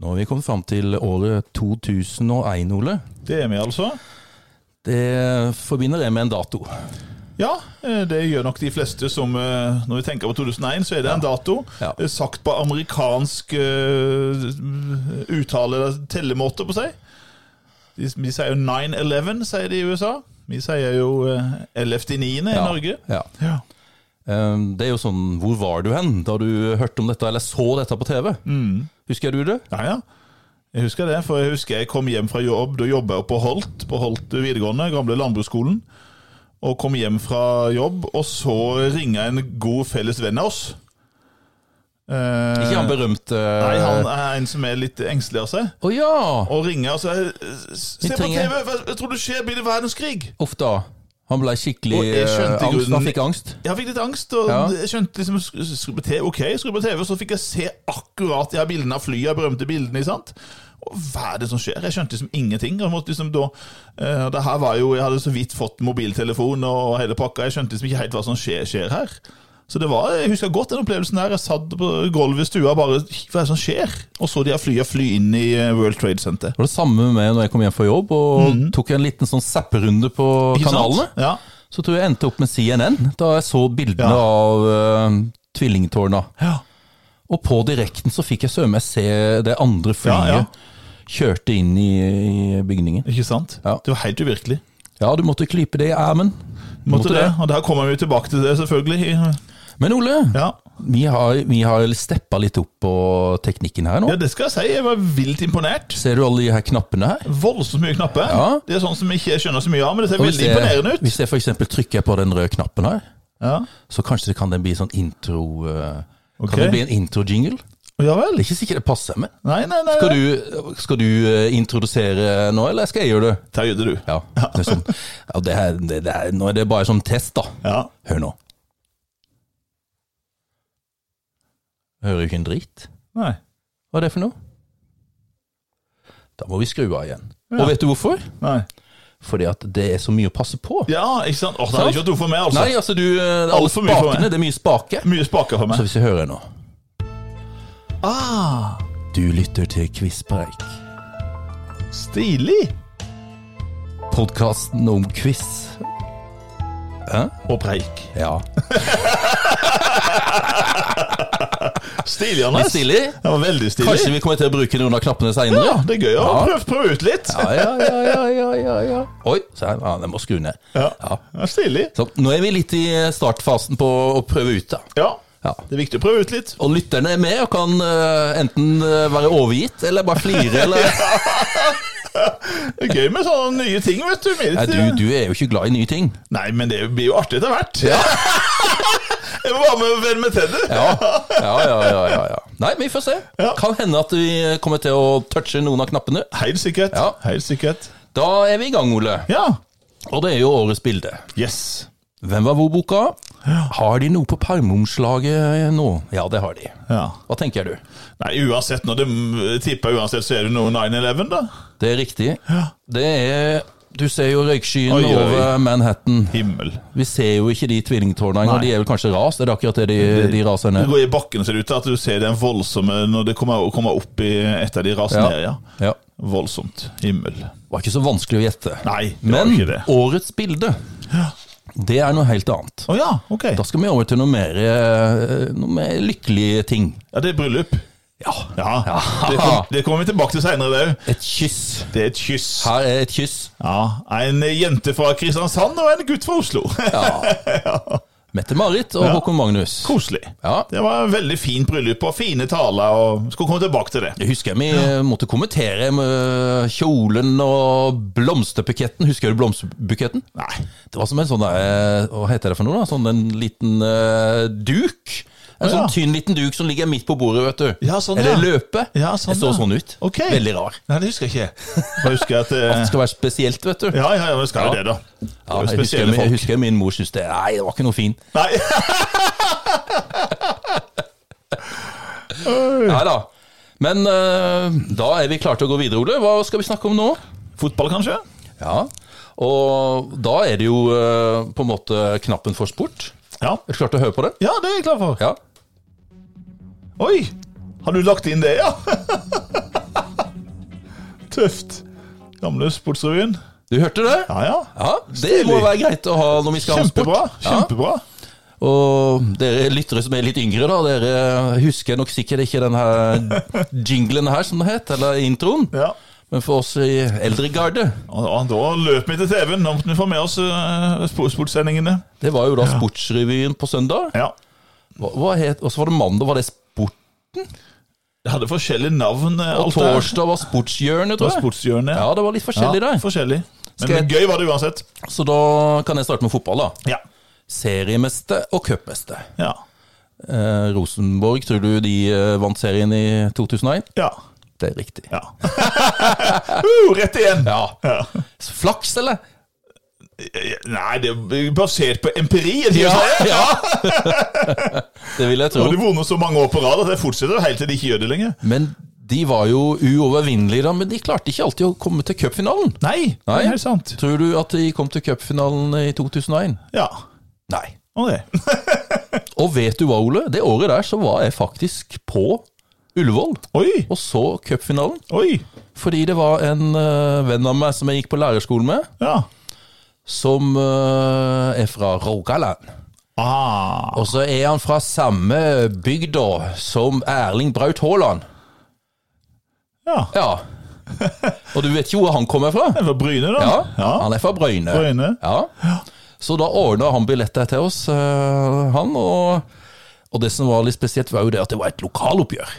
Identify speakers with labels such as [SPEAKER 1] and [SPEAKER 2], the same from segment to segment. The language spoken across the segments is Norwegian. [SPEAKER 1] Nå har vi kommet fram til året 2001, Ole.
[SPEAKER 2] Det er vi altså.
[SPEAKER 1] Det forbinder det med en dato.
[SPEAKER 2] Ja, eh, det gjør nok de fleste som eh, Når vi tenker på 2001, så er det en dato.
[SPEAKER 1] Ja.
[SPEAKER 2] eh, Sagt på amerikansk eh, uttale eller tellemåte, på seg. De, de sier jo 9-11, sier de i USA. Vi sier jo eh, 11.9. i
[SPEAKER 1] Ja,
[SPEAKER 2] Norge.
[SPEAKER 1] Ja.
[SPEAKER 2] Ja.
[SPEAKER 1] Ehm, Det er jo sånn Hvor var du hen da du hørte om dette, eller så dette på TV?
[SPEAKER 2] Mm.
[SPEAKER 1] Husker du det?
[SPEAKER 2] ja, ja. Jeg husker det, for jeg husker jeg kom hjem fra jobb. Da jobba jeg på Holt, på Holt videregående, gamle landbruksskolen. Og kom hjem fra jobb, og så ringa en god felles venn av oss. Eh,
[SPEAKER 1] Ikke han berømte
[SPEAKER 2] Nei, han er en som er litt engstelig av seg.
[SPEAKER 1] Å ja!
[SPEAKER 2] Og ringer og sier Se
[SPEAKER 1] Vi
[SPEAKER 2] på
[SPEAKER 1] trenger-
[SPEAKER 2] TV, hva hva tror du skjer? Blir det verdenskrig?
[SPEAKER 1] Uff da. Han ble skikkelig
[SPEAKER 2] Og jeg skjønte
[SPEAKER 1] eh,
[SPEAKER 2] i
[SPEAKER 1] angst.
[SPEAKER 2] grunnen-
[SPEAKER 1] Han fikk angst.
[SPEAKER 2] Jeg fikk litt angst, og
[SPEAKER 1] Ja.
[SPEAKER 2] jeg skjønte liksom sk- skru på TV, Ok, skru på TV, og så fikk jeg se akkurat de her bildene av flyet, de berømte bildene. ikke sant? Og hva er det som skjer? Jeg skjønte liksom ingenting. og jeg måtte liksom da, eh, det her var jo, Jeg hadde så vidt fått mobiltelefon og hele pakka. Jeg skjønte liksom ikke helt hva som skjer, skjer her. Så det var, Jeg husker godt den opplevelsen der. Jeg satt på gulvet i stua og bare Hva er det som skjer? Og så de her flya fly inn i eh, World Trade Center.
[SPEAKER 1] Det var det samme med meg når jeg kom hjem fra jobb og tok en liten sånn zapperunde på
[SPEAKER 2] Mm. Ikke sant?
[SPEAKER 1] kanalene.
[SPEAKER 2] Ja.
[SPEAKER 1] Så tror jeg jeg endte opp med CNN da jeg så bildene
[SPEAKER 2] Ja.
[SPEAKER 1] av uh, tvillingtårna.
[SPEAKER 2] Ja.
[SPEAKER 1] Og på direkten så fikk jeg sømme meg se det andre flyet
[SPEAKER 2] Ja, ja.
[SPEAKER 1] kjørte inn i, i bygningen.
[SPEAKER 2] Ikke sant?
[SPEAKER 1] Ja.
[SPEAKER 2] Det var helt uvirkelig.
[SPEAKER 1] Ja, du måtte klype det i ermen. Du
[SPEAKER 2] Måtte det. Og der kommer vi tilbake til det, selvfølgelig.
[SPEAKER 1] Men Ole,
[SPEAKER 2] Ja.
[SPEAKER 1] vi har, vi har steppa litt opp på teknikken her nå.
[SPEAKER 2] ja, det skal jeg si. Jeg var vilt imponert.
[SPEAKER 1] Ser du alle de her knappene her?
[SPEAKER 2] Voldsomt mye knapper.
[SPEAKER 1] Ja.
[SPEAKER 2] Det er sånn som jeg ikke skjønner så mye av, men det ser
[SPEAKER 1] Og
[SPEAKER 2] veldig imponerende ut.
[SPEAKER 1] Hvis jeg f.eks. trykker på den røde knappen her,
[SPEAKER 2] Ja.
[SPEAKER 1] så kanskje det kan den bli sånn intro... eh,
[SPEAKER 2] Ok.
[SPEAKER 1] Kan det bli en intro-jingle? Det
[SPEAKER 2] ja vel.
[SPEAKER 1] er ikke sikkert det passer, men
[SPEAKER 2] Nei, nei, nei.
[SPEAKER 1] Skal du, skal du eh, introdusere nå, eller skal jeg gjøre det?
[SPEAKER 2] Terje, du.
[SPEAKER 1] Ja, det er sånn. ja det her, det, det her, Nå er det bare som test, da.
[SPEAKER 2] Ja.
[SPEAKER 1] Hør nå. Hører jo ikke en dritt.
[SPEAKER 2] Nei.
[SPEAKER 1] Hva er det for noe? Da må vi skru av igjen. Og vet du hvorfor?
[SPEAKER 2] nei.
[SPEAKER 1] Fordi at det er så mye å passe på.
[SPEAKER 2] Ja, ikke sant. Åh, det hadde ikke vært noe for meg, altså.
[SPEAKER 1] Nei, altså du eh, Alle
[SPEAKER 2] Alt for mye for meg.
[SPEAKER 1] spakene, det er mye spake.
[SPEAKER 2] Mye spaker for
[SPEAKER 1] Så
[SPEAKER 2] meg.
[SPEAKER 1] hvis vi hører nå
[SPEAKER 2] Ah,
[SPEAKER 1] Du lytter til Quizpreik.
[SPEAKER 2] stilig.
[SPEAKER 1] Podkasten om quiz.
[SPEAKER 2] Og preik.
[SPEAKER 1] Ja.
[SPEAKER 2] Stilig,
[SPEAKER 1] Litt
[SPEAKER 2] Anders.
[SPEAKER 1] stilig.
[SPEAKER 2] Det var veldig stilig.
[SPEAKER 1] Kanskje vi kommer til å bruke noen av knappene seinere?
[SPEAKER 2] Ja, det er gøy å
[SPEAKER 1] Ja.
[SPEAKER 2] prøve, prøve ut litt.
[SPEAKER 1] Ja, ja, ja, ja, ja, ja, ja. Oi, se her. Ja, den må skru ned.
[SPEAKER 2] Ja.
[SPEAKER 1] Ja.
[SPEAKER 2] ja stilig.
[SPEAKER 1] Så nå er vi litt i startfasen på å prøve ut, da.
[SPEAKER 2] Ja.
[SPEAKER 1] Ja.
[SPEAKER 2] Det er viktig å prøve ut litt.
[SPEAKER 1] Og lytterne er med og kan eh, enten eh, være overgitt eller bare flire. Eller...
[SPEAKER 2] Det er gøy med sånne nye ting, vet du. Med
[SPEAKER 1] Nei, du, du er jo ikke glad i nye ting.
[SPEAKER 2] Nei, men det blir jo artig etter hvert. jeg må være med og venne meg til det.
[SPEAKER 1] Ja. Ja, ja, ja, ja, ja. Nei, men vi får se.
[SPEAKER 2] Ja.
[SPEAKER 1] Kan hende at vi kommer til å touche noen av knappene.
[SPEAKER 2] Helt sikkert.
[SPEAKER 1] Ja.
[SPEAKER 2] Helt sikkert.
[SPEAKER 1] Da er vi i gang, Ole.
[SPEAKER 2] Ja.
[SPEAKER 1] Og det er jo årets bilde.
[SPEAKER 2] Yes.
[SPEAKER 1] Hvem var hvor-boka? Har de noe på permeomslaget nå? Ja, det har de.
[SPEAKER 2] Ja.
[SPEAKER 1] Hva tenker du?
[SPEAKER 2] Nei, uansett når det tipper, uansett så er det noe 9-11, da.
[SPEAKER 1] Det er riktig. Det er Du ser jo røykskyen
[SPEAKER 2] Oi, oi.
[SPEAKER 1] over Manhattan.
[SPEAKER 2] Himmel.
[SPEAKER 1] Vi ser jo ikke de tvillingtårnene engang.
[SPEAKER 2] Nei.
[SPEAKER 1] De er vel kanskje ras? Er det akkurat det de, de raser
[SPEAKER 2] Du
[SPEAKER 1] ned?
[SPEAKER 2] går i bakken, ser det ut til at du ser den voldsomme når det kommer, kommer opp i et av de rasene her, ja.
[SPEAKER 1] Ja.
[SPEAKER 2] Voldsomt. Himmel.
[SPEAKER 1] Det var ikke så vanskelig å gjette.
[SPEAKER 2] Nei, det var
[SPEAKER 1] Men
[SPEAKER 2] ikke det.
[SPEAKER 1] årets bilde, det er noe helt annet.
[SPEAKER 2] Å ja, ok.
[SPEAKER 1] Da skal vi over til noe mer, eh, noe mer lykkelige ting.
[SPEAKER 2] Ja, det er bryllup.
[SPEAKER 1] Ja.
[SPEAKER 2] Ja. Det, kom, det kommer vi tilbake til seinere, det òg.
[SPEAKER 1] Et kyss.
[SPEAKER 2] Det er et kyss.
[SPEAKER 1] Her er et kyss.
[SPEAKER 2] Ja, En jente fra Kristiansand og en gutt fra Oslo.
[SPEAKER 1] Mette-Marit og Håkon Magnus.
[SPEAKER 2] Koselig.
[SPEAKER 1] Ja.
[SPEAKER 2] Det var en veldig fint bryllup og fine taler. og Skal komme tilbake til det.
[SPEAKER 1] Jeg husker vi eh, måtte kommentere med kjolen og blomsterbuketten. Husker du blomsterbuketten?
[SPEAKER 2] Nei.
[SPEAKER 1] Det var som en sånn der, eh, hva heter det for noe da? Sånn en liten eh, duk. En
[SPEAKER 2] Ja.
[SPEAKER 1] sånn tynn liten duk som ligger midt på bordet, vet du.
[SPEAKER 2] Ja, sånn,
[SPEAKER 1] Eller
[SPEAKER 2] ja.
[SPEAKER 1] løpe.
[SPEAKER 2] Ja, sånn,
[SPEAKER 1] det så
[SPEAKER 2] ja.
[SPEAKER 1] sånn ut.
[SPEAKER 2] Ok.
[SPEAKER 1] Veldig rar.
[SPEAKER 2] Nei, det husker jeg ikke. Da husker jeg at eh,
[SPEAKER 1] Det skal være spesielt, vet du.
[SPEAKER 2] Ja, ja, ja, vi skal jo det, da.
[SPEAKER 1] Ja,
[SPEAKER 2] Det er jo
[SPEAKER 1] jeg, husker,
[SPEAKER 2] spesielle
[SPEAKER 1] jeg
[SPEAKER 2] folk.
[SPEAKER 1] husker min mor syntes det Nei, det var ikke noe fin.
[SPEAKER 2] Nei, Mm.
[SPEAKER 1] Nei da. Men eh, da er vi klare til å gå videre, Ole. Hva skal vi snakke om nå?
[SPEAKER 2] Fotball, kanskje?
[SPEAKER 1] Ja. Og da er det jo eh, på en måte knappen for sport.
[SPEAKER 2] Ja.
[SPEAKER 1] Er du klar til å høre på det?
[SPEAKER 2] ja, det er jeg klar for.
[SPEAKER 1] Ja.
[SPEAKER 2] Oi! Har du lagt inn det, ja? Tøft. Gamle Sportsrevyen.
[SPEAKER 1] Du hørte det?
[SPEAKER 2] Ja, ja.
[SPEAKER 1] Ja, det må
[SPEAKER 2] Stilig.
[SPEAKER 1] være greit å ha når vi skal ha sport.
[SPEAKER 2] Kjempebra.
[SPEAKER 1] Ja.
[SPEAKER 2] Kjempebra.
[SPEAKER 1] Og dere lyttere som er litt yngre, da, dere husker nok sikkert ikke den her jinglen her, som det het, eller introen.
[SPEAKER 2] Ja.
[SPEAKER 1] Men for oss i eldregarde,
[SPEAKER 2] Og da, da løp vi til TV-en. Da måtte vi få med oss eh, spor- sportssendingene.
[SPEAKER 1] det var jo da Sportsrevyen på søndag.
[SPEAKER 2] Ja.
[SPEAKER 1] Hva, hva het, og så var det mandag, var det Sport?
[SPEAKER 2] Det hadde forskjellige navn. eh,
[SPEAKER 1] Og
[SPEAKER 2] alt det her.
[SPEAKER 1] torsdag var Sportshjørnet,
[SPEAKER 2] Det var
[SPEAKER 1] tror jeg.
[SPEAKER 2] Sportshjørnet.
[SPEAKER 1] Ja, det var litt forskjellig
[SPEAKER 2] Ja,
[SPEAKER 1] der.
[SPEAKER 2] forskjellig. Men
[SPEAKER 1] Skal jeg-
[SPEAKER 2] gøy var det uansett.
[SPEAKER 1] Så da kan jeg starte med fotball, da.
[SPEAKER 2] Ja.
[SPEAKER 1] Seriemester og cupmester.
[SPEAKER 2] Ja.
[SPEAKER 1] Eh, Rosenborg, tror du de eh, vant serien i 2001?
[SPEAKER 2] Ja.
[SPEAKER 1] Det er riktig.
[SPEAKER 2] ja. uh, rett igjen!
[SPEAKER 1] Ja. Flaks, eller?
[SPEAKER 2] Nei, det er basert på empiri. er det ikke det?
[SPEAKER 1] ja. det vil jeg
[SPEAKER 2] Nå
[SPEAKER 1] tro.
[SPEAKER 2] Har de vunnet så mange år på rad at det fortsetter jo helt til de ikke gjør det lenger?
[SPEAKER 1] Men de var jo uovervinnelige, da, men de klarte ikke alltid å komme til cupfinalen.
[SPEAKER 2] Nei, det
[SPEAKER 1] Nei.
[SPEAKER 2] er helt sant.
[SPEAKER 1] Tror du at de kom til cupfinalen i 2001?
[SPEAKER 2] Ja.
[SPEAKER 1] Nei.
[SPEAKER 2] Og det.
[SPEAKER 1] Og vet du hva, Ole? Det året der så var jeg faktisk på Ullevål
[SPEAKER 2] Oi,
[SPEAKER 1] og så cupfinalen.
[SPEAKER 2] oi.
[SPEAKER 1] Fordi det var en eh, venn av meg som jeg gikk på lærerskolen med,
[SPEAKER 2] Ja.
[SPEAKER 1] som eh, er fra Rogaland.
[SPEAKER 2] Ah.
[SPEAKER 1] Og så er han fra samme bygda som Erling Braut Haaland.
[SPEAKER 2] Ja.
[SPEAKER 1] Ja. Og du vet jo hvor han kommer fra?
[SPEAKER 2] Det var Bryne, da.
[SPEAKER 1] Ja,
[SPEAKER 2] ja.
[SPEAKER 1] han er fra Brøyne.
[SPEAKER 2] Bryne.
[SPEAKER 1] Ja. Så da ordna han billetter til oss, eh, han. Og, og det som var litt spesielt, var jo det at det var et lokaloppgjør.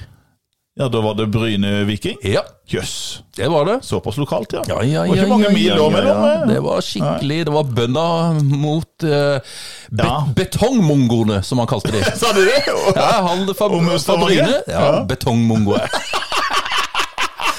[SPEAKER 2] Ja, da var det Bryne-Viking.
[SPEAKER 1] Ja,
[SPEAKER 2] Jøss.
[SPEAKER 1] det var det.
[SPEAKER 2] Såpass lokalt, ja.
[SPEAKER 1] Ja, ja, ja,
[SPEAKER 2] Det var ikke mange
[SPEAKER 1] ja,
[SPEAKER 2] mil
[SPEAKER 1] ja,
[SPEAKER 2] da
[SPEAKER 1] ja,
[SPEAKER 2] mellom. eh?
[SPEAKER 1] ja. Det var skikkelig Det var bønda mot eh, be
[SPEAKER 2] Ja.
[SPEAKER 1] betongmongoene, som han kalte de.
[SPEAKER 2] Sa de det?
[SPEAKER 1] Ja, han fra,
[SPEAKER 2] Og mot
[SPEAKER 1] fra
[SPEAKER 2] Stavanger?
[SPEAKER 1] Bryne. Ja, betongmongoer.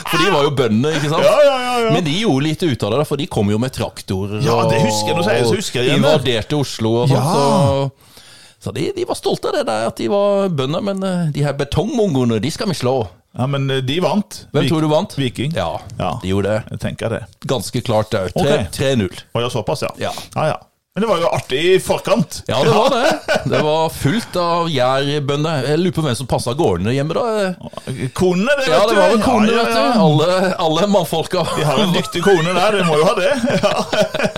[SPEAKER 1] For de var jo bøndene, ikke sant?
[SPEAKER 2] Ja, ja, ja, ja.
[SPEAKER 1] Men de gjorde litt ut av det, da, for de kom jo med traktorer
[SPEAKER 2] Ja, det husker jeg, nå sier jeg det, så husker jeg
[SPEAKER 1] og
[SPEAKER 2] igjen det.
[SPEAKER 1] invaderte Oslo og sånt.
[SPEAKER 2] Ja.
[SPEAKER 1] Så, så de, de var stolte av det der, at de var bønder, men eh, de her betongmongoene, de skal vi slå.
[SPEAKER 2] Ja, men eh, de vant.
[SPEAKER 1] Hvem tror du vant?
[SPEAKER 2] Viking.
[SPEAKER 1] Ja,
[SPEAKER 2] Ja.
[SPEAKER 1] de gjorde det.
[SPEAKER 2] Jeg tenker det.
[SPEAKER 1] Ganske klart det.
[SPEAKER 2] Ok.
[SPEAKER 1] 3-0.
[SPEAKER 2] Å ja, såpass, ja.
[SPEAKER 1] Ja.
[SPEAKER 2] ja, ja. Men det var jo artig i forkant.
[SPEAKER 1] Ja, det var det. Det var fullt av jærbønder. Jeg lurer på hvem som passa gårdene hjemme, da.
[SPEAKER 2] Konene, det, vet
[SPEAKER 1] Ja, det var vel
[SPEAKER 2] du.
[SPEAKER 1] konene,
[SPEAKER 2] Ja,
[SPEAKER 1] vet
[SPEAKER 2] ja, ja.
[SPEAKER 1] du. Alle, alle mannfolka.
[SPEAKER 2] De har en dyktig kone der, de må jo ha det.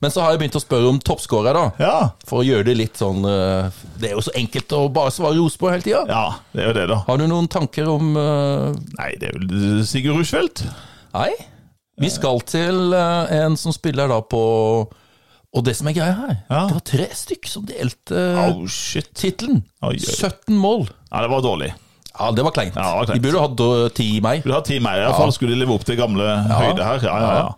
[SPEAKER 1] Men så har jeg begynt å spørre om toppskårer, da.
[SPEAKER 2] Ja,
[SPEAKER 1] For å gjøre det litt sånn eh, Det er jo så enkelt å bare svare Rosenborg hele tida.
[SPEAKER 2] ja det er jo det, da.
[SPEAKER 1] Har du noen tanker om eh,
[SPEAKER 2] Nei, det er vel Sigurd Rushfeldt.
[SPEAKER 1] Nei. Vi skal til eh, en som spiller da på Og det som er greia her,
[SPEAKER 2] Ja.
[SPEAKER 1] det var tre stykk som delte eh,
[SPEAKER 2] Oh, shit.
[SPEAKER 1] tittelen.
[SPEAKER 2] Oi, oi.
[SPEAKER 1] 17 mål.
[SPEAKER 2] Ja, det var dårlig.
[SPEAKER 1] Ja, det var kleint.
[SPEAKER 2] Ja, det var kleint.
[SPEAKER 1] De burde hatt eh, ti i meg.
[SPEAKER 2] Du har ti mer, i hvert fall. Skulle de leve opp til gamle høyde her? Ja, ja, ja.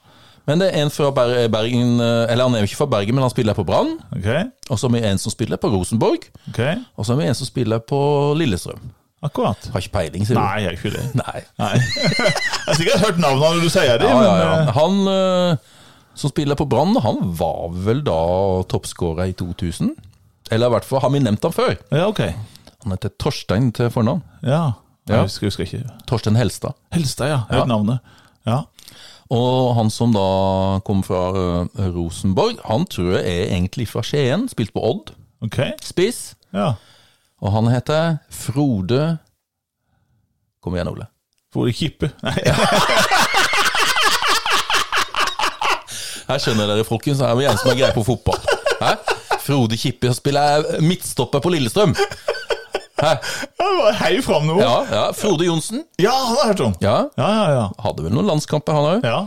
[SPEAKER 1] Men det er en fra Ber- Bergen eh, Eller han er jo ikke fra Bergen, men han spiller på Brann.
[SPEAKER 2] Ok,
[SPEAKER 1] Og så er vi en som spiller på Rosenborg.
[SPEAKER 2] ok.
[SPEAKER 1] Og så er vi en som spiller på Lillestrøm.
[SPEAKER 2] Akkurat.
[SPEAKER 1] Har ikke peiling, sier du.
[SPEAKER 2] Nei, jeg er ikke det.
[SPEAKER 1] Nei.
[SPEAKER 2] Nei. Jeg har sikkert hørt navnene når du sier det,
[SPEAKER 1] Ja, ja,
[SPEAKER 2] men
[SPEAKER 1] ja. Han eh, som spiller på Brann, han var vel da toppskårer i 2000? Eller i hvert fall har vi nevnt han før.
[SPEAKER 2] eh, Ja, ok.
[SPEAKER 1] Han heter Torstein til fornavn.
[SPEAKER 2] Ja.
[SPEAKER 1] Ja.
[SPEAKER 2] Jeg husker, husker ikke.
[SPEAKER 1] Torstein Helstad.
[SPEAKER 2] Helstad, ja. Jeg har hørt navnet. Ja.
[SPEAKER 1] Og han som da kom fra eh, Rosenborg, han tror jeg er egentlig fra Skien. Spilt på Odd.
[SPEAKER 2] Ok.
[SPEAKER 1] Spiss.
[SPEAKER 2] Ja.
[SPEAKER 1] Og han heter Frode Kom igjen, Ole.
[SPEAKER 2] Hvor det kipper. Nei,
[SPEAKER 1] Her skjønner dere, folkens. Her er vi en som er greie på fotball. Hæ? Frode Kippe spiller midtstopper på Lillestrøm.
[SPEAKER 2] jeg bare heiv fram noe.
[SPEAKER 1] Ja, ja. Frode Johnsen.
[SPEAKER 2] Ja, han har jeg hørt om.
[SPEAKER 1] Ja,
[SPEAKER 2] Ja, ja, ja.
[SPEAKER 1] Hadde vel noen landskamper, han òg.
[SPEAKER 2] Ja,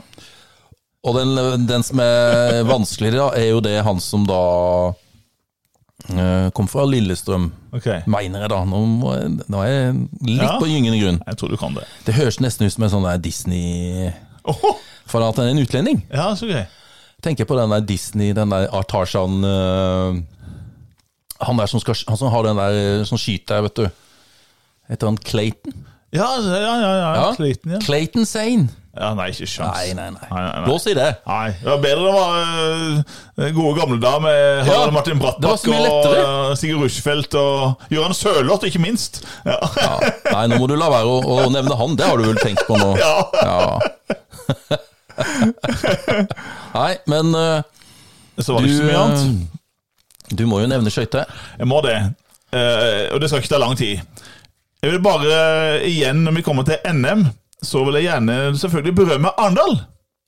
[SPEAKER 1] Og den, den som er vanskeligere, da, er jo det han som da eh, kom fra Lillestrøm,
[SPEAKER 2] ok.
[SPEAKER 1] mener jeg da. Nå, må jeg, nå er jeg litt
[SPEAKER 2] Ja.
[SPEAKER 1] på gyngende grunn.
[SPEAKER 2] Jeg tror du kan det.
[SPEAKER 1] Det høres nesten ut som en sånn der Disney
[SPEAKER 2] Åh,
[SPEAKER 1] For at han er en utlending.
[SPEAKER 2] ja, så gøy.
[SPEAKER 1] Tenker på den der Disney, den der Artarzan eh, Han der som, skal, han som har den der eh, som skyter, vet du. Heter han Clayton?
[SPEAKER 2] Ja, ja, ja. ja, ja. Sliten, ja.
[SPEAKER 1] Clayton Sane.
[SPEAKER 2] Ja, nei, ikke sjans.
[SPEAKER 1] Nei, nei, nei.
[SPEAKER 2] Nei, nei, nei.
[SPEAKER 1] Blås i det.
[SPEAKER 2] Nei, det var bedre det var øh, gode gamle da med Harald Martin
[SPEAKER 1] det var
[SPEAKER 2] Brattbakk
[SPEAKER 1] så mye
[SPEAKER 2] og
[SPEAKER 1] lettere.
[SPEAKER 2] øh, Sigurd Rushfeldt og Gøran Sørloth, ikke minst. Ja.
[SPEAKER 1] Ja. Nei, nå må du la være å, å nevne han. Det har du vel tenkt på nå?
[SPEAKER 2] Ja.
[SPEAKER 1] Ja. Nei, men eh,
[SPEAKER 2] Så var det
[SPEAKER 1] du
[SPEAKER 2] ikke så mye annet.
[SPEAKER 1] eh, Du må jo nevne skøyter.
[SPEAKER 2] Jeg må det. Eh, og det skal ikke ta lang tid. Jeg vil bare eh, igjen, når vi kommer til NM så vil jeg gjerne selvfølgelig berømme Arendal.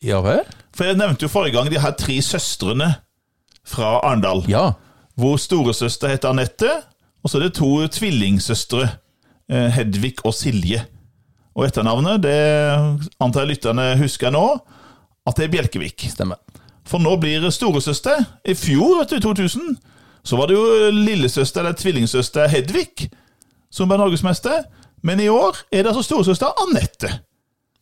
[SPEAKER 1] Ja vel?
[SPEAKER 2] For jeg nevnte jo forrige gang de her tre søstrene fra Arendal.
[SPEAKER 1] Ja.
[SPEAKER 2] Hvor storesøster heter Anette, og så er det to tvillingsøstre. eh, Hedvig og Silje. Og etternavnet, det antar jeg lytterne husker nå, at det er Bjelkevik.
[SPEAKER 1] Stemmer.
[SPEAKER 2] For nå blir storesøster I fjor, vet du, i 2000, så var det jo lillesøster eller tvillingsøster Hedvig som ble norgesmester. Men i år er det altså storesøster Anette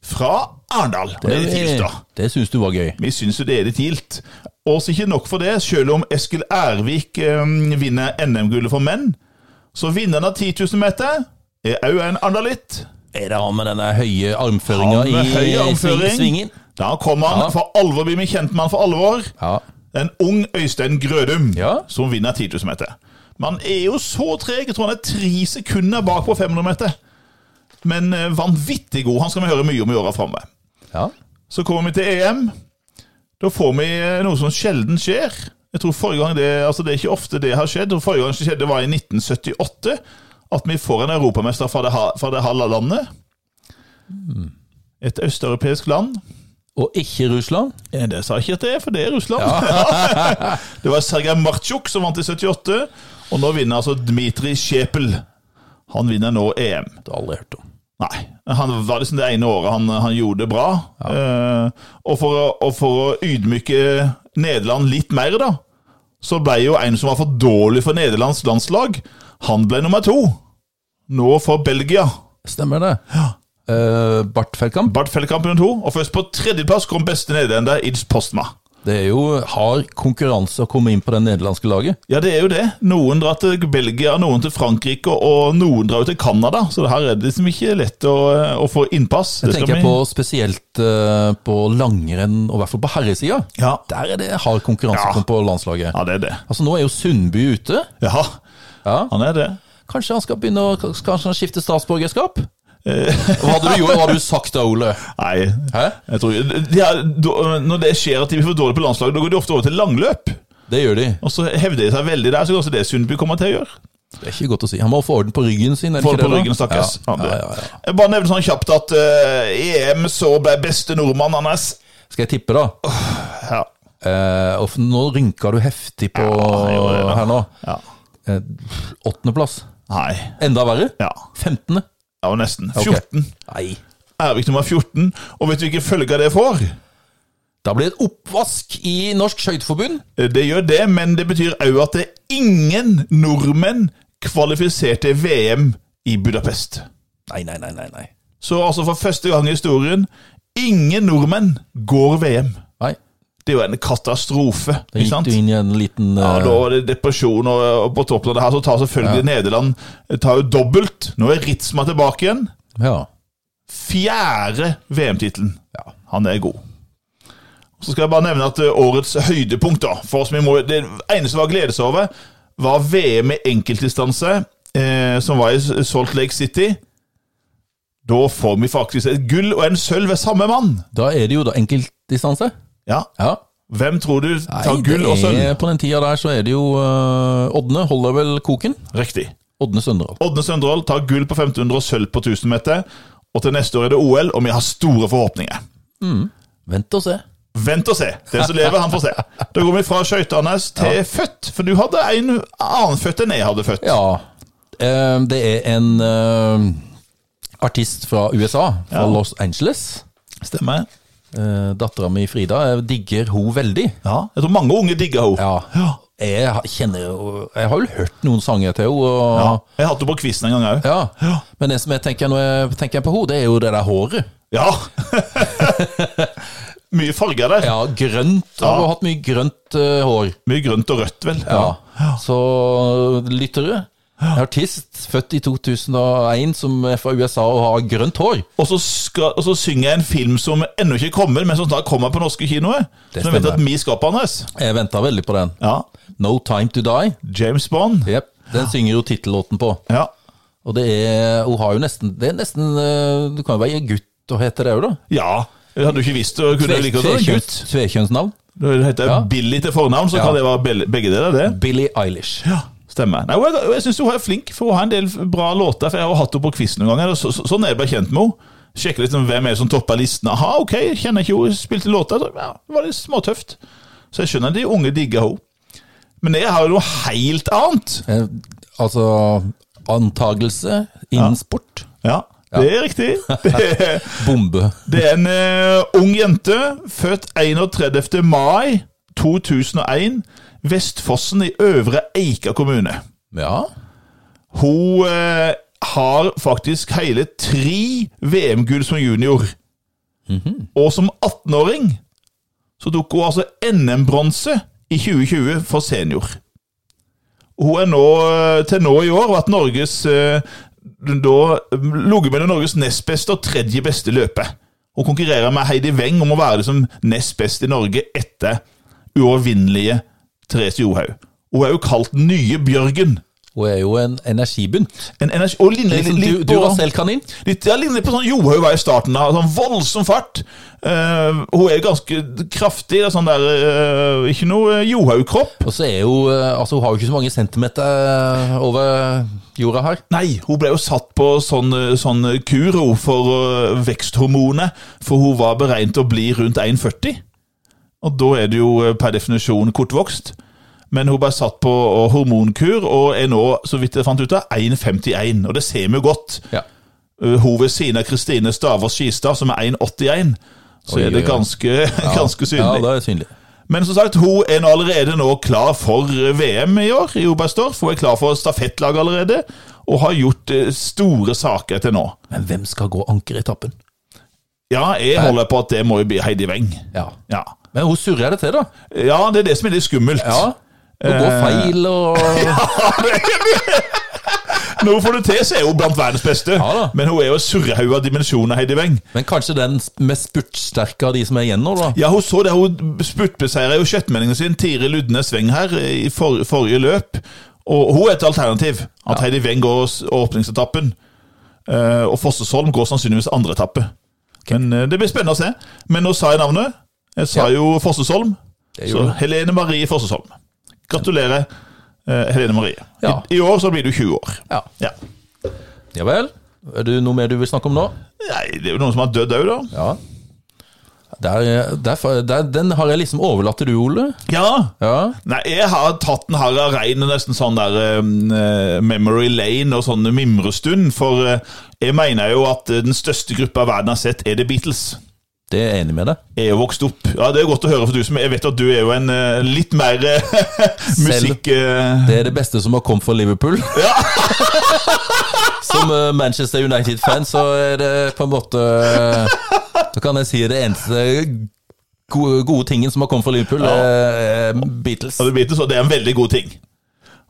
[SPEAKER 2] fra Arendal. Og Det er litt tilt, da.
[SPEAKER 1] det syns du var gøy.
[SPEAKER 2] Vi syns jo det er litt tilt. Og så ikke nok for det, selv om Eskil Ervik eh, vinner NM-gullet for menn, så vinneren av 10 000 meter er òg en andalitt.
[SPEAKER 1] Er det han med denne høye armføringa
[SPEAKER 2] Han
[SPEAKER 1] i
[SPEAKER 2] med høy armføring.
[SPEAKER 1] sving- svingen?
[SPEAKER 2] Da kommer han
[SPEAKER 1] Ja.
[SPEAKER 2] for alvor, blir vi kjent med han for alvor.
[SPEAKER 1] Ja.
[SPEAKER 2] En ung Øystein Grødum
[SPEAKER 1] Ja.
[SPEAKER 2] som vinner 10 000 meter. Man er jo så treg, jeg tror han er tre sekunder bak på 500 meter. Men eh, vanvittig god. Han skal vi høre mye om i åra framover.
[SPEAKER 1] ja.
[SPEAKER 2] Så kommer vi til EM. Da får vi eh, noe som sjelden skjer. Jeg tror forrige gang Det altså det er ikke ofte det har skjedd. og Forrige gang det skjedde, var i 1978. At vi får en europamester fra det, ha- fra det halve landet. Et østeuropeisk land.
[SPEAKER 1] Og ikke Russland?
[SPEAKER 2] Eh, Det sa jeg ikke at det er, for det er Russland. det var Sergej Martsjuk som vant i 78, og nå vinner altså Dmitrij Sjepel. Han vinner nå EM.
[SPEAKER 1] Det har jeg aldri hørt om.
[SPEAKER 2] Nei. Han var liksom det ene året han, han gjorde det bra. Eh, og, for å, og for å ydmyke Nederland litt mer, da, så ble jo en som var for dårlig for Nederlands landslag, han ble nummer to. Nå for Belgia.
[SPEAKER 1] Stemmer det. Eh, Bart Feldkamp,
[SPEAKER 2] Bart Feldkamp nummer to, og først på tredjeplass kom beste nederlender Ids Postma.
[SPEAKER 1] det er jo hard konkurranse å komme inn på det nederlandske laget.
[SPEAKER 2] Ja, det er jo det. Noen drar til Belgia, noen til Frankrike, og noen drar jo til Canada. Så det her er det liksom ikke lett å, å få innpass.
[SPEAKER 1] Jeg
[SPEAKER 2] Det skal
[SPEAKER 1] tenker
[SPEAKER 2] vi-
[SPEAKER 1] på spesielt eh, på langrenn, og i hvert fall på herresida.
[SPEAKER 2] ja.
[SPEAKER 1] Der er det hard konkurranse
[SPEAKER 2] Ja.
[SPEAKER 1] på landslaget.
[SPEAKER 2] ja, det er det.
[SPEAKER 1] Altså Nå er jo Sundby ute.
[SPEAKER 2] Ja,
[SPEAKER 1] Ja.
[SPEAKER 2] han er det.
[SPEAKER 1] Kanskje han skal begynne å kanskje han skifte statsborgerskap?
[SPEAKER 2] Eh.
[SPEAKER 1] Hva hadde du gjort, hva hadde du sagt da, Ole?
[SPEAKER 2] Nei,
[SPEAKER 1] Hæ?
[SPEAKER 2] jeg tror de er, da- Når det skjer at de blir for dårlige på landslaget, da går de ofte over til langløp.
[SPEAKER 1] Det gjør de.
[SPEAKER 2] Og så hevder de seg veldig der, så kanskje det er Sundby kommer til å gjøre.
[SPEAKER 1] Det er ikke godt å si. Han må få orden på ryggen sin. er det
[SPEAKER 2] Får
[SPEAKER 1] ikke
[SPEAKER 2] det på
[SPEAKER 1] det da?
[SPEAKER 2] ryggen, stakkars.
[SPEAKER 1] Ja.
[SPEAKER 2] Han
[SPEAKER 1] Ja,
[SPEAKER 2] det.
[SPEAKER 1] ja, ja.
[SPEAKER 2] Jeg bare nevnte sånn kjapt at eh, EM så ble beste nordmann hans.
[SPEAKER 1] Skal jeg tippe, da?
[SPEAKER 2] Ja.
[SPEAKER 1] Eh, og for nå rynka du heftig på
[SPEAKER 2] jeg gjorde det da.
[SPEAKER 1] her nå.
[SPEAKER 2] ja.
[SPEAKER 1] Eh, Åttendeplass.
[SPEAKER 2] Nei.
[SPEAKER 1] Enda verre.
[SPEAKER 2] Ja.
[SPEAKER 1] Femtende.
[SPEAKER 2] ja, og nesten.
[SPEAKER 1] Ok.
[SPEAKER 2] 14.
[SPEAKER 1] Nei.
[SPEAKER 2] Ervik nummer 14. Og vet du hvilke følger det får?
[SPEAKER 1] Da blir det et oppvask i Norsk Skøyteforbund.
[SPEAKER 2] Eh, Det gjør det, men det betyr òg at det er ingen nordmenn kvalifisert til VM i Budapest.
[SPEAKER 1] Nei, nei, nei, nei. Nei.
[SPEAKER 2] Så altså for første gang i historien Ingen nordmenn går VM.
[SPEAKER 1] nei.
[SPEAKER 2] Det er jo en katastrofe.
[SPEAKER 1] Da
[SPEAKER 2] ikke
[SPEAKER 1] gikk
[SPEAKER 2] sant?
[SPEAKER 1] du inn i en liten
[SPEAKER 2] Ja,
[SPEAKER 1] eh,
[SPEAKER 2] da var det depresjon, og, og på toppen av det her så tar selvfølgelig Nederland tar jo dobbelt. Nå er Ritzma tilbake igjen.
[SPEAKER 1] eh, ja.
[SPEAKER 2] Fjerde VM-tittelen.
[SPEAKER 1] Ja.
[SPEAKER 2] Han er god. Så skal jeg bare nevne at eh, årets høydepunkt, da for oss, vi må, Det eneste var å glede seg over, var VM i enkeltdistanse, eh, som var i Salt Lake City. Da får vi faktisk et gull og en sølv ved samme mann.
[SPEAKER 1] Da er det jo da enkeltdistanse.
[SPEAKER 2] Ja,
[SPEAKER 1] Ja.
[SPEAKER 2] Hvem tror du tar
[SPEAKER 1] Nei,
[SPEAKER 2] gull
[SPEAKER 1] det
[SPEAKER 2] og sølv?
[SPEAKER 1] er- På den tida der så er det jo eh, Ådne holder vel koken.
[SPEAKER 2] Riktig.
[SPEAKER 1] Ådne Søndral.
[SPEAKER 2] Ådne Søndrål tar gull på 1500 og sølv på 1000 meter. Og til neste år er det OL, og vi har store forhåpninger.
[SPEAKER 1] Vent og se.
[SPEAKER 2] Vent og se. Den som lever, han får se. Da går vi fra skøytene til født, for du hadde en annen født enn jeg hadde født.
[SPEAKER 1] Ja. eh, Det er en eh, artist fra USA, fra
[SPEAKER 2] Ja.
[SPEAKER 1] Los Angeles.
[SPEAKER 2] Stemmer.
[SPEAKER 1] Uh, Dattera mi Frida jeg digger hun veldig.
[SPEAKER 2] Ja. Jeg tror mange unge digger henne.
[SPEAKER 1] Ja. Jeg, ha- kjenner, jo- jeg har vel hørt noen sanger til henne.
[SPEAKER 2] Ja.
[SPEAKER 1] og-
[SPEAKER 2] Jeg hadde henne på quizen en gang òg.
[SPEAKER 1] Ja. Men det som jeg tenker når jeg tenker på henne, det er jo det der håret.
[SPEAKER 2] Ja. mye farger der.
[SPEAKER 1] Ja, grønt. Hun har hatt mye grønt eh, hår.
[SPEAKER 2] Mye grønt og rødt, vel.
[SPEAKER 1] Ja. Så lyttere, en artist født i 2001 som er fra USA og har grønt hår.
[SPEAKER 2] Og så, skal, og så synger jeg en film som ennå ikke kommer, men som snart kommer på norske kinoer.
[SPEAKER 1] Det
[SPEAKER 2] Så jeg vet
[SPEAKER 1] stemmer.
[SPEAKER 2] at vi skaper hans.
[SPEAKER 1] Jeg venta veldig på den.
[SPEAKER 2] Ja.
[SPEAKER 1] No Time To Die.
[SPEAKER 2] James Bond.
[SPEAKER 1] Jep, Den synger jo tittellåten på.
[SPEAKER 2] Ja.
[SPEAKER 1] Og det er Hun har jo nesten Det er nesten eh, Du kan jo være gutt og hete det òg, da.
[SPEAKER 2] ja. Jeg hadde jo ikke visst det. og Kunne
[SPEAKER 1] Tve-
[SPEAKER 2] jeg like godt vært en gutt.
[SPEAKER 1] tvekjønns- Tvekjønnsnavn.
[SPEAKER 2] Da heter jeg Billy til fornavn, så
[SPEAKER 1] Ja.
[SPEAKER 2] kan det være bel- begge deler, det.
[SPEAKER 1] Billie Eilish.
[SPEAKER 2] Ja. Stemmer. Nei, og jeg jeg syns hun er flink, for hun har en del bra låter. For jeg har hatt henne på quiz noen ganger. og Så, så, sånn er jeg ble kjent med henne. Sjekke liksom hvem er det som topper listen. Aha, ok, kjenner ikke henne, spilte låta. Så, Ja, det var litt småtøft. Så jeg skjønner de unge digger henne. Men jeg har jo noe helt annet.
[SPEAKER 1] Eh, altså antagelse innen sport.
[SPEAKER 2] Ja, det er riktig. Det er,
[SPEAKER 1] Bombe.
[SPEAKER 2] det er en eh, ung jente, født 31. mai 2001, Vestfossen i Øvre Eika kommune.
[SPEAKER 1] Ja.
[SPEAKER 2] Hun eh, har faktisk hele tre VM-gull som junior. Og som 18-åring så tok hun altså NM-bronse i 2020 for senior. Hun er nå, eh, til nå i år vært Norges eh, da ligget mellom Norges nest beste og tredje beste løper. Hun konkurrerer med Heidi Weng om å være liksom nest best i Norge etter uovervinnelige Therese Johaug. Hun er jo kalt den nye Bjørgen.
[SPEAKER 1] Hun er jo en energibunt.
[SPEAKER 2] En energi, og ligner litt,
[SPEAKER 1] Liksom,
[SPEAKER 2] litt,
[SPEAKER 1] du, du
[SPEAKER 2] på,
[SPEAKER 1] var selv kanin.
[SPEAKER 2] litt, ja, ligner litt på sånn Johaug var i starten. Da, sånn voldsom fart. Eh, hun er ganske kraftig. Det er sånn der, eh, ikke noe eh, Johaug-kropp.
[SPEAKER 1] Og så er hun eh, Altså, hun har jo ikke så mange centimeter eh, over jorda her.
[SPEAKER 2] Nei, hun ble jo satt på sånn, eh, sånn kur hun, for eh, veksthormonet, for hun var beregnet til å bli rundt 1,40. Og da er det jo eh, per definisjon kortvokst. Men hun ble satt på eh, hormonkur og er nå, så vidt jeg fant ut av, 1,51. Og det ser vi jo godt.
[SPEAKER 1] Ja.
[SPEAKER 2] Uh, hun ved siden av Kristine Stavås Skistad, som er 1,81, så
[SPEAKER 1] Oi,
[SPEAKER 2] er
[SPEAKER 1] oi,
[SPEAKER 2] det
[SPEAKER 1] oi.
[SPEAKER 2] ganske,
[SPEAKER 1] Ja,
[SPEAKER 2] ganske synlig.
[SPEAKER 1] det er synlig.
[SPEAKER 2] Men som sagt, hun er nå allerede nå klar for eh, VM i år i Oberstdorf. Hun er klar for stafettlag allerede, og har gjort eh, store saker til nå.
[SPEAKER 1] Men hvem skal gå ankeretappen?
[SPEAKER 2] Ja, jeg holder på at det må jo bli Heidi Weng.
[SPEAKER 1] Ja.
[SPEAKER 2] Ja.
[SPEAKER 1] Men hun surrer det til, da.
[SPEAKER 2] ja, det er det som er litt skummelt.
[SPEAKER 1] Ja. Hun går
[SPEAKER 2] Eh.
[SPEAKER 1] feil og
[SPEAKER 2] Når hun får det til, så er hun blant verdens beste.
[SPEAKER 1] Ja da.
[SPEAKER 2] Men hun er jo en surrehaug av dimensjoner, Heidi Weng.
[SPEAKER 1] Men kanskje den mest spurtsterke av de som er igjen nå, da.
[SPEAKER 2] Ja, hun så det. Hun spurtbeseiret jo kjøttmeldingen sin, Tiril Ludnes Weng her, i for, forrige løp. Og hun er et alternativ. At Heidi Weng går s- åpningsetappen. Eh, og Fossesholm går sannsynligvis andre etappe. Men eh, Det blir spennende å se. Men nå sa jeg navnet. Jeg sa jo Fossesholm.
[SPEAKER 1] Det
[SPEAKER 2] Så
[SPEAKER 1] gjorde du.
[SPEAKER 2] Helene Marie Fossesholm. Gratulerer, eh, Helene Marie.
[SPEAKER 1] Ja.
[SPEAKER 2] I, I år så blir du 20 år.
[SPEAKER 1] Ja.
[SPEAKER 2] Ja.
[SPEAKER 1] ja vel. Er det noe mer du vil snakke om nå?
[SPEAKER 2] Nei, det er jo noen som har dødd òg, da.
[SPEAKER 1] Ja. Der, der, der, den har jeg liksom overlatt til du, Ole.
[SPEAKER 2] Ja,
[SPEAKER 1] Ja.
[SPEAKER 2] Nei, jeg har tatt den her av rein nesten sånn der eh, Memory Lane og sånn mimrestund, for eh, jeg mener jo at eh, den største gruppa verden har sett, er The Beatles.
[SPEAKER 1] Det er jeg enig med deg.
[SPEAKER 2] Jeg er jo vokst opp. Ja, Det er godt å høre for du som Jeg vet at du er jo en eh, litt mer eh, musikk... eh,
[SPEAKER 1] Det er det beste som har kommet fra Liverpool. som eh, Manchester United-fan, så er det på en måte eh, Så kan jeg si det eneste gode, gode tingen som har kommet fra Liverpool, er Beatles.
[SPEAKER 2] og The Beatles, og det er en veldig god ting.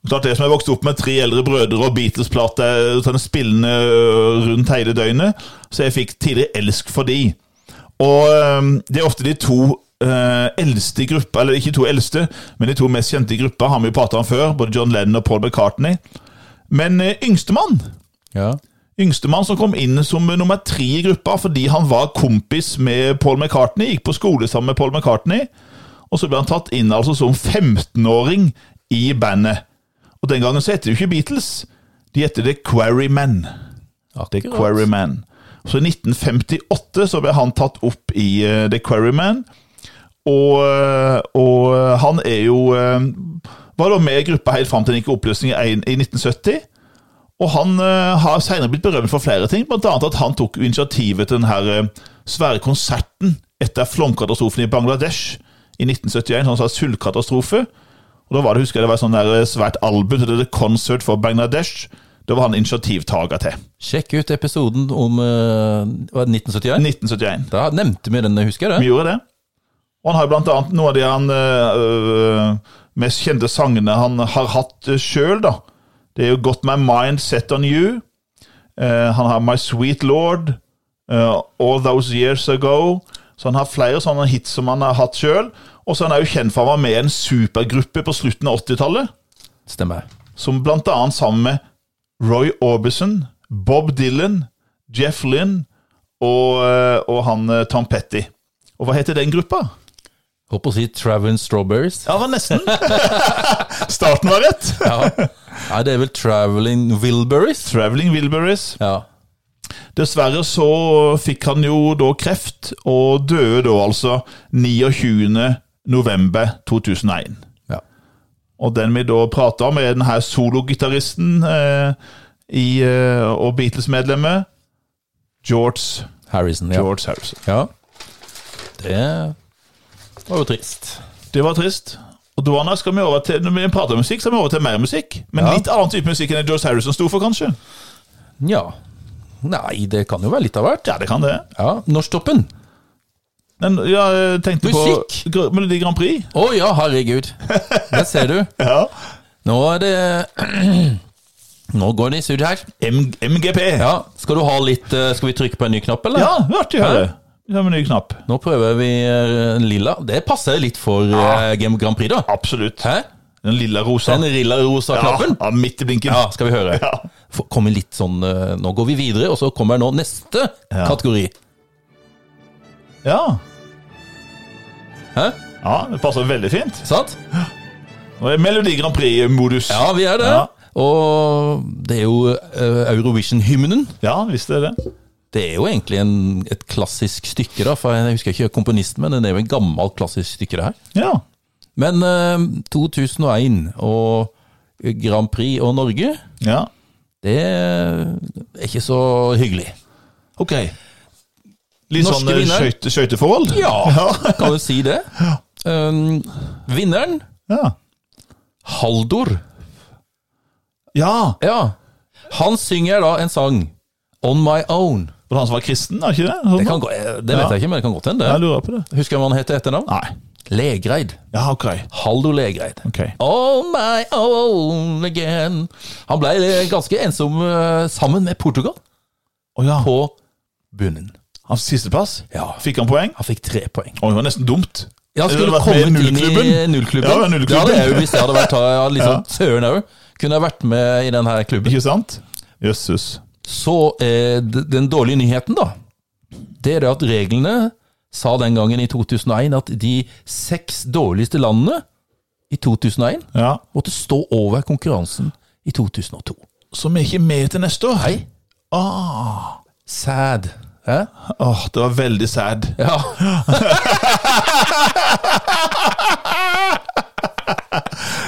[SPEAKER 2] Klart det som jeg vokste opp med tre eldre brødre og Beatles-plater sånn spillende øh, rundt hele døgnet, så jeg fikk tidlig elsk for de. Og øhm, det er ofte de to øh, eldste i gruppa, eller ikke to eldste, men de to mest kjente i gruppa, har vi jo pratet om før, både John Lennon og Paul McCartney. Men øh, yngstemann,
[SPEAKER 1] Ja.
[SPEAKER 2] yngstemann som kom inn som nummer tre i gruppa fordi han var kompis med Paul McCartney, gikk på skole sammen med Paul McCartney, og så ble han tatt inn altså som 15-åring i bandet. Og den gangen så heter det jo ikke Beatles, de heter The Quarrymen. The
[SPEAKER 1] Akkurat.
[SPEAKER 2] Quarrymen. Så i 1958 så ble han tatt opp i eh, The Quarrymen, og, eh, og eh, han er jo eh, Var da med i gruppa helt fram til den gikk i oppløsning i ein- i 1970. Og han eh, har senere blitt berømt for flere ting, bl.a. at han tok initiativet til denne svære konserten etter flomkatastrofen i Bangladesh i 1971, sånn slags sultkatastrofe. Og da var det, husker jeg, det var et sånn der eh, svært album til The Concert for Bangladesh. Da var han initiativtaker til.
[SPEAKER 1] Sjekk ut episoden om eh, hva er det, 1971.
[SPEAKER 2] 1971.
[SPEAKER 1] Da nevnte vi den, husker jeg
[SPEAKER 2] Vi
[SPEAKER 1] det?
[SPEAKER 2] gjorde det. Og han har jo blant annet noen av de han, øh, mest kjente sangene han har hatt sjøl, da. Det er jo 'Got My Mind Set On You'. eh, han har 'My Sweet Lord'. eh, 'All Those Years Ago'. Så han har flere sånne hits som han har hatt sjøl. Og så er han er jo kjent for at han var med i en supergruppe på slutten av 80-tallet,
[SPEAKER 1] Stemmer.
[SPEAKER 2] som blant annet sammen med Roy Orbison, Bob Dylan, Jeff Lynn og, eh, og han eh, Tom Petty. Og hva heter den gruppa?
[SPEAKER 1] Håper å si Traveling Strawberries.
[SPEAKER 2] Ja, det var nesten. Starten var rett.
[SPEAKER 1] Ja. Nei, det er vel Traveling Wilburys.
[SPEAKER 2] Traveling Wilburys.
[SPEAKER 1] Ja.
[SPEAKER 2] Dessverre så fikk han jo da kreft, og døde da altså 29. november 2001.
[SPEAKER 1] Ja.
[SPEAKER 2] Og den vi da prater om, er den her sologitaristen eh, i, eh, og Beatles-medlemmet George,
[SPEAKER 1] Harrison, ja.
[SPEAKER 2] George Harrison.
[SPEAKER 1] ja. Det var jo trist.
[SPEAKER 2] Det var trist. Og da Anna, skal vi over til, Når vi prater om musikk, skal vi over til mer musikk. Men
[SPEAKER 1] Ja.
[SPEAKER 2] litt annen type musikk enn det George Harrison sto for, kanskje?
[SPEAKER 1] Nja. Nei, det kan jo være litt av hvert.
[SPEAKER 2] Ja, det kan det.
[SPEAKER 1] Ja, Norsktoppen.
[SPEAKER 2] Men ja, jeg tenkte
[SPEAKER 1] Musikk?
[SPEAKER 2] på Gr- Melodi Grand Prix.
[SPEAKER 1] Å ja, herregud. Der ser du.
[SPEAKER 2] Ja.
[SPEAKER 1] Nå er det Nå går det i surr her.
[SPEAKER 2] M MGP. Ja,
[SPEAKER 1] Ja, Skal du ha litt eh, Skal vi trykke på en ny knapp, eller?
[SPEAKER 2] ja det er artig å høre. Vi har en ny knapp.
[SPEAKER 1] Nå prøver vi eh, en lilla. Det passer litt for eh, Game Grand Prix, da.
[SPEAKER 2] Absolutt.
[SPEAKER 1] Hæ?
[SPEAKER 2] Den lilla rosa.
[SPEAKER 1] Den rilla-rosa
[SPEAKER 2] ja,
[SPEAKER 1] knappen?
[SPEAKER 2] ja, midt i blinken.
[SPEAKER 1] Ja, skal vi høre.
[SPEAKER 2] Ja.
[SPEAKER 1] Få- Kommer litt sånn eh, Nå går vi videre, og så kommer nå neste
[SPEAKER 2] Ja.
[SPEAKER 1] kategori.
[SPEAKER 2] Ja.
[SPEAKER 1] Hæ?
[SPEAKER 2] ja, det passer veldig fint.
[SPEAKER 1] Sant?
[SPEAKER 2] Og det er Melodi Grand Prix-modus.
[SPEAKER 1] Ja, vi er det.
[SPEAKER 2] Ja.
[SPEAKER 1] Og det er jo eh, Eurovision-hymnen.
[SPEAKER 2] ja, visst er det.
[SPEAKER 1] Det er jo egentlig en, et klassisk stykke, da, for jeg husker ikke komponisten, men det er jo en gammel klassisk stykke, det her.
[SPEAKER 2] Ja.
[SPEAKER 1] Men eh, 2001 og Grand Prix og Norge,
[SPEAKER 2] ja.
[SPEAKER 1] det er ikke så hyggelig.
[SPEAKER 2] Ok. Litt
[SPEAKER 1] Norske
[SPEAKER 2] sånn eh,
[SPEAKER 1] vinner.
[SPEAKER 2] skøyte- skøyteforhold?
[SPEAKER 1] Ja, kan du si det? Um, vinneren,
[SPEAKER 2] Ja.
[SPEAKER 1] Haldor.
[SPEAKER 2] ja.
[SPEAKER 1] Ja. Han synger da en sang, On My Own.
[SPEAKER 2] Var det han som var kristen, er ikke det?
[SPEAKER 1] Det, kan, gå- eh, det vet
[SPEAKER 2] Ja.
[SPEAKER 1] jeg ikke, men det kan godt hende.
[SPEAKER 2] Jeg lurer på det.
[SPEAKER 1] Husker du hva han heter etter navn?
[SPEAKER 2] Nei.
[SPEAKER 1] Legreid.
[SPEAKER 2] Ja, ok.
[SPEAKER 1] Haldor Legreid.
[SPEAKER 2] Ok.
[SPEAKER 1] On my own again. Han ble ganske ensom eh, sammen med Portugal
[SPEAKER 2] Å ja.
[SPEAKER 1] på bunnen.
[SPEAKER 2] Hans siste pass?
[SPEAKER 1] Ja,
[SPEAKER 2] Fikk han poeng?
[SPEAKER 1] han fikk tre poeng.
[SPEAKER 2] Å, det var nesten dumt.
[SPEAKER 1] Ja, han skulle
[SPEAKER 2] Eller vært med i
[SPEAKER 1] kommet inn i
[SPEAKER 2] nullklubben.
[SPEAKER 1] nullklubben.
[SPEAKER 2] Ja, det var nullklubben.
[SPEAKER 1] Det hadde jeg jo hvis jeg hadde vært jeg hadde liksom, Søren òg. Kunne jeg vært med i denne klubben.
[SPEAKER 2] Ikke sant? Jøsses.
[SPEAKER 1] Så eh, d- den dårlige nyheten, da, det er det at reglene sa den gangen i 2001 at de seks dårligste landene i 2001
[SPEAKER 2] Ja.
[SPEAKER 1] måtte stå over konkurransen i 2002.
[SPEAKER 2] Så vi er ikke med til neste år?
[SPEAKER 1] Nei. Sad. Hæ?
[SPEAKER 2] Åh, det var veldig sad.
[SPEAKER 1] Ja.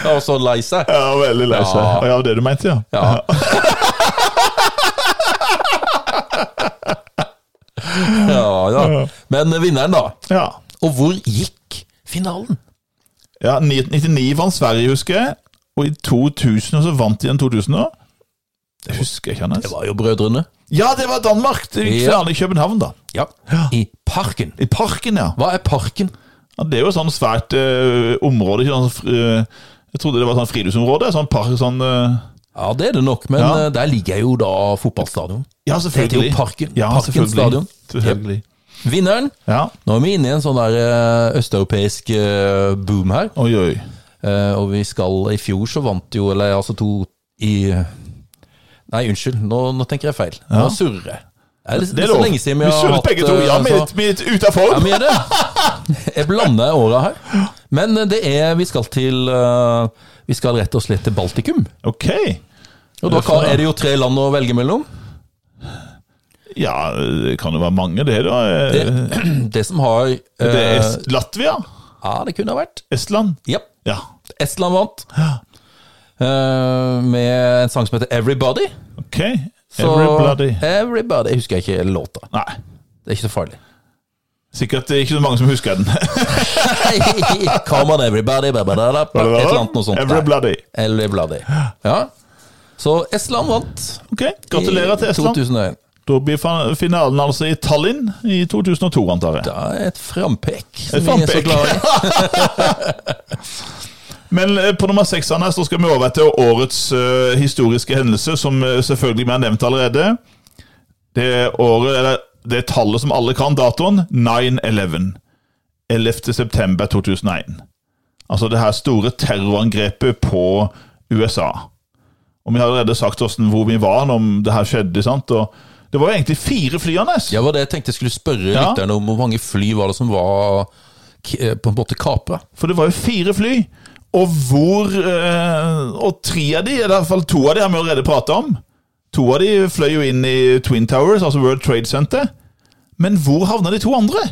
[SPEAKER 1] Jeg var så lei seg.
[SPEAKER 2] Ja, veldig lei seg.
[SPEAKER 1] Ja.
[SPEAKER 2] Å, Ja, det var det du mente, ja.
[SPEAKER 1] Ja. ja, ja. Men vinneren, da.
[SPEAKER 2] Ja.
[SPEAKER 1] Og hvor gikk finalen?
[SPEAKER 2] ja 99 vant Sverige, husker jeg. Og i 2000 så vant de den 2000 år. Det husker jeg ikke,
[SPEAKER 1] Det
[SPEAKER 2] Hannes.
[SPEAKER 1] var jo Brødrene.
[SPEAKER 2] Ja, det var Danmark! Det gikk
[SPEAKER 1] Ja.
[SPEAKER 2] finale i København, da.
[SPEAKER 1] Ja. I Parken.
[SPEAKER 2] I Parken, ja.
[SPEAKER 1] Hva er Parken?
[SPEAKER 2] ja det er jo et sånt svært eh, område. Ikke sånn, fri- jeg trodde det var et sånt friluftsområde. Sånn park, sånn eh,
[SPEAKER 1] Ja, det er det nok, men
[SPEAKER 2] Ja.
[SPEAKER 1] eh, der ligger jo da fotballstadion.
[SPEAKER 2] Ja,
[SPEAKER 1] Det heter
[SPEAKER 2] selvfølgelig.
[SPEAKER 1] jo Parken.
[SPEAKER 2] Ja,
[SPEAKER 1] Parken
[SPEAKER 2] selvfølgelig.
[SPEAKER 1] stadion.
[SPEAKER 2] Selvfølgelig.
[SPEAKER 1] Vinneren
[SPEAKER 2] Ja.
[SPEAKER 1] Nå er vi inne i en sånn der eh, østeuropeisk eh, boom her.
[SPEAKER 2] Oi, oi.
[SPEAKER 1] Eh, Og vi skal I fjor så vant jo Eller altså to i Nei, unnskyld. Nå, nå tenker jeg feil. Nå surrer jeg. Det er litt- litt så lenge siden vi
[SPEAKER 2] vi
[SPEAKER 1] har
[SPEAKER 2] surret
[SPEAKER 1] hatt
[SPEAKER 2] begge to.
[SPEAKER 1] eh,
[SPEAKER 2] Ja, vi er
[SPEAKER 1] altså-
[SPEAKER 2] litt- vi er litt ute av form.
[SPEAKER 1] Ja, vi er det. Jeg blander åra her. Men eh, det er Vi skal til eh, Vi skal rett og slett til Baltikum.
[SPEAKER 2] Ok.
[SPEAKER 1] Og da kan- er det jo tre land å velge mellom.
[SPEAKER 2] Ja, det kan jo være mange, det, da. Eh,
[SPEAKER 1] Det som har eh,
[SPEAKER 2] Det er Est- Latvia?
[SPEAKER 1] Ja, det kunne ha vært.
[SPEAKER 2] Estland?
[SPEAKER 1] Japp.
[SPEAKER 2] Ja.
[SPEAKER 1] Estland vant. Eh, med en sang som heter 'Everybody'.
[SPEAKER 2] Ok. Everybody.
[SPEAKER 1] Everybody. Jeg husker ikke låta.
[SPEAKER 2] Nei.
[SPEAKER 1] Det er ikke så farlig.
[SPEAKER 2] Sikkert det er ikke så mange som husker den.
[SPEAKER 1] Come on, everybody. ba, ba, da, da, Et eller annet noe sånt. der.
[SPEAKER 2] Everybody.
[SPEAKER 1] Everybody. Ja. Så Estland vant.
[SPEAKER 2] Ok, Gratulerer til Estland.
[SPEAKER 1] 2001.
[SPEAKER 2] Da blir fa- finalen altså i Tallinn i 2002, antar jeg.
[SPEAKER 1] Ja, et frampek. som
[SPEAKER 2] Et
[SPEAKER 1] vi er så
[SPEAKER 2] frampek.
[SPEAKER 1] glad i.
[SPEAKER 2] Men eh, på nummer seks Anders, så skal vi over til årets eh, historiske hendelse, som eh, selvfølgelig vi har nevnt allerede. Det er året, eller det er tallet som alle kan, datoen 9-11. 11. september 2001. Altså det her store terrorangrepet på USA. Og vi har allerede sagt hvordan, hvor vi var når det her skjedde. sant? Og det var jo egentlig fire fly, Anders.
[SPEAKER 1] Ja, var det jeg tenkte jeg skulle spørre
[SPEAKER 2] Ja.
[SPEAKER 1] lytterne om. Hvor mange fly var det som var k- eh, på en måte kapra?
[SPEAKER 2] For det var jo fire fly. Og hvor eh, Og tre av de, eller i hvert fall to av de, har vi allerede prata om. To av de fløy jo inn i Twin Towers, altså World Trade Center. Men hvor havna de to andre?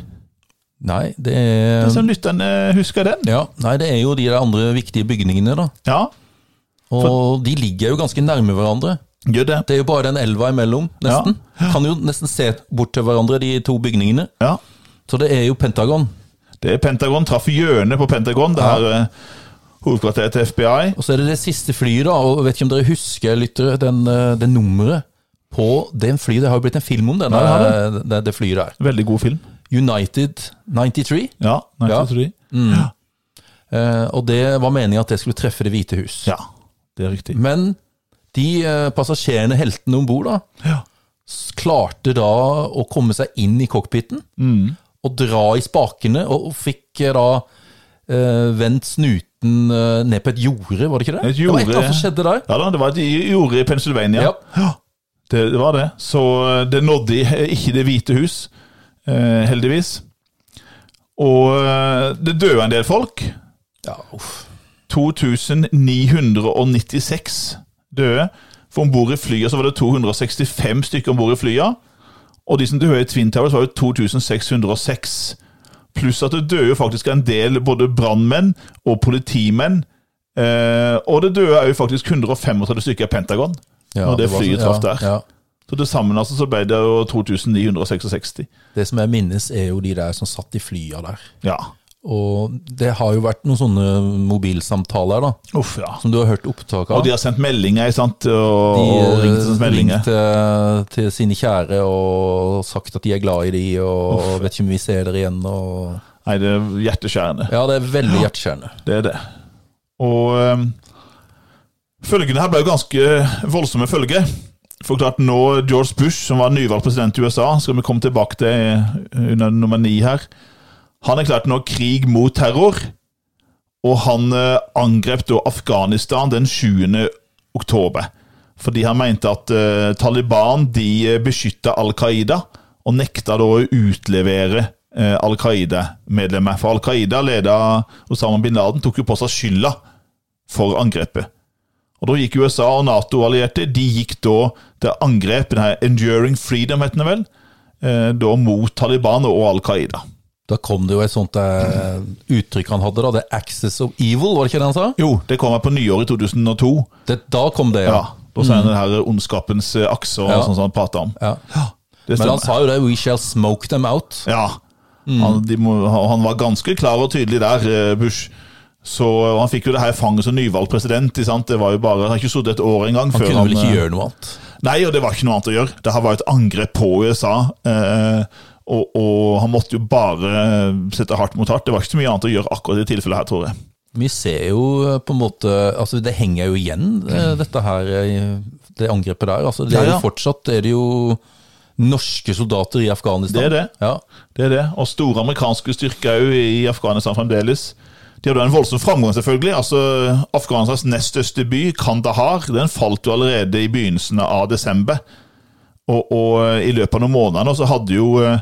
[SPEAKER 1] Nei, det er
[SPEAKER 2] Så lytterne husker den.
[SPEAKER 1] ja, Nei, det er jo de der andre viktige bygningene, da.
[SPEAKER 2] Ja,
[SPEAKER 1] Og de ligger jo ganske nærme hverandre.
[SPEAKER 2] gjør det.
[SPEAKER 1] Det er jo bare den elva imellom, nesten. Kan jo nesten se bort til hverandre, de to bygningene.
[SPEAKER 2] Ja.
[SPEAKER 1] Så det er jo Pentagon.
[SPEAKER 2] Det er Pentagon traff hjørnet på Pentagon, det her eh, hovedkvarteret til FBI.
[SPEAKER 1] Og så er det det siste flyet, da. Og jeg vet ikke om dere husker, lyttere, den, eh, det nummeret på den flyet. Det har jo blitt en film om denne,
[SPEAKER 2] Ja, det
[SPEAKER 1] det, det, flyet der.
[SPEAKER 2] Veldig god film.
[SPEAKER 1] United 93.
[SPEAKER 2] Ja,
[SPEAKER 1] Ja.
[SPEAKER 2] 1993.
[SPEAKER 1] Eh, og det var meningen at det skulle treffe Det hvite hus.
[SPEAKER 2] Ja, det er riktig.
[SPEAKER 1] Men de eh, passasjerene, heltene om bord,
[SPEAKER 2] Ja.
[SPEAKER 1] klarte da å komme seg inn i cockpiten
[SPEAKER 2] Mm.
[SPEAKER 1] og dra i spakene, og, og fikk eh, da eh, vendt snuten eh, ned på et jorde, var det ikke det?
[SPEAKER 2] Et
[SPEAKER 1] Det var
[SPEAKER 2] jorde,
[SPEAKER 1] et eller annet som
[SPEAKER 2] ja.
[SPEAKER 1] skjedde der.
[SPEAKER 2] Ja da, det var et jorde i Pennsylvania.
[SPEAKER 1] Ja.
[SPEAKER 2] Det, det var det. Så eh, det nådde i- ikke Det hvite hus, eh, heldigvis. Og eh, det døde en del folk.
[SPEAKER 1] Ja, uff.
[SPEAKER 2] 2996 døde. For om bord i flyet så var det 265 stykker om bord i flyet. Og de som døde i Twin Towers, var jo 2606. Pluss at det døde jo faktisk en del både brannmenn og politimenn. Eh, og det døde òg faktisk 135 stykker i Pentagon.
[SPEAKER 1] Ja,
[SPEAKER 2] Når det
[SPEAKER 1] var
[SPEAKER 2] flyet
[SPEAKER 1] sånn-
[SPEAKER 2] traff der.
[SPEAKER 1] Ja, ja.
[SPEAKER 2] Så til sammen altså så ble det jo 2966.
[SPEAKER 1] Det som jeg minnes, er jo de der som satt i flya der.
[SPEAKER 2] Ja.
[SPEAKER 1] Og det har jo vært noen sånne mobilsamtaler, da,
[SPEAKER 2] Uff, ja.
[SPEAKER 1] som du har hørt opptak av.
[SPEAKER 2] Og de har sendt meldinger, ikke sant? Og, og
[SPEAKER 1] De
[SPEAKER 2] ringt
[SPEAKER 1] eh,
[SPEAKER 2] sånne meldinger.
[SPEAKER 1] ringt eh, til sine kjære og sagt at de er glad i de, og vet ikke om vi ser dere igjen. Og...
[SPEAKER 2] Nei, det er hjerteskjærende.
[SPEAKER 1] Ja, det er veldig hjerteskjærende.
[SPEAKER 2] Det er det. Og eh, følgene her ble jo ganske voldsomme følger. For klart nå George Bush, som var nyvalgt president i USA, skal vi komme tilbake til eh, under nummer ni her. Han erklærte nå krig mot terror, og han eh, angrep da Afghanistan den 7. oktober. Fordi han mente at eh, Taliban de beskytta Al Qaida, og nekta da å utlevere eh, Al Qaida-medlemmer. For Al Qaida, leda Osama bin Laden, tok jo på seg skylda for angrepet. Og Da gikk USA og Nato-allierte de gikk da til angrep, den her Enduring Freedom, heter den vel, eh, da mot Taliban og Al Qaida.
[SPEAKER 1] Da kom det jo et sånt eh, uttrykk han hadde, da. Det 'access of evil', var det ikke det han sa?
[SPEAKER 2] Jo, det kom her på nyåret i 2002.
[SPEAKER 1] Det, da kom det,
[SPEAKER 2] Ja,
[SPEAKER 1] ja. Mm.
[SPEAKER 2] Da sa han den her ondskapens eh, akse og
[SPEAKER 1] Ja.
[SPEAKER 2] sånn som han prata om.
[SPEAKER 1] ja.
[SPEAKER 2] Det
[SPEAKER 1] Men altså, han
[SPEAKER 2] stemmer.
[SPEAKER 1] sa jo det 'we shall smoke them out'.
[SPEAKER 2] Ja. Han, de må, han var ganske klar og tydelig der, eh, Bush. Så og Han fikk jo det her fanget som nyvalgt president. ikke sant? Det var jo bare, Han har ikke sittet et år
[SPEAKER 1] Han
[SPEAKER 2] engang. før
[SPEAKER 1] kunne vel ikke
[SPEAKER 2] eh,
[SPEAKER 1] gjøre noe annet.
[SPEAKER 2] Nei, og det var ikke noe annet å gjøre. Det her var et angrep på USA. Eh, og, og han måtte jo bare eh, sette hardt mot hardt. Det var ikke så mye annet å gjøre akkurat i det tilfellet her, tror jeg.
[SPEAKER 1] Vi ser jo eh, på en måte Altså, det henger jo igjen, eh, dette her eh, Det angrepet der. Altså, det er
[SPEAKER 2] Mm. Ja,
[SPEAKER 1] jo
[SPEAKER 2] ja.
[SPEAKER 1] fortsatt er det jo norske soldater i Afghanistan.
[SPEAKER 2] Det er det.
[SPEAKER 1] Ja.
[SPEAKER 2] Det er det. Og store amerikanske styrker er jo i Afghanistan fremdeles. De hadde en voldsom framgang, selvfølgelig. Altså, Afghanistans nest største by, Kandahar, den falt jo allerede i begynnelsen av desember. Og, og i løpet av noen måneder nå så hadde jo eh,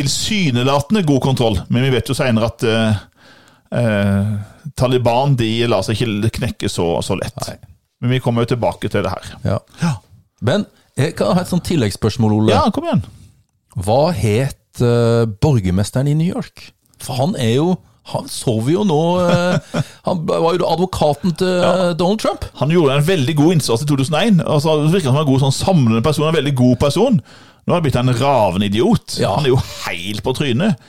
[SPEAKER 2] tilsynelatende god kontroll, men vi vet jo seinere at eh, eh, Taliban de lar seg ikke knekke så, så lett.
[SPEAKER 1] Nei.
[SPEAKER 2] Men vi kommer jo tilbake til det her.
[SPEAKER 1] Ja. Men jeg kan ha et sånt tilleggsspørsmål, Ole.
[SPEAKER 2] Ja, kom igjen.
[SPEAKER 1] Hva het eh, borgermesteren i New York? For han er jo Han sover jo nå eh, Han var jo advokaten til eh, Donald Trump.
[SPEAKER 2] Han gjorde en veldig god innsats i 2001. Altså, det virker som han er en god sånn samlende person, en veldig god person. Nå har han blitt en ravende idiot.
[SPEAKER 1] Ja.
[SPEAKER 2] Han er jo helt på trynet.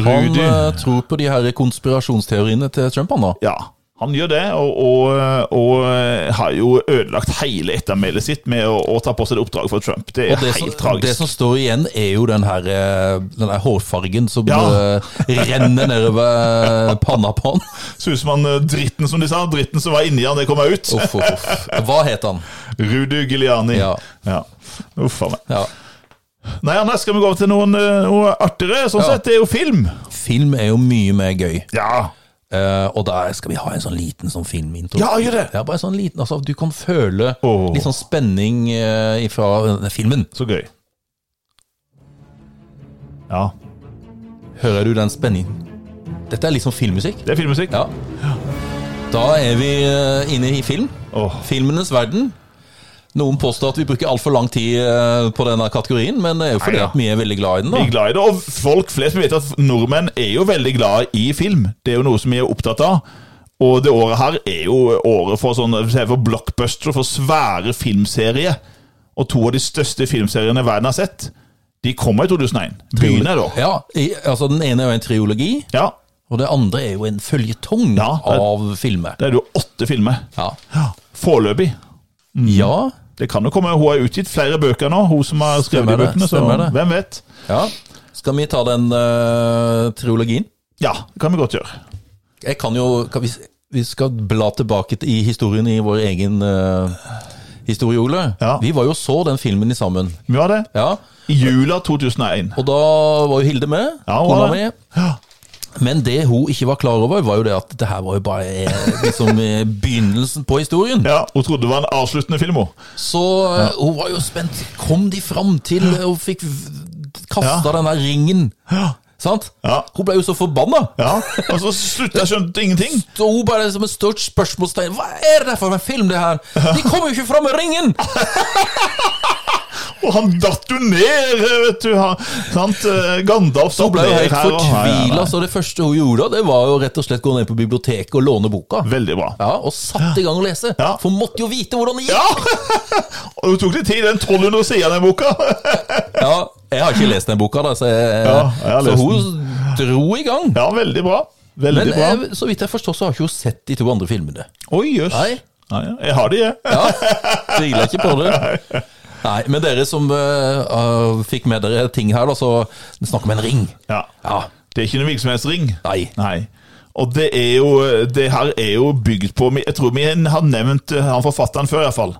[SPEAKER 1] Han
[SPEAKER 2] Rudy.
[SPEAKER 1] eh, tror på de her konspirasjonsteoriene til Trump, han da.
[SPEAKER 2] Ja, han gjør det, og, eh, og, og har jo ødelagt hele ettermælet sitt med å, å ta på seg det oppdraget for Trump. Det er
[SPEAKER 1] Og det,
[SPEAKER 2] helt
[SPEAKER 1] som,
[SPEAKER 2] tragisk.
[SPEAKER 1] det som står igjen, er jo den her, eh, den her hårfargen som
[SPEAKER 2] Ja.
[SPEAKER 1] eh, renner nedover eh, panna på han.
[SPEAKER 2] Så ut som han eh, dritten, som de sa. Dritten som var inni han, det kom ut.
[SPEAKER 1] Uff, uff, uff. Hva het han?
[SPEAKER 2] Rudy Giuliani.
[SPEAKER 1] Ja.
[SPEAKER 2] ja. Uff a meg.
[SPEAKER 1] Ja.
[SPEAKER 2] Nei, Anders, skal vi gå over til noen, eh, noe artigere? Sånn
[SPEAKER 1] Ja.
[SPEAKER 2] sett, det er jo film.
[SPEAKER 1] Film er jo mye mer gøy.
[SPEAKER 2] Ja.
[SPEAKER 1] Eh, og der skal vi ha en sånn liten sånn filmintro.
[SPEAKER 2] Ja, gjør det.
[SPEAKER 1] Ja, bare sånn liten, altså, du kan føle
[SPEAKER 2] Åh.
[SPEAKER 1] litt sånn spenning eh, fra denne filmen.
[SPEAKER 2] Så gøy. Ja.
[SPEAKER 1] Hører du den spenningen? Dette er litt sånn filmmusikk.
[SPEAKER 2] Det er filmmusikk.
[SPEAKER 1] Ja. Da er vi eh, inne i film.
[SPEAKER 2] Åh,
[SPEAKER 1] Filmenes verden. Noen påstår at vi bruker altfor lang tid eh, på denne kategorien, men det er jo fordi
[SPEAKER 2] Neida.
[SPEAKER 1] at vi er veldig glad i den.
[SPEAKER 2] Vi er
[SPEAKER 1] da.
[SPEAKER 2] glad i det, og folk flest vet at nordmenn er jo veldig glad i film. Det er jo noe som vi er opptatt av. Og det året her er jo året for, sånne, for blockbuster, for svære filmserier. Og to av de største filmseriene verden har sett, de kommer i 2001. Begynner da.
[SPEAKER 1] Ja, i, altså Den ene er jo en triologi,
[SPEAKER 2] Ja,
[SPEAKER 1] og det andre er jo en føljetong
[SPEAKER 2] Ja, det-
[SPEAKER 1] av filmer.
[SPEAKER 2] det er jo åtte filmer.
[SPEAKER 1] Ja.
[SPEAKER 2] Ja, Foreløpig. Mm.
[SPEAKER 1] ja,
[SPEAKER 2] Det kan jo komme, Hun har utgitt flere bøker nå, hun som har skrevet
[SPEAKER 1] Stemmer
[SPEAKER 2] de
[SPEAKER 1] det,
[SPEAKER 2] bøkene. Så
[SPEAKER 1] stemmer det.
[SPEAKER 2] hvem vet?
[SPEAKER 1] ja. Skal vi ta den eh, triologien?
[SPEAKER 2] Ja, det kan vi godt gjøre.
[SPEAKER 1] Jeg kan jo kan vi, vi skal bla tilbake til- i historien i vår egen uh, historie, Ole.
[SPEAKER 2] Ja.
[SPEAKER 1] Vi var jo så den filmen i sammen.
[SPEAKER 2] Vi har det.
[SPEAKER 1] Ja,
[SPEAKER 2] I jula 2001.
[SPEAKER 1] Og da var jo Hilde med.
[SPEAKER 2] Ja, hun
[SPEAKER 1] kona
[SPEAKER 2] var det.
[SPEAKER 1] mi. Men det hun ikke var klar over, var jo det at det her var jo bare eh, liksom, eh, begynnelsen på historien.
[SPEAKER 2] Ja, Hun trodde det var en avsluttende film. hun.
[SPEAKER 1] Så eh, hun var jo spent. Kom de fram til eh, Hun fikk kasta
[SPEAKER 2] Ja.
[SPEAKER 1] den der ringen. Sant?
[SPEAKER 2] Ja.
[SPEAKER 1] Hun ble jo så forbanna.
[SPEAKER 2] Ja, og så slutta jeg skjønte ingenting.
[SPEAKER 1] Så hun bare som et stort spørsmålstegn. Hva er det for en film, det her? De kommer jo ikke fram med ringen!
[SPEAKER 2] Og han datt jo ned, vet du. Han, sant? Eh, Gandalf
[SPEAKER 1] Hun
[SPEAKER 2] datt
[SPEAKER 1] ble jo
[SPEAKER 2] ned
[SPEAKER 1] helt
[SPEAKER 2] her. og- Ja, ja,
[SPEAKER 1] fortvila,
[SPEAKER 2] ja.
[SPEAKER 1] så det første hun gjorde, det var jo rett og slett gå ned på biblioteket og låne boka.
[SPEAKER 2] Veldig bra.
[SPEAKER 1] Ja, Og satte i gang å lese.
[SPEAKER 2] Ja.
[SPEAKER 1] For hun måtte jo vite hvordan det gikk!
[SPEAKER 2] Ja! Og det tok litt tid, den 1200 sider, den boka.
[SPEAKER 1] Ja, jeg har ikke lest den boka, da, så, jeg,
[SPEAKER 2] Ja, jeg har
[SPEAKER 1] så
[SPEAKER 2] lest
[SPEAKER 1] hun dro i gang.
[SPEAKER 2] Ja, veldig bra. Veldig
[SPEAKER 1] Men
[SPEAKER 2] bra.
[SPEAKER 1] jeg, så vidt jeg forstår, så har ikke hun sett de to andre filmene.
[SPEAKER 2] Oi, jøss.
[SPEAKER 1] Nei.
[SPEAKER 2] Ja, ja. Jeg har det, jeg.
[SPEAKER 1] Ja, Tviler ikke på det. Nei, Men dere som eh, eh, fikk med dere ting her, da, så det er snakk om en ring.
[SPEAKER 2] Ja.
[SPEAKER 1] Ja,
[SPEAKER 2] Det er ikke noen virksomhetsring.
[SPEAKER 1] Nei.
[SPEAKER 2] Nei. Og det er jo Det her er jo bygd på Jeg tror vi har nevnt eh, han forfatteren før, iallfall.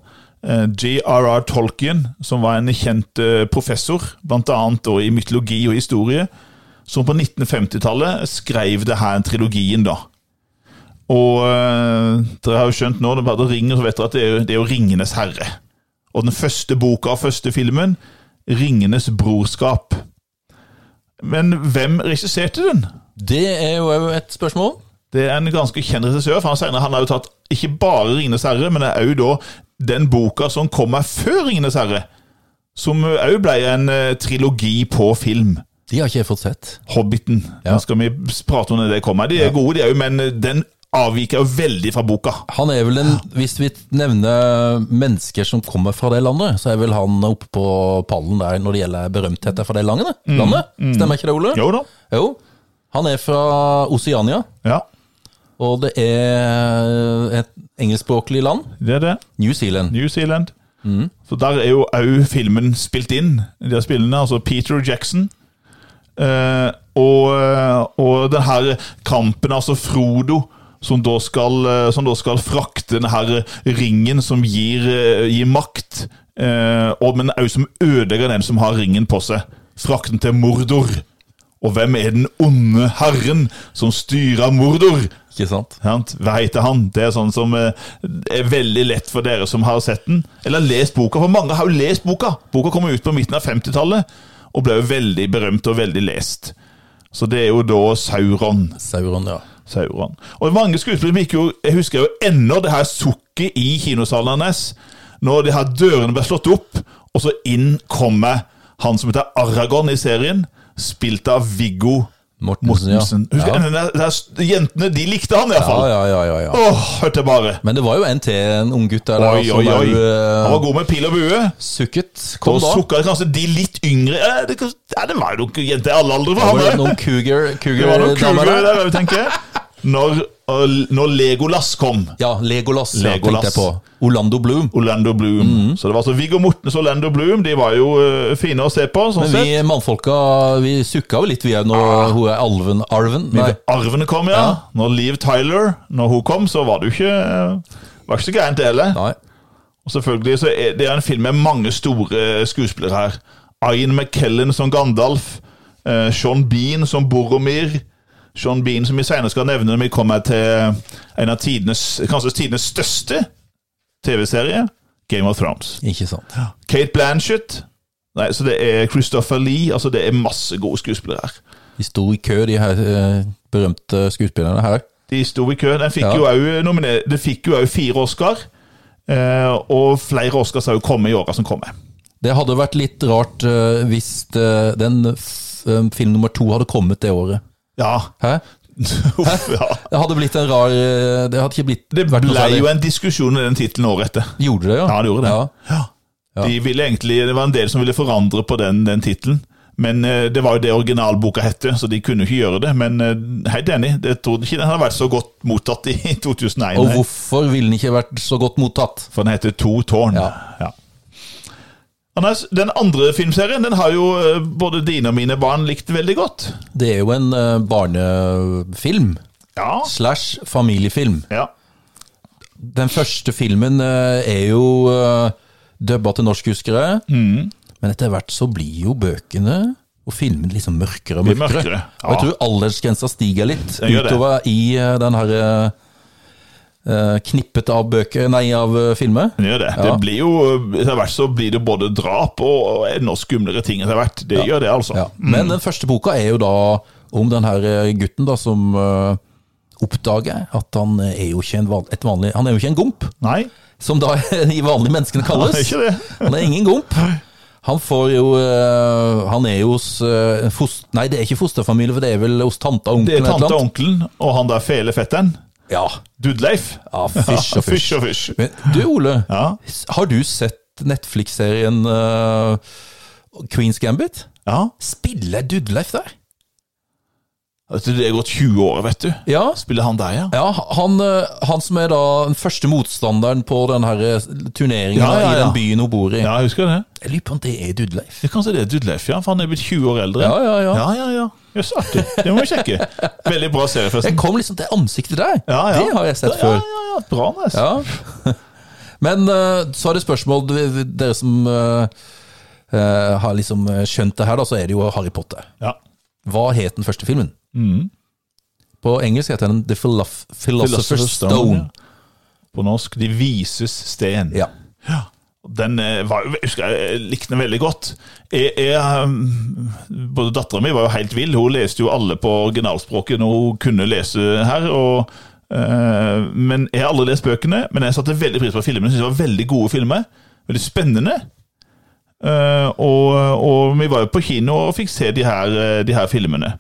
[SPEAKER 2] Eh, G.R.R. Tolkien, som var en kjent eh, professor, bl.a. i mytologi og historie, som på 1950-tallet skrev det her trilogien, da. Og eh, dere har jo skjønt nå, det bare ringer, så vet dere at det er, jo- det er jo 'Ringenes herre'. Og den første boka og første filmen, 'Ringenes brorskap'. Men hvem regisserte den?
[SPEAKER 1] Det er jo òg et spørsmål.
[SPEAKER 2] Det er en ganske kjent regissør. for Han senere, han har jo tatt ikke bare 'Ringenes herre', men det er òg da den boka som kommer før 'Ringenes herre', som òg ble en eh, trilogi på film.
[SPEAKER 1] De har ikke jeg fått sett.
[SPEAKER 2] 'Hobbiten'. Den skal vi prate om når det kommer. De er gode, de òg, men eh, den avviker jo veldig fra boka.
[SPEAKER 1] Han er vel en, Hvis vi nevner mennesker som kommer fra det landet, så er vel han oppe på pallen der når det gjelder berømtheter fra det landet? landet? Stemmer ikke det, Ole?
[SPEAKER 2] Jo da.
[SPEAKER 1] Jo. Han er fra Oseania,
[SPEAKER 2] Ja,
[SPEAKER 1] og det er et engelskspråklig land.
[SPEAKER 2] det er det.
[SPEAKER 1] New Zealand.
[SPEAKER 2] New Zealand. Så der er jo òg filmen spilt inn, de her spillene. Altså Peter Jackson. Eh, og, eh, og den her kampen, altså Frodo, som da skal, eh, som da skal frakte den her ringen som gir, eh, gir makt, eh, og, men òg som ødelegger den som har ringen på seg. Frakten til Mordor. Og hvem er den onde herren som styrer Mordor?
[SPEAKER 1] Ikke sant?
[SPEAKER 2] Sant? Hva heter han? Det er sånn som eh, er veldig lett for dere som har sett den. Eller har lest boka, for mange har jo lest boka. Boka kom ut på midten av 50-tallet og ble jo veldig berømt og veldig lest. Så det er jo da Sauron.
[SPEAKER 1] Sauron, ja.
[SPEAKER 2] Sauron. Og mange skuespillere gikk jo Jeg husker jo ennå det her sukket i kinosalen hans. Når de her dørene ble slått opp, og så inn kommer han som heter Aragorn i serien, spilt av Viggo
[SPEAKER 1] Mortensen,
[SPEAKER 2] Mortensen.
[SPEAKER 1] ja.
[SPEAKER 2] Husker
[SPEAKER 1] Ja.
[SPEAKER 2] jeg, den der, den der, Jentene, de likte han
[SPEAKER 1] Ja,
[SPEAKER 2] iallfall.
[SPEAKER 1] ja, ja, ja, ja.
[SPEAKER 2] Åh, hørte jeg bare.
[SPEAKER 1] Men det var jo en til, en unggutt der, altså,
[SPEAKER 2] Oi,
[SPEAKER 1] som
[SPEAKER 2] oi, oi.
[SPEAKER 1] er,
[SPEAKER 2] Han
[SPEAKER 1] eh,
[SPEAKER 2] var god med pil og bue.
[SPEAKER 1] sukket.
[SPEAKER 2] Og
[SPEAKER 1] Kom da.
[SPEAKER 2] sukka kanskje de litt yngre Ja, det, kan- ja, det var jo noen jenter i alle aldre for
[SPEAKER 1] Det
[SPEAKER 2] han.
[SPEAKER 1] var
[SPEAKER 2] der.
[SPEAKER 1] noen cougar,
[SPEAKER 2] Det var noen
[SPEAKER 1] cougar-damer
[SPEAKER 2] kuler
[SPEAKER 1] der.
[SPEAKER 2] der, tenker jeg. Når, eh, når Legolas kom.
[SPEAKER 1] Ja, Legolas, ja,
[SPEAKER 2] Legolas.
[SPEAKER 1] tenkte jeg på. Orlando Bloom.
[SPEAKER 2] Orlando Bloom.
[SPEAKER 1] Mhm.
[SPEAKER 2] Så det var altså Viggo Mortens og Orlando Bloom. De var jo eh, fine å se på, sånn
[SPEAKER 1] Men
[SPEAKER 2] sett.
[SPEAKER 1] vi mannfolka vi sukka jo litt, vi òg, når
[SPEAKER 2] Ah.
[SPEAKER 1] hun er alven. Arven? Nei.
[SPEAKER 2] Arvene kom, ja. Når Liv Tyler når hun kom, så var det jo ikke eh, var ikke så gærent, det heller.
[SPEAKER 1] Nei.
[SPEAKER 2] Og selvfølgelig så er det er en film med mange store eh, skuespillere her. Ian McKellen som Gandalf, eh, Sean Bean som Boromir, Sean Bean som vi senere skal nevne når vi kommer til en av tidenes, kanskje tidenes største TV-serie, Game of Thrones.
[SPEAKER 1] Ikke sant.
[SPEAKER 2] Kate Blanchett, nei, så det er Christopher Lee, altså det er masse gode skuespillere her.
[SPEAKER 1] De sto i kø, de her eh, berømte skuespillerne her.
[SPEAKER 2] De sto i kø. Den fikk
[SPEAKER 1] Ja.
[SPEAKER 2] jo også nominer- Det fikk jo òg fire Oscar. Eh, og flere Oscars har jo kommet i åra som kommer.
[SPEAKER 1] Det hadde vært litt rart eh, hvis eh, den f eh, film nummer to hadde kommet det året.
[SPEAKER 2] Ja.
[SPEAKER 1] Hæ?
[SPEAKER 2] Uff, ja.
[SPEAKER 1] Det hadde blitt en rar eh, Det hadde ikke blitt
[SPEAKER 2] Det
[SPEAKER 1] vært noe
[SPEAKER 2] ble
[SPEAKER 1] særlig.
[SPEAKER 2] jo en diskusjon om den tittelen året etter.
[SPEAKER 1] Gjorde det, ja?
[SPEAKER 2] Ja, det gjorde det.
[SPEAKER 1] Ja. Ja.
[SPEAKER 2] De ville egentlig, det var en del som ville forandre på den, den tittelen. Men eh, det var jo det originalboka hette, så de kunne jo ikke gjøre det. Men eh, helt enig, jeg trodde ikke den hadde vært så godt mottatt i 2001.
[SPEAKER 1] Og
[SPEAKER 2] nei.
[SPEAKER 1] hvorfor ville den ikke vært så godt mottatt?
[SPEAKER 2] eh, For den heter To tårn.
[SPEAKER 1] Ja.
[SPEAKER 2] Ja. Anders, den andre filmserien den har jo eh, både dine og mine barn likt veldig godt.
[SPEAKER 1] Det er jo en eh, barnefilm
[SPEAKER 2] Ja.
[SPEAKER 1] slash familiefilm.
[SPEAKER 2] ja.
[SPEAKER 1] Den første filmen eh, er jo eh, dubba til norsk, husker jeg.
[SPEAKER 2] Mm.
[SPEAKER 1] Men etter hvert så blir jo bøkene og filmen liksom mørkere og
[SPEAKER 2] Blir
[SPEAKER 1] mørkere.
[SPEAKER 2] mørkere, ja.
[SPEAKER 1] Og jeg tror aldersgrensa stiger litt
[SPEAKER 2] Den gjør det.
[SPEAKER 1] utover i eh, den her eh, eh, knippet av bøker, nei, av eh, filmer.
[SPEAKER 2] Den gjør det. Det blir jo, eh, Etter hvert så blir det både drap og og enda skumlere ting etter hvert. Det gjør det, altså.
[SPEAKER 1] Ja. Men den første boka er jo da om den her eh, gutten da som eh, oppdager at han eh, er jo ikke en van, et vanlig Han er jo ikke en gomp,
[SPEAKER 2] Nei,
[SPEAKER 1] som da de vanlige menneskene
[SPEAKER 2] det
[SPEAKER 1] kalles.
[SPEAKER 2] er ikke det.
[SPEAKER 1] Han er ingen gomp. Han får jo eh, Han er jo hos eh, fos- Nei, det er ikke fosterfamilie, for det er vel hos tante og
[SPEAKER 2] Det
[SPEAKER 1] onkel eller et
[SPEAKER 2] er tante
[SPEAKER 1] eller
[SPEAKER 2] og
[SPEAKER 1] annet.
[SPEAKER 2] onkelen og han der felefetteren.
[SPEAKER 1] Ja.
[SPEAKER 2] Dudleif.
[SPEAKER 1] ja, fysj og fysj.
[SPEAKER 2] Fysj og fysj.
[SPEAKER 1] Men du, Ole.
[SPEAKER 2] Ja.
[SPEAKER 1] Har du sett Netflix-serien eh, Queen's Gambit?
[SPEAKER 2] ja.
[SPEAKER 1] Spiller Dudleif der?
[SPEAKER 2] Altså, Det er gått 20 år, vet du.
[SPEAKER 1] Ja.
[SPEAKER 2] Spiller han der, ja?
[SPEAKER 1] Ja, han, eh, han som er da den første motstanderen på den her eh, turneringen
[SPEAKER 2] Ja, ja,
[SPEAKER 1] i
[SPEAKER 2] ja.
[SPEAKER 1] den byen hun bor i.
[SPEAKER 2] Ja, jeg husker det.
[SPEAKER 1] Jeg lurer på om det er Dudleif.
[SPEAKER 2] Det er kanskje det er Dudleif, ja. For han er blitt 20 år eldre.
[SPEAKER 1] Ja, ja, ja.
[SPEAKER 2] Ja, ja, ja. Jøss, artig. Det må vi sjekke. Veldig bra serie,
[SPEAKER 1] Jeg
[SPEAKER 2] forresten.
[SPEAKER 1] kom liksom til ansiktet der.
[SPEAKER 2] Ja, ja.
[SPEAKER 1] Det har jeg sett
[SPEAKER 2] Ja,
[SPEAKER 1] før.
[SPEAKER 2] Ja, ja, ja. Bra, Nes.
[SPEAKER 1] Ja. Men eh, så er det spørsmål d- Dere som eh, eh, har liksom eh, skjønt det her, da, så er det jo Harry Potter.
[SPEAKER 2] Ja.
[SPEAKER 1] Hva het den første filmen?
[SPEAKER 2] Mm.
[SPEAKER 1] På engelsk heter den The Philosoph Philosopher's Stone.
[SPEAKER 2] ja. På norsk De vises sten.
[SPEAKER 1] Ja.
[SPEAKER 2] Den eh, var, jo- jeg husker jeg likte den veldig godt. Jeg, jeg, um, både dattera mi var jo helt vill. Hun leste jo alle på originalspråket når hun kunne lese her. og eh, men Jeg har aldri lest bøkene, men jeg satte veldig pris på filmene. Jeg synes det var Veldig gode filmer. Veldig spennende. Eh, og, og vi var jo på kino og fikk se de her, eh, de her filmene.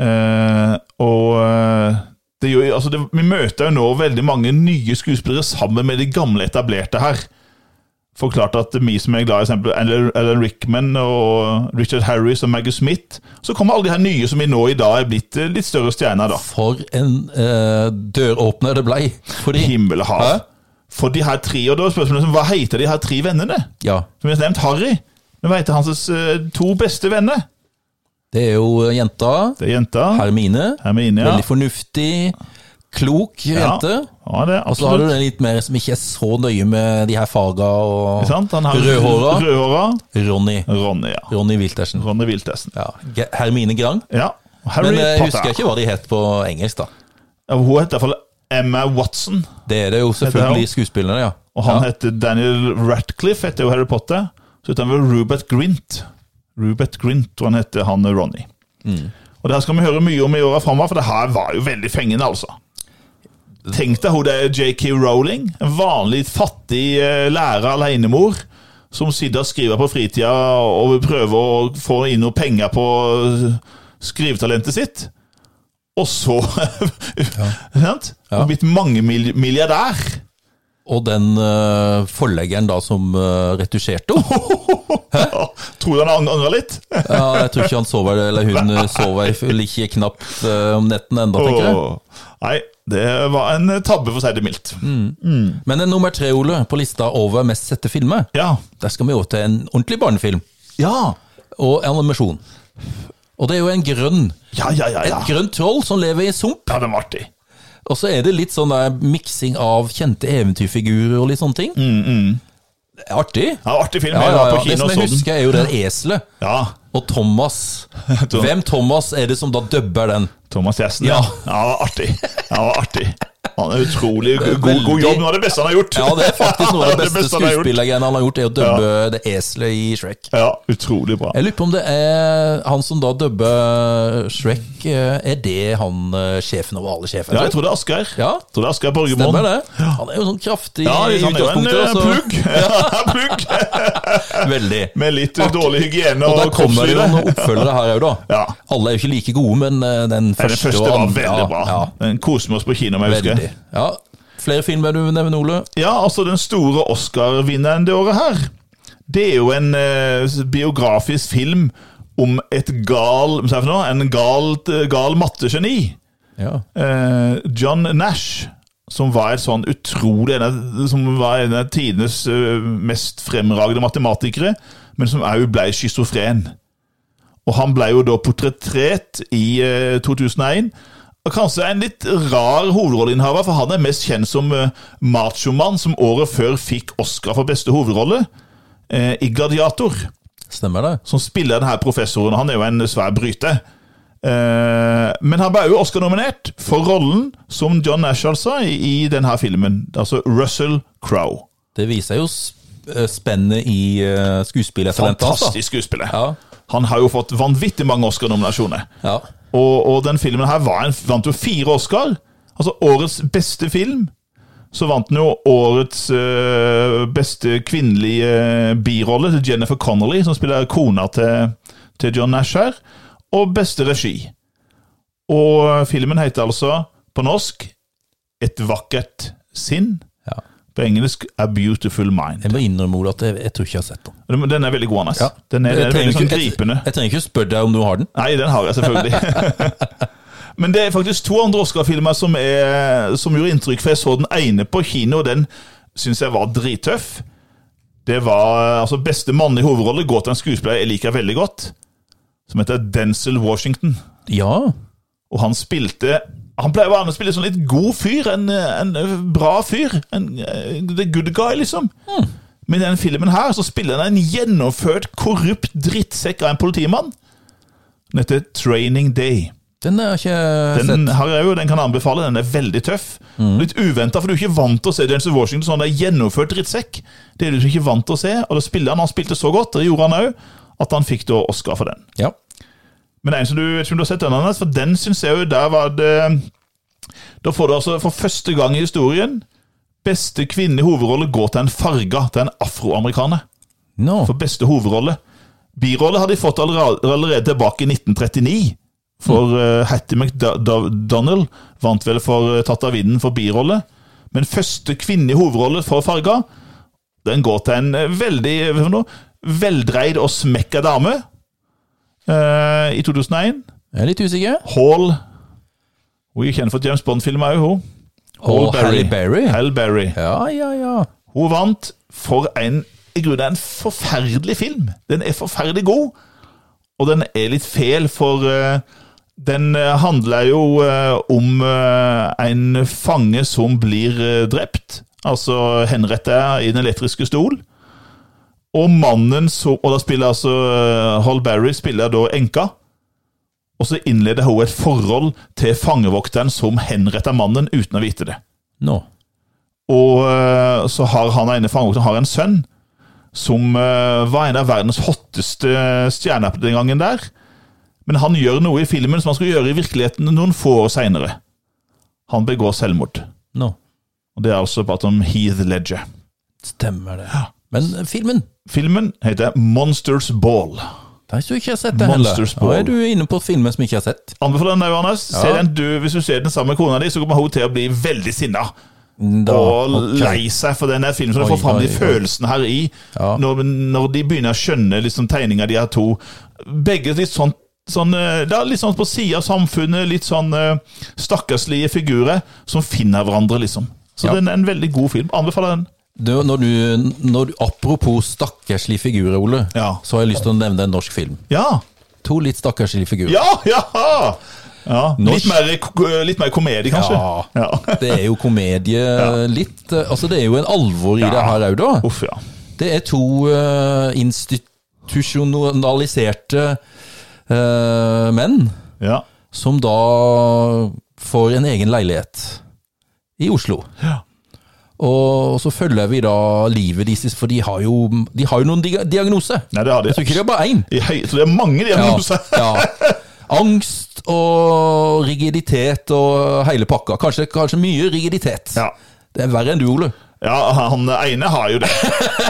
[SPEAKER 2] Eh, og eh, det gjør, jo- altså det, vi møter jo nå veldig mange nye skuespillere sammen med de gamle etablerte her. Forklart at vi som er glad i eksempel Alan Alan Rickman og Richard Harris og Maggie Smith Så kommer alle de her nye som vi nå i dag er blitt eh, litt større stjerner, da.
[SPEAKER 1] For en eh, døråpner det blei. Fordi
[SPEAKER 2] Himmel og
[SPEAKER 1] Hæ?
[SPEAKER 2] hav. For de her tre, og da er spørsmålet som, hva heter de her tre vennene?
[SPEAKER 1] Ja.
[SPEAKER 2] Som vi har nevnt, Harry. Men hva heter hans eh, to beste venner?
[SPEAKER 1] Det er jo jenta,
[SPEAKER 2] Det er jenta.
[SPEAKER 1] Hermine.
[SPEAKER 2] Hermine, ja.
[SPEAKER 1] Veldig fornuftig, klok jente.
[SPEAKER 2] Ja, det er
[SPEAKER 1] Og så har du
[SPEAKER 2] absolutt.
[SPEAKER 1] den litt mer som ikke er så nøye med de her faga og
[SPEAKER 2] Ikke sant? Han har
[SPEAKER 1] Rødhåra.
[SPEAKER 2] Rødhåra.
[SPEAKER 1] Ronny.
[SPEAKER 2] Ronny, ja.
[SPEAKER 1] Ronny Wiltersen.
[SPEAKER 2] Ronny Wiltesen.
[SPEAKER 1] Ja. Ge- Hermine Grang.
[SPEAKER 2] Ja. Harry
[SPEAKER 1] Men eh, jeg
[SPEAKER 2] Potter.
[SPEAKER 1] husker ikke hva de het på engelsk, da.
[SPEAKER 2] Ja, Hun heter iallfall Emma Watson,
[SPEAKER 1] Det er det jo selvfølgelig
[SPEAKER 2] Det
[SPEAKER 1] skuespillerne, ja.
[SPEAKER 2] og han
[SPEAKER 1] ja.
[SPEAKER 2] heter Daniel Ratcliffe, heter jo Harry Potter. Så heter han vel Rupert Grint. Rupert Grint, og han heter han Ronny.
[SPEAKER 1] Mm.
[SPEAKER 2] Og det her skal vi høre mye om i åra framover, for det her var jo veldig fengende, altså. Tenk deg hun der JK Rowling, en vanlig fattig eh, lærer alenemor, som sitter og skriver på fritida og vil prøve å få inn noe penger på eh, skrivetalentet sitt. Og så ja. Sant?
[SPEAKER 1] Ja.
[SPEAKER 2] Hun er blitt mangemilliardær.
[SPEAKER 1] Og den eh, forleggeren da som eh, retusjerte henne.
[SPEAKER 2] Ja, Tror du han ang- angrer litt?
[SPEAKER 1] Ja, jeg tror ikke han sover, eller hun eh, sover vel ikke knapt eh, om netten ennå, tenker jeg.
[SPEAKER 2] Åh. Nei, det var en eh, tabbe, for å si det mildt.
[SPEAKER 1] Mm. Men eh, nummer tre, Ole, på lista over mest sette filmer,
[SPEAKER 2] Ja.
[SPEAKER 1] der skal vi over til en ordentlig barnefilm.
[SPEAKER 2] Ja.
[SPEAKER 1] og animasjon. Og det er jo en grønn,
[SPEAKER 2] ja, ja, ja.
[SPEAKER 1] et
[SPEAKER 2] ja.
[SPEAKER 1] grønt troll som lever i sump.
[SPEAKER 2] Ja, den var artig.
[SPEAKER 1] Og så er det litt sånn der miksing av kjente eventyrfigurer og litt sånne ting. Artig.
[SPEAKER 2] Mm, Ja, artig film.
[SPEAKER 1] Ja,
[SPEAKER 2] jeg
[SPEAKER 1] ja,
[SPEAKER 2] var
[SPEAKER 1] ja.
[SPEAKER 2] på
[SPEAKER 1] Det
[SPEAKER 2] kino
[SPEAKER 1] som
[SPEAKER 2] sånn.
[SPEAKER 1] jeg
[SPEAKER 2] og så den.
[SPEAKER 1] husker, er jo det eselet.
[SPEAKER 2] Ja,
[SPEAKER 1] Og Thomas.
[SPEAKER 2] Tom-
[SPEAKER 1] Hvem Thomas er det som da dubber den?
[SPEAKER 2] Thomas Gjessen.
[SPEAKER 1] Ja.
[SPEAKER 2] Ja, ja det var artig. Ja, det var artig. Han er utrolig god, god
[SPEAKER 1] Veldig.
[SPEAKER 2] jobb. Noe av det beste han har gjort.
[SPEAKER 1] Ja, det er faktisk noe av det beste
[SPEAKER 2] han har gjort.
[SPEAKER 1] skuespillergreiene han har gjort, er å dubbe det eselet i Shrek.
[SPEAKER 2] Ja, utrolig bra.
[SPEAKER 1] Jeg lurer på om det er han som da dubber Shrek, eh, er det han eh, sjefen over alle sjefer?
[SPEAKER 2] Ja, jeg tror det er Asgeir.
[SPEAKER 1] Ja,
[SPEAKER 2] Jeg tror det er Asgeir
[SPEAKER 1] stemmer
[SPEAKER 2] Borgermoen.
[SPEAKER 1] det. Han er jo sånn kraftig
[SPEAKER 2] Ja,
[SPEAKER 1] i
[SPEAKER 2] han er jo en
[SPEAKER 1] utgangspunktet.
[SPEAKER 2] eh,
[SPEAKER 1] og så-
[SPEAKER 2] plugg. Ja, plugg.
[SPEAKER 1] Veldig.
[SPEAKER 2] Med litt eh, dårlig hygiene
[SPEAKER 1] Og
[SPEAKER 2] og,
[SPEAKER 1] der kommer det jo
[SPEAKER 2] kroppslyde.
[SPEAKER 1] noen oppfølgere her òg, da.
[SPEAKER 2] Ja.
[SPEAKER 1] Alle er jo ikke like gode, men eh, den
[SPEAKER 2] Nei,
[SPEAKER 1] første,
[SPEAKER 2] Den første
[SPEAKER 1] og
[SPEAKER 2] var
[SPEAKER 1] andre-
[SPEAKER 2] veldig bra.
[SPEAKER 1] Ja,
[SPEAKER 2] Den koser vi oss på kino med,
[SPEAKER 1] ja,
[SPEAKER 2] husker jeg.
[SPEAKER 1] veldig. Ja. Flere filmer du nevner, Ole?
[SPEAKER 2] Ja, altså den store Oscar-vinneren det året her, det er jo en eh, biografisk film om et gal, hva sier jeg for noe? En galt, eh, gal mattegeni.
[SPEAKER 1] Ja.
[SPEAKER 2] Eh, John Nash, som var et sånn utrolig en av- Som var en av tidenes eh, mest fremragende matematikere, men som òg ble schizofren. Og han ble jo da portrettert i eh, 2001. Og Kanskje en litt rar hovedrolleinnehaver, for han er mest kjent som eh, machomann, som året før fikk Oscar for beste hovedrolle eh, i Gladiator
[SPEAKER 1] Stemmer det?
[SPEAKER 2] som spiller denne professoren. Han er jo en svær bryter. Eh, men han ble jo Oscar-nominert for rollen som John Nash altså i, i denne filmen. Altså Russell Crowe.
[SPEAKER 1] Det viser jo sp- eh, spennet i eh, skuespillertalentet hans. da.
[SPEAKER 2] Fantastisk skuespiller.
[SPEAKER 1] Ja.
[SPEAKER 2] Han har jo fått vanvittig mange Oscar-nominasjoner.
[SPEAKER 1] Ja.
[SPEAKER 2] Og, og den filmen her var en, vant jo fire Oscar. Altså årets beste film. Så vant den jo årets eh, beste kvinnelige eh, birolle til Jennifer Connolly, som spiller kona til, til John Nash her. Og beste regi. Og filmen heter altså på norsk Et vakkert sinn.
[SPEAKER 1] ja.
[SPEAKER 2] På engelsk A Beautiful Mind.
[SPEAKER 1] Jeg må innrømme, Ole, at jeg, jeg tror ikke jeg har sett den.
[SPEAKER 2] Den den er veldig god, Anders.
[SPEAKER 1] Ja.
[SPEAKER 2] Den er, den
[SPEAKER 1] Jeg
[SPEAKER 2] er
[SPEAKER 1] trenger
[SPEAKER 2] veldig sånn
[SPEAKER 1] ikke-
[SPEAKER 2] gripende.
[SPEAKER 1] Jeg trenger ikke spørre deg om du har den.
[SPEAKER 2] Nei, den har jeg selvfølgelig. Men det er faktisk to andre Oscar-filmer som, er- som gjorde inntrykk, for jeg så den ene på kino, og den syns jeg var drittøff. Det var eh, altså Beste mann i hovedrolle går til en skuespiller jeg liker veldig godt, som heter Denzil Washington.
[SPEAKER 1] Ja,
[SPEAKER 2] Og han spilte Han pleier å være med å spille sånn litt god fyr, en, en bra fyr. En, eh, the good guy, liksom. Men i den filmen her så spiller han en gjennomført korrupt drittsekk av en politimann. Den heter Training Day.
[SPEAKER 1] den har jeg ikke sett.
[SPEAKER 2] Den, har jeg jo, den kan jeg anbefale. Den er veldig tøff. Litt uventa, for du er ikke vant til å se Denzel Washington sånn. Det er gjennomført drittsekk. Det er du ikke vant til å se. Og da spiller han, han spilte så godt, det gjorde han òg, at han fikk da Oscar for den.
[SPEAKER 1] Ja.
[SPEAKER 2] Men en som du, jeg vet ikke om du har sett den, Anders, for den syns jeg jo der var det Da får du altså for første gang i historien Beste kvinne i hovedrolle går til en farga, til en afroamerikaner.
[SPEAKER 1] Nå.
[SPEAKER 2] For beste hovedrolle. Birolle har de fått allerede, allerede tilbake i 1939. For eh, Hattie McDonald vant vel for eh, Tatt av vinden for birolle. Men første kvinne i hovedrolle for farga, den går til en eh, veldig hva for noe, veldreid og smekka dame eh, i 2001.
[SPEAKER 1] Jeg er litt usikker.
[SPEAKER 2] Hall Hun er kjent for James Bond-filmer òg, hun.
[SPEAKER 1] Og Harry Berry.
[SPEAKER 2] Halle Berry.
[SPEAKER 1] Ja, ja, ja.
[SPEAKER 2] Hun vant for en i grunnen en forferdelig film. Den er forferdelig god, og den er litt fæl, for eh, den eh, handler jo eh, om eh, en fange som blir eh, drept, altså henretta i den elektriske stol. Og mannen som Og da spiller altså eh, Hall Berry spiller da enka. Og så innleder hun et forhold til fangevokteren som henretter mannen uten å vite det.
[SPEAKER 1] Nå.
[SPEAKER 2] Og eh, så har han ene fangevokten har en sønn som eh, var en av verdens hotteste stjerner på den gangen der. Men han gjør noe i filmen som han skulle gjøre i virkeligheten noen få år seinere. Han begår selvmord.
[SPEAKER 1] Nå.
[SPEAKER 2] Og det er altså prat om Heath Ledger.
[SPEAKER 1] Stemmer det. Men filmen
[SPEAKER 2] Filmen heter Monsters Ball.
[SPEAKER 1] Den har ikke jeg sett, den heller.
[SPEAKER 2] Monsters
[SPEAKER 1] Da
[SPEAKER 2] Ball.
[SPEAKER 1] er du inne på filmen som jeg ikke har sett.
[SPEAKER 2] Anbefaler den deg, Anders. Se den du, hvis du ser den sammen med kona di, så kommer hun til å bli veldig sinna.
[SPEAKER 1] Da,
[SPEAKER 2] og
[SPEAKER 1] ok.
[SPEAKER 2] lei seg for den her filmen. Så du
[SPEAKER 1] Oi,
[SPEAKER 2] får fram de
[SPEAKER 1] oi, oi.
[SPEAKER 2] følelsene her i.
[SPEAKER 1] Ja.
[SPEAKER 2] Når, når de begynner å skjønne liksom, tegninga de har to. Begge litt sånn, sånn eh, det er Litt sånn på sida av samfunnet. Litt sånn eh, stakkarslige figurer som finner hverandre, liksom. Så
[SPEAKER 1] Ja.
[SPEAKER 2] den er en veldig god film. Anbefaler den.
[SPEAKER 1] Du, når du, når du, apropos stakkarslige figurer, Ole,
[SPEAKER 2] Ja.
[SPEAKER 1] så har jeg lyst til å nevne en norsk film.
[SPEAKER 2] Ja!
[SPEAKER 1] To litt stakkarslige figurer.
[SPEAKER 2] Ja! Jaha! Ja. Litt,
[SPEAKER 1] Norsk.
[SPEAKER 2] mer, ko- litt mer komedie, kanskje.
[SPEAKER 1] Ja.
[SPEAKER 2] ja.
[SPEAKER 1] Det er jo komedie litt eh, Altså, det er jo en alvor i det her òg, da.
[SPEAKER 2] Uff, ja.
[SPEAKER 1] Det er to eh, institusjonaliserte eh, menn
[SPEAKER 2] ja.
[SPEAKER 1] som da får en egen leilighet i Oslo.
[SPEAKER 2] Ja.
[SPEAKER 1] Og så følger vi da livet deres, for de har jo, de har jo noen dia- diagnoser.
[SPEAKER 2] Nei, det har de.
[SPEAKER 1] Jeg tror ikke det er bare én.
[SPEAKER 2] I høy, så det er mange diagnoser.
[SPEAKER 1] ja. Angst og rigiditet og hele pakka. Kanskje, kanskje mye rigiditet.
[SPEAKER 2] Ja.
[SPEAKER 1] Det er verre enn du, Ole.
[SPEAKER 2] ja, han ene har jo det.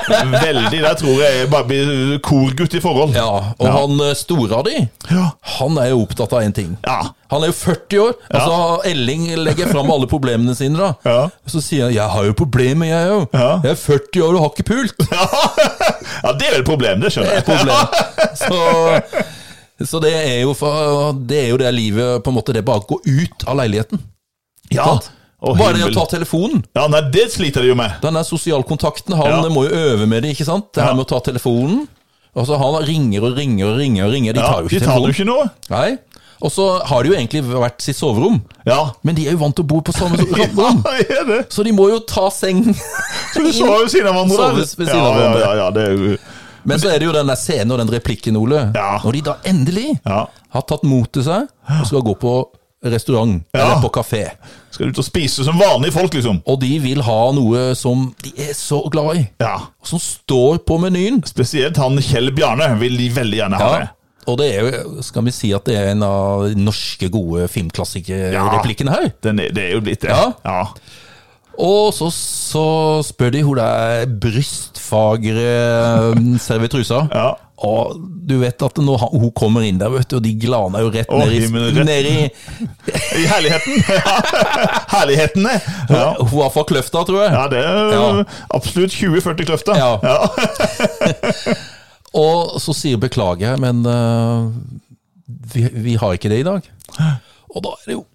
[SPEAKER 2] Veldig. Der tror jeg jeg bare blir korgutt i forhold.
[SPEAKER 1] Ja, Og han eh, store av de,
[SPEAKER 2] Ja.
[SPEAKER 1] han er jo opptatt av én ting.
[SPEAKER 2] Ja.
[SPEAKER 1] Han er jo 40 år, og så har Elling legger fram alle problemene sine. da.
[SPEAKER 2] Ja.
[SPEAKER 1] Og Så sier han 'jeg har jo problemer, jeg òg'.
[SPEAKER 2] Ja.
[SPEAKER 1] 'Jeg er 40 år og har ikke pult'.
[SPEAKER 2] ja, det er vel et problem, det
[SPEAKER 1] Det er
[SPEAKER 2] skjønner
[SPEAKER 1] et
[SPEAKER 2] jeg.
[SPEAKER 1] problem. Så, så det, er jo for, det er jo det livet på en måte, Det er bare å gå ut av leiligheten.
[SPEAKER 2] Ja.
[SPEAKER 1] Sant?
[SPEAKER 2] Å,
[SPEAKER 1] bare det å
[SPEAKER 2] himmel.
[SPEAKER 1] ta telefonen.
[SPEAKER 2] Ja, nei, det sliter de jo med.
[SPEAKER 1] Den der sosialkontakten, han
[SPEAKER 2] Ja.
[SPEAKER 1] må jo øve med det, ikke sant? Det her
[SPEAKER 2] Ja.
[SPEAKER 1] med å ta telefonen. Altså, han ringer og ringer og ringer, og ringer. de
[SPEAKER 2] Ja,
[SPEAKER 1] tar jo
[SPEAKER 2] de
[SPEAKER 1] ikke
[SPEAKER 2] tar jo
[SPEAKER 1] telefonen.
[SPEAKER 2] ikke noe.
[SPEAKER 1] Nei. Og så har det jo egentlig vært sitt soverom,
[SPEAKER 2] Ja.
[SPEAKER 1] men de er jo vant til å bo på samme rom,
[SPEAKER 2] Ja, er det?
[SPEAKER 1] så de må jo ta seng.
[SPEAKER 2] Så du sover ved siden av hverandre?
[SPEAKER 1] Sover
[SPEAKER 2] eller?
[SPEAKER 1] ved siden av
[SPEAKER 2] Ja,
[SPEAKER 1] hverandre.
[SPEAKER 2] Ja, ja, ja, det er jo
[SPEAKER 1] Men så er det jo den der scenen og den replikken, Ole.
[SPEAKER 2] Ja.
[SPEAKER 1] Når de da endelig
[SPEAKER 2] Ja.
[SPEAKER 1] har tatt mot til seg og skal gå på restaurant
[SPEAKER 2] Ja.
[SPEAKER 1] eller på kafé.
[SPEAKER 2] Skal du ut og spise som vanlige folk, liksom?
[SPEAKER 1] Og de vil ha noe som de er så glad i,
[SPEAKER 2] Ja.
[SPEAKER 1] og som står på menyen.
[SPEAKER 2] Spesielt han Kjell Bjarne vil de veldig gjerne ha
[SPEAKER 1] Ja.
[SPEAKER 2] det.
[SPEAKER 1] Og det er jo, skal vi si at det er en av de norske gode filmklassikerreplikkene her.
[SPEAKER 2] Den er, det er jo blitt det.
[SPEAKER 1] Ja.
[SPEAKER 2] ja.
[SPEAKER 1] Og så, så spør de hun der brystfagre mm, servitrusa.
[SPEAKER 2] Ja.
[SPEAKER 1] Og du vet at når han- hun kommer inn der, vet du, og de glaner jo rett
[SPEAKER 2] Å,
[SPEAKER 1] ned i,
[SPEAKER 2] himmelen, rett-
[SPEAKER 1] ned i
[SPEAKER 2] I herligheten. Ja. Herlighetene. Ja.
[SPEAKER 1] Hun var fra Kløfta, tror jeg.
[SPEAKER 2] ja, det er
[SPEAKER 1] Ja.
[SPEAKER 2] absolutt 20-40 kløfta.
[SPEAKER 1] Ja.
[SPEAKER 2] Ja.
[SPEAKER 1] Og så sier beklager, men eh, vi, vi har ikke det i dag. Og da er det jo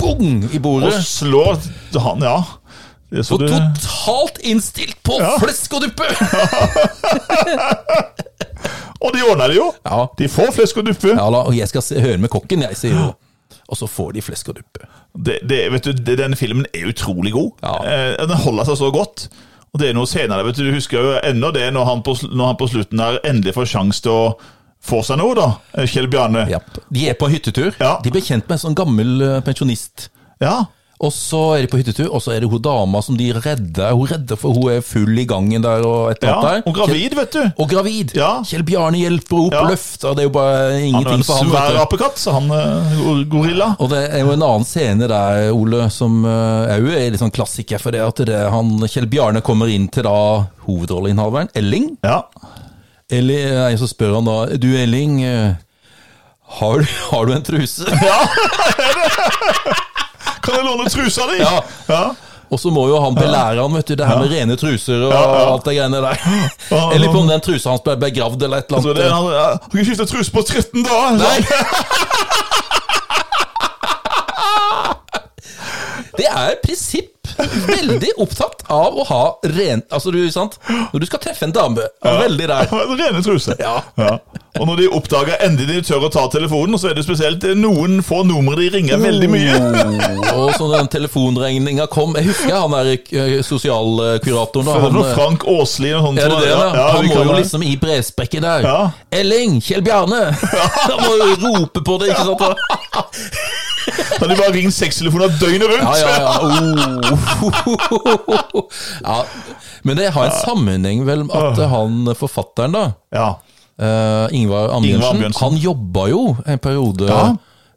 [SPEAKER 1] bong i
[SPEAKER 2] Og
[SPEAKER 1] bordet.
[SPEAKER 2] slår han, ja. Det er så
[SPEAKER 1] Og
[SPEAKER 2] du-
[SPEAKER 1] totalt innstilt på
[SPEAKER 2] Ja.
[SPEAKER 1] flesk og duppe!
[SPEAKER 2] Og de ordner det jo.
[SPEAKER 1] Ja.
[SPEAKER 2] De får flesk og duppe.
[SPEAKER 1] ja da, og jeg skal se, høre med kokken, jeg, sier hun. Og så får de flesk og duppe.
[SPEAKER 2] det, det, vet du, det, den filmen er utrolig god.
[SPEAKER 1] Ja.
[SPEAKER 2] Eh, den holder seg så godt. Og det er noe senere, vet du, du husker jo ennå det når han på, sl- når han på slutten der endelig får sjanse til å få seg noe, da. eh, Kjell Bjarne.
[SPEAKER 1] Ja. De er på hyttetur.
[SPEAKER 2] Ja.
[SPEAKER 1] De blir kjent med en sånn gammel eh, pensjonist.
[SPEAKER 2] Ja.
[SPEAKER 1] Og så er de på hyttetur, og så er det hun dama som de redder. Hun redder, for hun er full i gangen der og et
[SPEAKER 2] ja.
[SPEAKER 1] eller annet der.
[SPEAKER 2] Og gravid, vet du.
[SPEAKER 1] Og gravid!
[SPEAKER 2] Ja.
[SPEAKER 1] Kjell Bjarne hjelper opp
[SPEAKER 2] Ja.
[SPEAKER 1] og løfter, det er jo bare
[SPEAKER 2] Han er
[SPEAKER 1] ingenting
[SPEAKER 2] en
[SPEAKER 1] for ham.
[SPEAKER 2] svær apekatt, så han eh, gor- gorilla.
[SPEAKER 1] Og det er jo en annen scene der, Ole, som eh, er jo en litt sånn klassiker. For det at det er han, Kjell Bjarne kommer inn til da hovedrolleinnehaveren, Elling.
[SPEAKER 2] Ja.
[SPEAKER 1] Eller nei, så spør han da Du, Elling, eh, har du, har du en truse?
[SPEAKER 2] Kan jeg låne trusa di?
[SPEAKER 1] Ja.
[SPEAKER 2] ja.
[SPEAKER 1] Og så må jo han belære han, vet du, det her med rene truser og
[SPEAKER 2] Ja, ja.
[SPEAKER 1] alt det greiene der.
[SPEAKER 2] Ja,
[SPEAKER 1] Eller på
[SPEAKER 2] ja.
[SPEAKER 1] om den trusa hans ble begravd eller et
[SPEAKER 2] Så
[SPEAKER 1] eller
[SPEAKER 2] det, er
[SPEAKER 1] annet.
[SPEAKER 2] han, ja, har ikke skifta truse på 13 dager! så-
[SPEAKER 1] Nei. Det er i prinsipp veldig opptatt av å ha ren... Altså, du, sant? Når du skal treffe en dame, er veldig der.
[SPEAKER 2] Rene truser.
[SPEAKER 1] Ja.
[SPEAKER 2] Og når de oppdager endelig de tør å ta telefonen, så er det spesielt eh, noen få numre de ringer veldig mye.
[SPEAKER 1] Mm. Og så den telefonregninga kom Jeg husker han der eh, sosialkuratoren. da,
[SPEAKER 2] For det er
[SPEAKER 1] Han,
[SPEAKER 2] noe Frank Åsli og sånn sånt.
[SPEAKER 1] eh, er det det, da?
[SPEAKER 2] vi
[SPEAKER 1] han må
[SPEAKER 2] kan
[SPEAKER 1] jo
[SPEAKER 2] det.
[SPEAKER 1] liksom i brevsprekket der.
[SPEAKER 2] Ja.
[SPEAKER 1] Elling! Kjell Bjarne! Han må jo rope på det, ikke sant?
[SPEAKER 2] Da de bare ringer sekstelefoner døgnet rundt.
[SPEAKER 1] Ja, ja, ja. Oh. ja. Men det har en sammenheng vel med at han forfatteren, da,
[SPEAKER 2] Ja.
[SPEAKER 1] eh, Ingvar
[SPEAKER 2] Ingvar
[SPEAKER 1] Ambjørnsen,
[SPEAKER 2] Ambjørnsen.
[SPEAKER 1] han jobba jo en periode
[SPEAKER 2] Ja.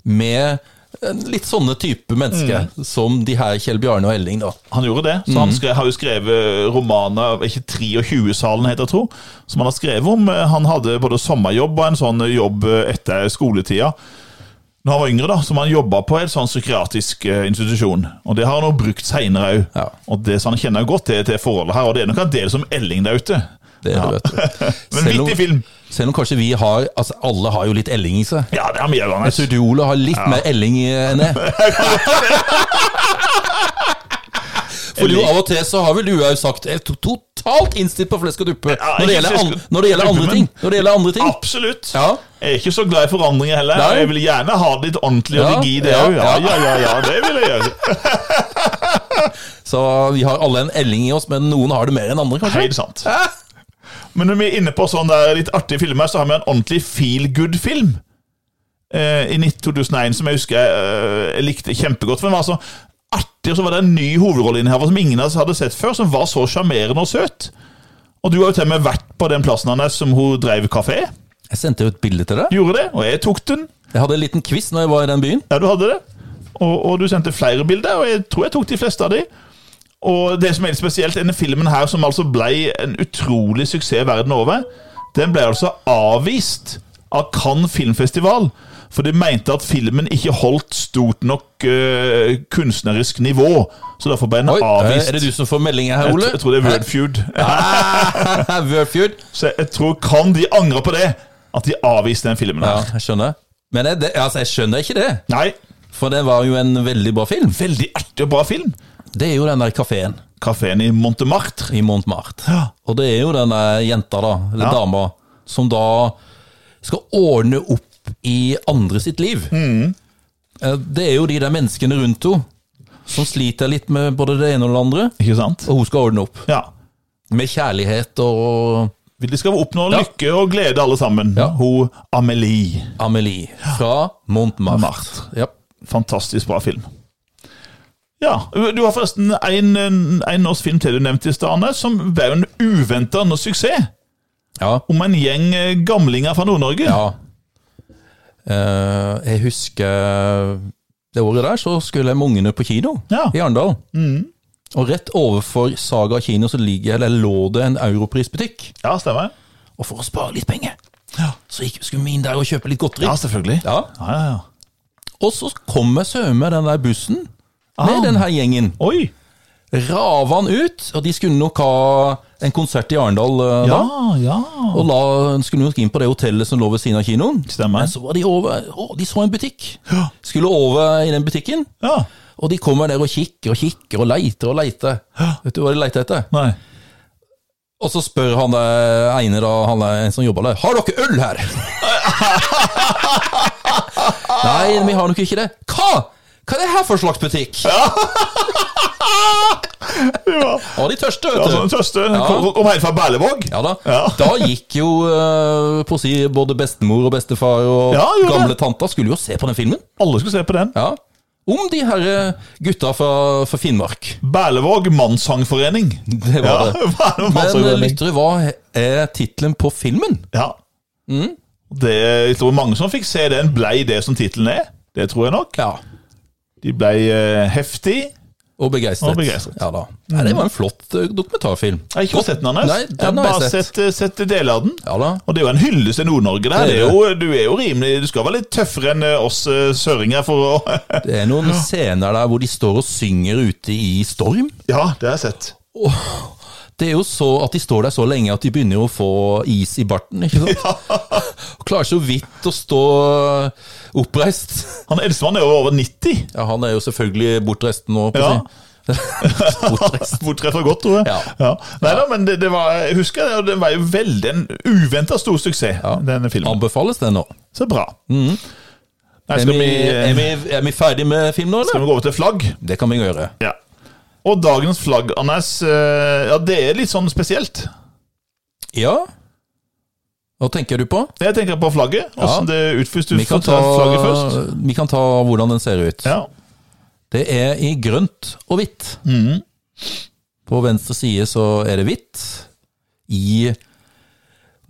[SPEAKER 1] med eh, litt sånne type mennesker
[SPEAKER 2] Mm.
[SPEAKER 1] som de her Kjell Bjarne og Elling, da.
[SPEAKER 2] Han gjorde det. Så
[SPEAKER 1] Mhm.
[SPEAKER 2] han skrev, har jo skrevet romaner er ikke 23-salen heter jeg, tro, som han har skrevet om. Eh, Han hadde både sommerjobb og en sånn jobb etter skoletida. Når han var yngre, da, som han jobba på en sånn psykiatrisk eh, institusjon. Og Det har han jo brukt seinere òg.
[SPEAKER 1] Ja.
[SPEAKER 2] Og det- så han kjenner jo godt til, til forholdet her. Og det er nok en del som Elling der ute.
[SPEAKER 1] Det er det, vet du.
[SPEAKER 2] Men
[SPEAKER 1] Selv om-
[SPEAKER 2] viktig film!
[SPEAKER 1] Selv om kanskje vi har Altså, alle har jo litt Elling i seg.
[SPEAKER 2] Ja, det er mye
[SPEAKER 1] Jeg
[SPEAKER 2] Johannes.
[SPEAKER 1] tror du, Ole, har litt mer Elling i- eh, enn jeg. For du,
[SPEAKER 2] Elling.
[SPEAKER 1] av og til så har vel du òg sagt jeg er to- totalt innstilt på flesk og duppe
[SPEAKER 2] Ja,
[SPEAKER 1] når det
[SPEAKER 2] ikke
[SPEAKER 1] gjelder, an,
[SPEAKER 2] flesk og-
[SPEAKER 1] når det gjelder andre
[SPEAKER 2] duppe, Ah.
[SPEAKER 1] ting. Når det gjelder andre ting.
[SPEAKER 2] Absolutt.
[SPEAKER 1] Ja.
[SPEAKER 2] Jeg er ikke så glad i forandringer heller.
[SPEAKER 1] Nei.
[SPEAKER 2] Jeg vil gjerne ha det litt ordentlig og
[SPEAKER 1] Ja,
[SPEAKER 2] rigid. det
[SPEAKER 1] ja,
[SPEAKER 2] også. Ja,
[SPEAKER 1] ja.
[SPEAKER 2] ja, ja, ja, det vil jeg gjøre.
[SPEAKER 1] Så vi har alle en Elling i oss, men noen har det mer enn andre, kanskje.
[SPEAKER 2] Helt sant.
[SPEAKER 1] Hæ?
[SPEAKER 2] Men når vi er inne på sånn der litt artige filmer, så har vi en ordentlig feel good-film. Eh, I 2001, som jeg husker jeg, eh, jeg likte kjempegodt. For den var så artig, og så var det en ny hovedrolleinnehaver som ingen av oss hadde sett før, som var så sjarmerende og søt. Og du har jo til og med vært på den plassen hennes som hun drev kafé.
[SPEAKER 1] Jeg sendte jo et bilde til deg.
[SPEAKER 2] Gjorde det, og jeg tok den.
[SPEAKER 1] Jeg hadde en liten quiz når jeg var i den byen.
[SPEAKER 2] Ja, du hadde det. Og, og du sendte flere bilder, og jeg tror jeg tok de fleste av de. Og det som er litt spesielt, denne filmen her, som altså ble en utrolig suksess verden over, den ble altså avvist av Cannes Filmfestival. For de mente at filmen ikke holdt stort nok eh, kunstnerisk nivå. Så derfor ble den
[SPEAKER 1] Oi,
[SPEAKER 2] avvist.
[SPEAKER 1] er det du som får meldinger her,
[SPEAKER 2] ah, jeg,
[SPEAKER 1] Ole?
[SPEAKER 2] tr- jeg tror det er Wordfeud.
[SPEAKER 1] Ah, Wordfeud.
[SPEAKER 2] Så jeg tror Cannes de angrer på det. At de avviste den filmen
[SPEAKER 1] Ja,
[SPEAKER 2] her.
[SPEAKER 1] jeg skjønner. Men jeg, det, altså, jeg skjønner ikke det,
[SPEAKER 2] Nei,
[SPEAKER 1] for det var jo en veldig bra film.
[SPEAKER 2] veldig artig og bra film.
[SPEAKER 1] Det er jo den der kafeen
[SPEAKER 2] Kafeen i Montemartre.
[SPEAKER 1] i Montmartre.
[SPEAKER 2] Ja.
[SPEAKER 1] Og det er jo denne jenta, da, eller
[SPEAKER 2] Ja.
[SPEAKER 1] dama, som da skal ordne opp i andre sitt liv.
[SPEAKER 2] Mm.
[SPEAKER 1] Eh, Det er jo de der menneskene rundt henne som sliter litt med både det ene og det andre,
[SPEAKER 2] Ikke sant?
[SPEAKER 1] og hun skal ordne opp.
[SPEAKER 2] Ja.
[SPEAKER 1] Med kjærlighet og
[SPEAKER 2] De skal oppnå
[SPEAKER 1] Ja.
[SPEAKER 2] lykke og glede, alle sammen.
[SPEAKER 1] Ja.
[SPEAKER 2] Hun Amelie.
[SPEAKER 1] Amelie fra Montmartre. Ja.
[SPEAKER 2] Fantastisk bra film. Ja, Du har forresten en, en norsk film til du nevnte i stad, Arne, som ble en uventa suksess.
[SPEAKER 1] ja.
[SPEAKER 2] Om en gjeng eh, gamlinger fra Nord-Norge.
[SPEAKER 1] Ja. Eh, jeg husker det året der, så skulle jeg med ungene på kino
[SPEAKER 2] Ja. Mm.
[SPEAKER 1] i Arendal. Og rett overfor Saga kino så ligger, eller lå det en europrisbutikk.
[SPEAKER 2] Ja, stemmer.
[SPEAKER 1] Og for å spare litt penger, så gikk, skulle vi inn der og kjøpe litt godteri.
[SPEAKER 2] Ja, selvfølgelig.
[SPEAKER 1] Ja.
[SPEAKER 2] Ja, ja, ja.
[SPEAKER 1] Og så kom jeg sømme den der bussen med
[SPEAKER 2] Ah.
[SPEAKER 1] den her gjengen.
[SPEAKER 2] Oi!
[SPEAKER 1] Rava han ut, og de skulle nok ha en konsert i Arendal eh,
[SPEAKER 2] Ja,
[SPEAKER 1] da.
[SPEAKER 2] Ah, ja.
[SPEAKER 1] Og la, skulle nok inn på det hotellet som lå ved siden av kinoen.
[SPEAKER 2] Stemmer.
[SPEAKER 1] Men så var de over Å, de så en butikk! Skulle over i den butikken.
[SPEAKER 2] Ja.
[SPEAKER 1] Og de kommer der og kikker og kikker og leiter og leiter. Vet du hva de leiter etter?
[SPEAKER 2] Nei.
[SPEAKER 1] Og så spør han der ene, da, han der en som jobber der, har dere øl her? Nei, vi har nok ikke det. Hva? Hva er det her for slags butikk?
[SPEAKER 2] Ja,
[SPEAKER 1] Var de tørste,
[SPEAKER 2] ja
[SPEAKER 1] vet du?
[SPEAKER 2] sånn tøste.
[SPEAKER 1] Ja.
[SPEAKER 2] Kom, kom helt fra Berlevåg.
[SPEAKER 1] Ja da.
[SPEAKER 2] Ja.
[SPEAKER 1] Da gikk jo eh, på å si, både bestemor og bestefar og
[SPEAKER 2] Ja, gjorde
[SPEAKER 1] gamle
[SPEAKER 2] det.
[SPEAKER 1] tanter skulle jo se på den filmen.
[SPEAKER 2] Alle skulle se på den.
[SPEAKER 1] Ja. Om de her eh, gutta fra, fra Finnmark.
[SPEAKER 2] Berlevåg mannssangforening.
[SPEAKER 1] Det var det.
[SPEAKER 2] Berlevåg
[SPEAKER 1] Men eh,
[SPEAKER 2] Mannssangforening.
[SPEAKER 1] lyttere, hva er tittelen på filmen?
[SPEAKER 2] Ja.
[SPEAKER 1] Mm.
[SPEAKER 2] Det, jeg tror mange som fikk se den, blei det som tittelen er. Det tror jeg nok.
[SPEAKER 1] Ja.
[SPEAKER 2] De blei eh, heftig.
[SPEAKER 1] Og begeistret.
[SPEAKER 2] Og begeistret.
[SPEAKER 1] Ja da. Nei, det var en flott eh, dokumentarfilm.
[SPEAKER 2] Jeg har ikke fått sett den, Anders.
[SPEAKER 1] Nei,
[SPEAKER 2] jeg har
[SPEAKER 1] den har
[SPEAKER 2] bare
[SPEAKER 1] jeg sett.
[SPEAKER 2] sett, eh, sett deler av den.
[SPEAKER 1] Ja da.
[SPEAKER 2] Og det er jo en hyllest til Nord-Norge.
[SPEAKER 1] Det
[SPEAKER 2] der. Det
[SPEAKER 1] er
[SPEAKER 2] er jo- Du er jo rimelig Du skal være litt tøffere enn eh, oss eh, søringer for å
[SPEAKER 1] Det er noen scener der hvor de står og synger ute i storm.
[SPEAKER 2] Ja, det har jeg sett.
[SPEAKER 1] Det er jo så at de står der så lenge at de begynner jo å få is i barten, ikke sant? Og klarer så vidt å stå eh, oppreist.
[SPEAKER 2] Han eldstemann er jo over 90.
[SPEAKER 1] Ja, han er jo selvfølgelig bortreist nå, på å
[SPEAKER 2] Ja.
[SPEAKER 1] si. bortreist.
[SPEAKER 2] Hvor treffer godt, tror jeg.
[SPEAKER 1] Ja.
[SPEAKER 2] Nei da, men det, det var Jeg husker det, og den var jo veldig en uventa stor suksess, denne filmen.
[SPEAKER 1] Anbefales den nå.
[SPEAKER 2] Så bra.
[SPEAKER 1] Mm.
[SPEAKER 2] Nei,
[SPEAKER 1] Er
[SPEAKER 2] skal,
[SPEAKER 1] vi,
[SPEAKER 2] vi, eh,
[SPEAKER 1] er, vi, er vi ferdig med film nå,
[SPEAKER 2] skal
[SPEAKER 1] eller?
[SPEAKER 2] vi gå over til flagg?
[SPEAKER 1] Det kan eh, vi gjøre.
[SPEAKER 2] Ja. Og dagens flagg, Anders, eh, ja, det er litt sånn spesielt.
[SPEAKER 1] Ja? Hva tenker du på?
[SPEAKER 2] Jeg tenker på flagget. Hvordan det utføres. Du
[SPEAKER 1] Vi kan,
[SPEAKER 2] får
[SPEAKER 1] ta,
[SPEAKER 2] ta flagget først.
[SPEAKER 1] vi kan ta hvordan den ser ut.
[SPEAKER 2] Ja.
[SPEAKER 1] Det er i grønt og hvitt. På venstre side så er det hvitt. I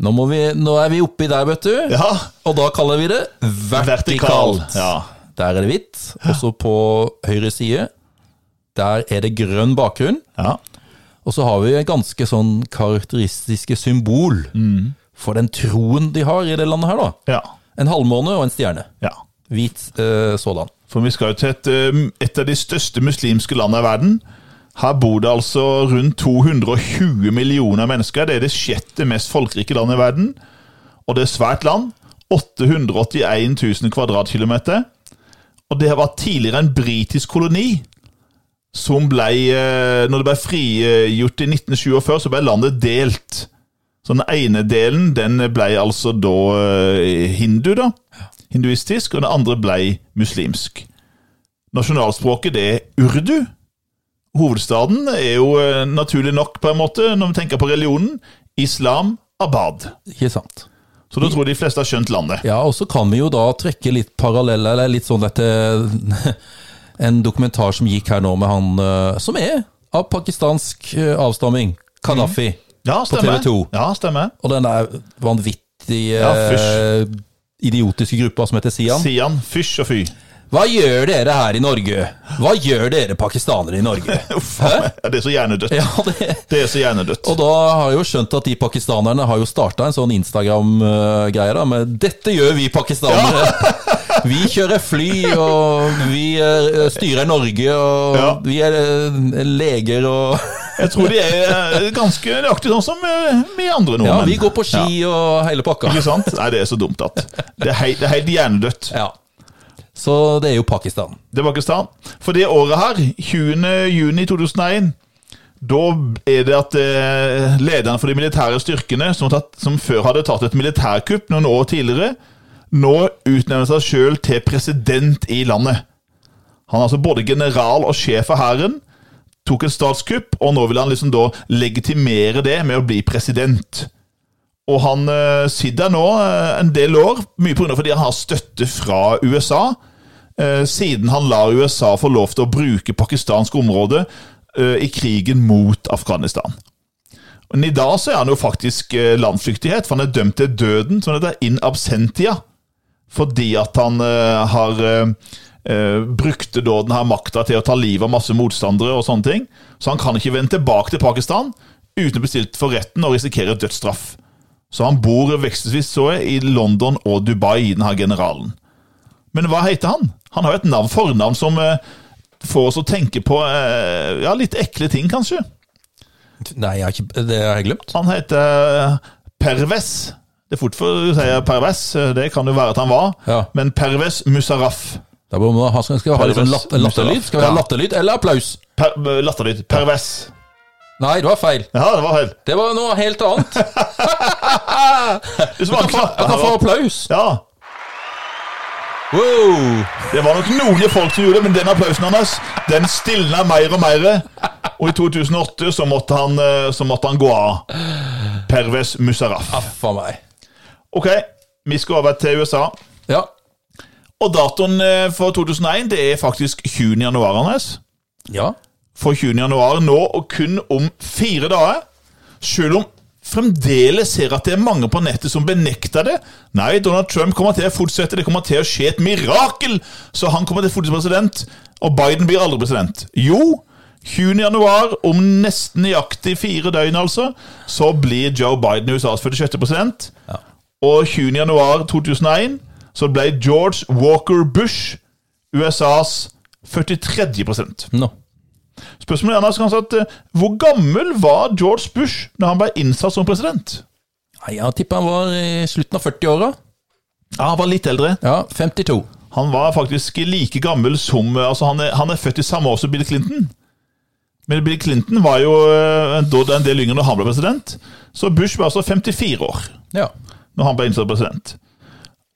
[SPEAKER 1] Nå, må vi, nå er vi oppi der, vet du.
[SPEAKER 2] ja.
[SPEAKER 1] Og da kaller vi det
[SPEAKER 2] Vertikal.
[SPEAKER 1] vertikalt.
[SPEAKER 2] Ja.
[SPEAKER 1] Der er det hvitt. Og så på høyre side, der er det grønn bakgrunn.
[SPEAKER 2] ja.
[SPEAKER 1] Og så har vi et ganske sånn karakteristiske symbol
[SPEAKER 2] Mm.
[SPEAKER 1] for den troen de har i det landet her, da.
[SPEAKER 2] Ja.
[SPEAKER 1] En halvmåne og en stjerne.
[SPEAKER 2] ja.
[SPEAKER 1] Hvit eh, sådan.
[SPEAKER 2] For vi skal jo til et, eh, et av de største muslimske landene i verden. Her bor det altså rundt 220 millioner mennesker. Det er det sjette mest folkerike landet i verden. Og det er svært land. 881 000 kvadratkilometer. Og det var tidligere en britisk koloni. Som ble, eh, når det ble frigjort i 1947, så ble landet delt. Så den ene delen den ble altså da eh, hindu, da. Hinduistisk. Og den andre ble muslimsk. Nasjonalspråket det er urdu. Hovedstaden er jo eh, naturlig nok, på en måte, når vi tenker på religionen, islam abad.
[SPEAKER 1] Ikke sant?
[SPEAKER 2] Så da tror jeg de fleste har skjønt landet.
[SPEAKER 1] Ja, og så kan vi jo da trekke litt paralleller, eller litt sånn dette en dokumentar som gikk her nå med han eh, som er av pakistansk eh, avstamming, Kadafi.
[SPEAKER 2] Mm. Ja, stemmer.
[SPEAKER 1] TV2.
[SPEAKER 2] Ja, stemmer.
[SPEAKER 1] Og den der vanvittige
[SPEAKER 2] Ja,
[SPEAKER 1] eh, idiotiske gruppa som heter Sian.
[SPEAKER 2] Sian, fysj og fy.
[SPEAKER 1] Hva gjør dere her i Norge? Hva gjør dere pakistanere i Norge?
[SPEAKER 2] Uff, ja, det er så hjernedødt.
[SPEAKER 1] ja, det...
[SPEAKER 2] Det er så hjernedødt.
[SPEAKER 1] Og da har jeg jo skjønt at de pakistanerne har jo starta en sånn Instagram-greie da, med 'Dette gjør vi pakistanere'. Vi kjører fly, og vi eh, styrer Norge, og
[SPEAKER 2] Ja.
[SPEAKER 1] vi er eh, leger og
[SPEAKER 2] Jeg tror de er eh, ganske nøyaktig sånn som eh, vi andre nordmenn.
[SPEAKER 1] Ja, vi går på ski og hele pakka.
[SPEAKER 2] Ikke sant? Nei, det er så dumt at Det er helt, det er helt hjernedødt.
[SPEAKER 1] Ja. Så det er jo Pakistan.
[SPEAKER 2] Det var Pakistan. For det året her, 20. juni 2001, da er det at eh, lederen for de militære styrkene, som, har tatt, som før hadde tatt et militærkupp noen år tidligere, nå utnevner seg sjøl til president i landet. Han er altså både general og sjef av hæren, tok et statskupp, og nå vil han liksom da legitimere det med å bli president. Og han eh, sitter nå eh, en del år, mye på grunn av fordi han har støtte fra USA, eh, siden han lar USA få lov til å bruke pakistansk område eh, i krigen mot Afghanistan. Men i dag så er han jo faktisk eh, landflyktighet, for han er dømt til døden, som det heter, in absentia, fordi at han eh, har eh, eh, brukte da den her makta til å ta livet av masse motstandere og sånne ting. Så han kan ikke vende tilbake til Pakistan uten å bli stilt for retten og risikere dødsstraff. Så han bor vekselvis så jeg, i London og Dubai, den her generalen. Men hva heter han? Han har jo et navn, fornavn som eh, får oss å tenke på eh, ja, litt ekle ting, kanskje.
[SPEAKER 1] Nei, jeg har ikke, det har jeg glemt.
[SPEAKER 2] Han heter eh, Perves. Det er fort for å si Perves, eh, det kan jo være at han var.
[SPEAKER 1] Ja.
[SPEAKER 2] Men Perves Musaraf.
[SPEAKER 1] Da må man ha, skal vi ha litt sånn latter, latterlyd? Skal vi ha
[SPEAKER 2] Ja.
[SPEAKER 1] latterlyd eller applaus?
[SPEAKER 2] Per, eh, Latterlyd. Perves.
[SPEAKER 1] Nei, det var feil.
[SPEAKER 2] Ja, det var helt
[SPEAKER 1] Det var noe helt annet.
[SPEAKER 2] Det var
[SPEAKER 1] Jeg kan få applaus.
[SPEAKER 2] Ja,
[SPEAKER 1] Wow!
[SPEAKER 2] Det var nok noen folk som gjorde det, men den applausen hans den stilna mer og mer. Og i 2008 så måtte han, eh, så måtte han gå av. Pervez Musaraf.
[SPEAKER 1] Aff a meg.
[SPEAKER 2] Ok, vi skal over til USA.
[SPEAKER 1] Ja.
[SPEAKER 2] Og datoen eh, for 2001 det er faktisk 20. januar. Anders.
[SPEAKER 1] Ja.
[SPEAKER 2] For 20. januar nå, og kun om fire dager. Selv om fremdeles ser at det er mange på nettet som benekter det. Nei, Donald Trump kommer til å fortsette. Det kommer til å skje et mirakel! Så han kommer til å fortsette president, og Biden blir aldri president. Jo, 20. januar, om nesten nøyaktig fire døgn, altså, så blir Joe Biden USAs 46. president. Og 20. januar 2001 så ble George Walker Bush USAs 43. president.
[SPEAKER 1] Nå.
[SPEAKER 2] Spørsmålet er kanskje at eh, hvor gammel var George Bush når han ble innsatt som president?
[SPEAKER 1] Nei, jeg tipper han var i slutten av 40-åra.
[SPEAKER 2] Ja, Han var litt eldre.
[SPEAKER 1] Ja, 52.
[SPEAKER 2] Han var faktisk like gammel som eh, altså Han er, han er født i samme år som Bill Clinton. Men Bill Clinton var jo eh, da en del yngre når han ble president. Så Bush var altså 54 år
[SPEAKER 1] Ja.
[SPEAKER 2] når han ble innsatt president.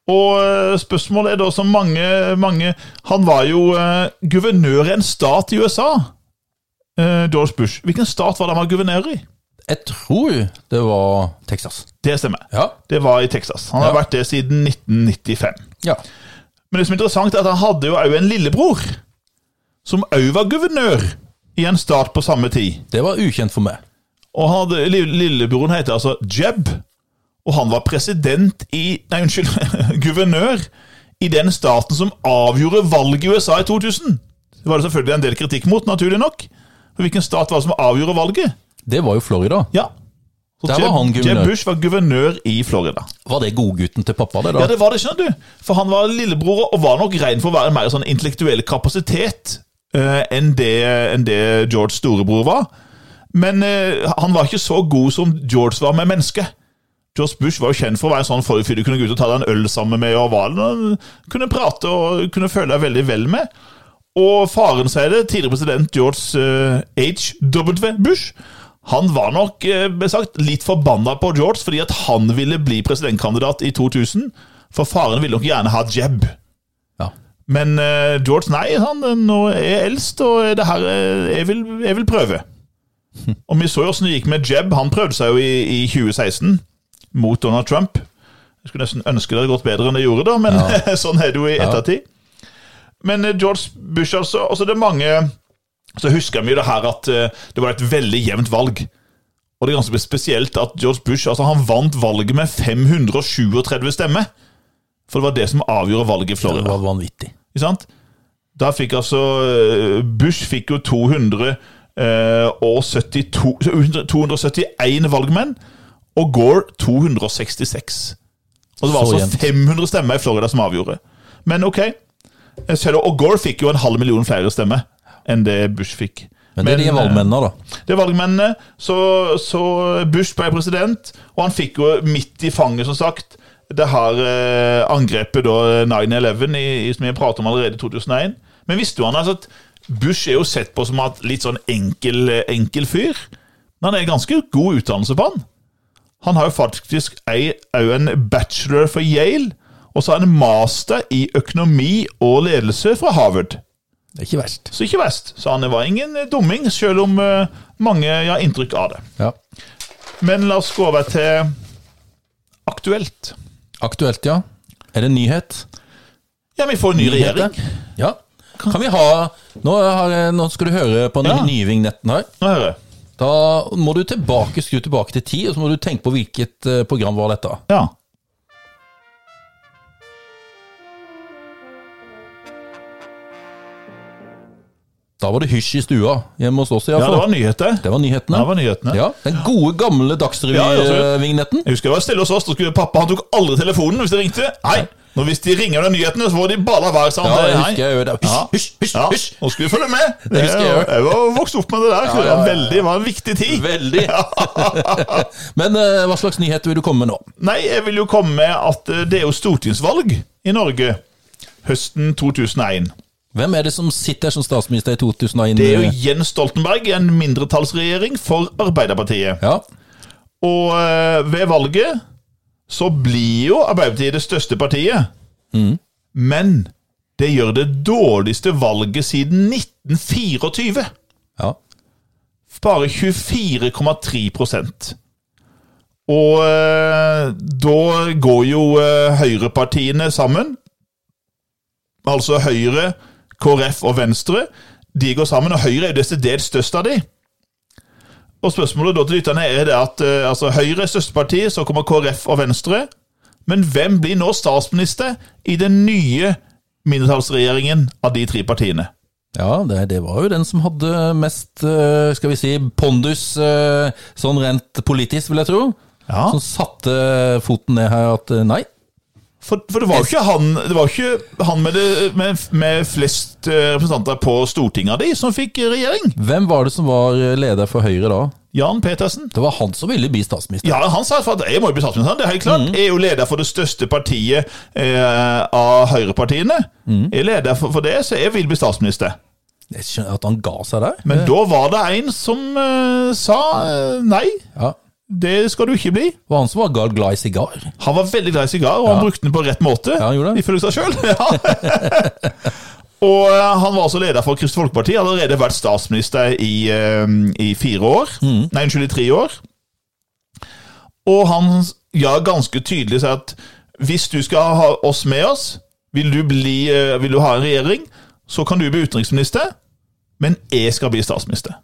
[SPEAKER 2] Og eh, spørsmålet er da som mange, mange Han var jo eh, guvernør i en stat i USA, eh, George Bush. Hvilken stat var det han var guvernør i?
[SPEAKER 1] Jeg tror det var Texas.
[SPEAKER 2] Det stemmer.
[SPEAKER 1] Ja.
[SPEAKER 2] Det var i Texas. Han har
[SPEAKER 1] Ja.
[SPEAKER 2] vært det siden 1995.
[SPEAKER 1] Ja.
[SPEAKER 2] Men det som er interessant, er at han hadde jo òg en lillebror, som òg var guvernør i en stat på samme tid.
[SPEAKER 1] Det var ukjent for meg.
[SPEAKER 2] Og han hadde, li- Lillebroren heter altså Jeb, og han var president i Nei, unnskyld, guvernør i den staten som avgjorde valget i USA i 2000. Det var det selvfølgelig en del kritikk mot, naturlig nok. For hvilken stat var det som avgjorde valget?
[SPEAKER 1] Det var jo Florida.
[SPEAKER 2] Ja. Så
[SPEAKER 1] Der var han guvernør.
[SPEAKER 2] Jeb Bush var guvernør i Florida.
[SPEAKER 1] Var det godgutten til pappa, det, da?
[SPEAKER 2] Ja, det var det, skjønner du. For han var lillebror og var nok regn for å være mer sånn intellektuell kapasitet eh, enn det, enn det George storebror var. Men eh, han var ikke så god som George var med mennesket. George Bush var jo kjent for å være en sånn forfyr du kunne gå ut og ta deg en øl sammen med, og var, han kunne prate og kunne føle deg veldig vel med. Og faren sier det, tidligere president George eh, H.W. Bush, han var nok eh, ble sagt, litt forbanna på George fordi at han ville bli presidentkandidat i 2000. For faren ville nok gjerne ha Jeb.
[SPEAKER 1] Ja.
[SPEAKER 2] Men eh, George, nei, han eh, nå er jeg eldst, og er det her, eh, jeg, vil, jeg vil prøve. Og vi så jo åssen det gikk med Jeb. Han prøvde seg jo i, i 2016 mot Donald Trump. Jeg skulle nesten ønske det hadde gått bedre enn det gjorde, da, men sånn er det jo i ettertid. Men eh, George Bush, altså, altså det er mange Så husker vi jo det her at eh, det var et veldig jevnt valg. Og det er ganske spesielt at George Bush altså han vant valget med 537 stemmer. For det var det som avgjorde valget i
[SPEAKER 1] Det
[SPEAKER 2] Florida.
[SPEAKER 1] var vanvittig.
[SPEAKER 2] Ikke sant? Da fikk altså eh, Bush fikk jo 200 eh, og 72, 271 valgmenn, og Gore 266. Og det var
[SPEAKER 1] Så
[SPEAKER 2] altså 500 stemmer i Florida som avgjorde. Men ok, eh, selv om- og Gore fikk jo en halv million flere stemmer enn det Bush fikk.
[SPEAKER 1] Men det er de valgmennene, da.
[SPEAKER 2] eh, Det er valgmennene. Så, så Bush ble president, og han fikk jo midt i fanget, som sagt, det her eh, angrepet da 9-11, i- i- som jeg pratet om allerede i 2001. Men visste du han altså, at Bush er jo sett på som at litt sånn enkel, eh, enkel fyr? Men han er ganske god utdannelse på han. Han har jo faktisk ei, au en bachelor fra Yale, og så har han en master i økonomi og ledelse fra Harvard.
[SPEAKER 1] Det er ikke verst.
[SPEAKER 2] Så ikke verst. Så han var ingen dumming, selv om eh, mange har inntrykk av det.
[SPEAKER 1] Ja.
[SPEAKER 2] Men la oss gå over til aktuelt.
[SPEAKER 1] Aktuelt, ja. Er det en nyhet?
[SPEAKER 2] Ja, vi får en ny
[SPEAKER 1] Nyheter?
[SPEAKER 2] regjering.
[SPEAKER 1] Ja. Kan vi ha Nå, har, jeg- nå skal du høre på den
[SPEAKER 2] Ja.
[SPEAKER 1] nye vignetten her.
[SPEAKER 2] Nå hører jeg.
[SPEAKER 1] Da må du tilbake, skru tilbake til tid, og så må du tenke på hvilket eh, program var dette.
[SPEAKER 2] Ja.
[SPEAKER 1] Da var det hysj i stua hjemme hos oss,
[SPEAKER 2] ja, det
[SPEAKER 1] iallfall.
[SPEAKER 2] var nyheter.
[SPEAKER 1] Det var nyhetene.
[SPEAKER 2] Ja, det var nyhetene.
[SPEAKER 1] Ja, Den gode, gamle
[SPEAKER 2] Ja, ja, absolutt.
[SPEAKER 1] Dagsrevy-vignetten.
[SPEAKER 2] Jeg husker jeg var stille hos oss, og skulle pappa han tok aldri telefonen hvis de ringte. Nei, når hvis de ringer under nyhetene, så får de balla hver, sa
[SPEAKER 1] Ja,
[SPEAKER 2] han.
[SPEAKER 1] det
[SPEAKER 2] Nei.
[SPEAKER 1] husker jeg jo. Det-
[SPEAKER 2] Ja.
[SPEAKER 1] Hysj, hysj,
[SPEAKER 2] Ja,
[SPEAKER 1] hysj!
[SPEAKER 2] nå skal vi følge med. Det
[SPEAKER 1] husker jeg jo.
[SPEAKER 2] Jeg var vokst opp med det der. så Det
[SPEAKER 1] ja,
[SPEAKER 2] var
[SPEAKER 1] ja, ja.
[SPEAKER 2] veldig, var en viktig tid.
[SPEAKER 1] Veldig. Men eh, hva slags nyhet vil du komme med nå?
[SPEAKER 2] Nei, jeg vil jo komme med at eh, det er jo stortingsvalg i Norge høsten 2001.
[SPEAKER 1] Hvem er det som sitter som statsminister i 2001?
[SPEAKER 2] Det er jo Jens Stoltenberg, en mindretallsregjering for Arbeiderpartiet.
[SPEAKER 1] Ja,
[SPEAKER 2] Og eh, ved valget så blir jo Arbeiderpartiet det største partiet. Men det gjør det dårligste valget siden 1924.
[SPEAKER 1] ja.
[SPEAKER 2] Bare 24,3 Og eh, da går jo eh, høyrepartiene sammen. Altså Høyre, KrF og Venstre. De går sammen, og Høyre er jo desidert størst av de. Og spørsmålet da til lytterne er det at eh, altså, Høyre er største parti, så kommer KrF og Venstre. Men hvem blir nå statsminister i den nye mindretallsregjeringen av de tre partiene?
[SPEAKER 1] ja det, det var jo den som hadde mest, eh, skal vi si, pondus eh, sånn rent politisk, vil jeg tro.
[SPEAKER 2] Ja.
[SPEAKER 1] Som satte foten ned her at eh, nei.
[SPEAKER 2] For, for det var jo ikke han, det var jo ikke han med, det, med, med flest eh, representanter på Stortinget av de som fikk regjering.
[SPEAKER 1] Hvem var det som var leder for Høyre da?
[SPEAKER 2] Jan Petersen.
[SPEAKER 1] Det var han som ville bli statsminister.
[SPEAKER 2] Ja, han sa at jeg må jo bli statsminister. Det er helt klart. Jeg er jo leder for det største partiet eh, av høyrepartiene. Jeg er leder for, for det, så jeg vil bli statsminister.
[SPEAKER 1] Jeg skjønner at han ga seg der.
[SPEAKER 2] Men da var det en som eh, sa eh, nei,
[SPEAKER 1] Ja.
[SPEAKER 2] det skal du ikke bli.
[SPEAKER 1] Det var han som var gal- glad i sigar.
[SPEAKER 2] Han var veldig glad i sigar, og han brukte den på rett måte.
[SPEAKER 1] Ja, han gjorde det.
[SPEAKER 2] Ifølge seg sjøl. Ja. og eh, han var altså leder for Kristelig Folkeparti. Hadde allerede vært statsminister i, eh, i fire år.
[SPEAKER 1] Mm.
[SPEAKER 2] Nei, unnskyld, i tre år. Og han ja, ganske tydelig sier at hvis du skal ha oss med oss, vil du, bli, eh, vil du ha en regjering, så kan du bli utenriksminister, men jeg skal bli statsminister.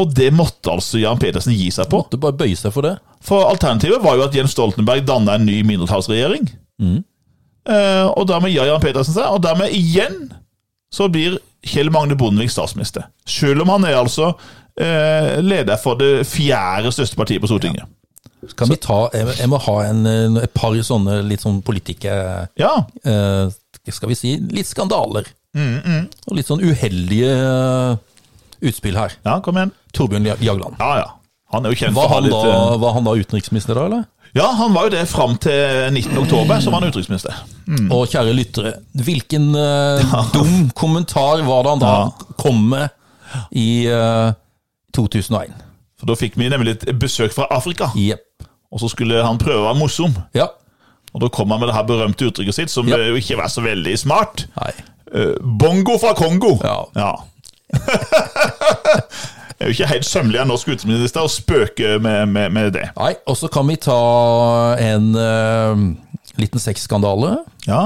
[SPEAKER 2] Og det måtte altså Jan Pedersen gi seg på.
[SPEAKER 1] Måtte bare bøye seg for det.
[SPEAKER 2] For alternativet var jo at Jens Stoltenberg danna en ny mindretallsregjering.
[SPEAKER 1] Mm.
[SPEAKER 2] Eh, og dermed gjør Jan Petersen seg, og dermed igjen så blir Kjell Magne Bondevik statsminister. Selv om han er altså eh, leder for det fjerde største partiet på Stortinget.
[SPEAKER 1] Kan vi ta, jeg, jeg må ha en, eh, et par sånne litt sånn politiker...
[SPEAKER 2] Ja,
[SPEAKER 1] eh, skal vi si, litt skandaler.
[SPEAKER 2] Mm,
[SPEAKER 1] Og litt sånn uheldige eh, utspill her.
[SPEAKER 2] ja, kom igjen.
[SPEAKER 1] Torbjørn Jag- Jagland.
[SPEAKER 2] Ja, ja. Han er jo kjent
[SPEAKER 1] Var
[SPEAKER 2] for å ha
[SPEAKER 1] han,
[SPEAKER 2] litt
[SPEAKER 1] da,
[SPEAKER 2] eh,
[SPEAKER 1] var han da utenriksminister da, eller?
[SPEAKER 2] Ja, han var jo det fram til 19. oktober, så var han utenriksminister.
[SPEAKER 1] Og kjære lyttere, hvilken eh, dum kommentar var det han da
[SPEAKER 2] Ja.
[SPEAKER 1] kom med i eh, 2001?
[SPEAKER 2] For da fikk vi nemlig et besøk fra Afrika,
[SPEAKER 1] Jepp.
[SPEAKER 2] og så skulle han prøve å være morsom.
[SPEAKER 1] Ja.
[SPEAKER 2] Og da kom han med det her berømte uttrykket sitt, som
[SPEAKER 1] Ja.
[SPEAKER 2] eh, jo ikke var så veldig smart.
[SPEAKER 1] Nei.
[SPEAKER 2] Eh, Bongo fra Kongo.
[SPEAKER 1] Ja.
[SPEAKER 2] Jeg er jo ikke helt sømmelig av norsk utenriksminister å spøke med, med, med det.
[SPEAKER 1] Nei, og så kan vi ta en eh, liten sexskandale.
[SPEAKER 2] Ja.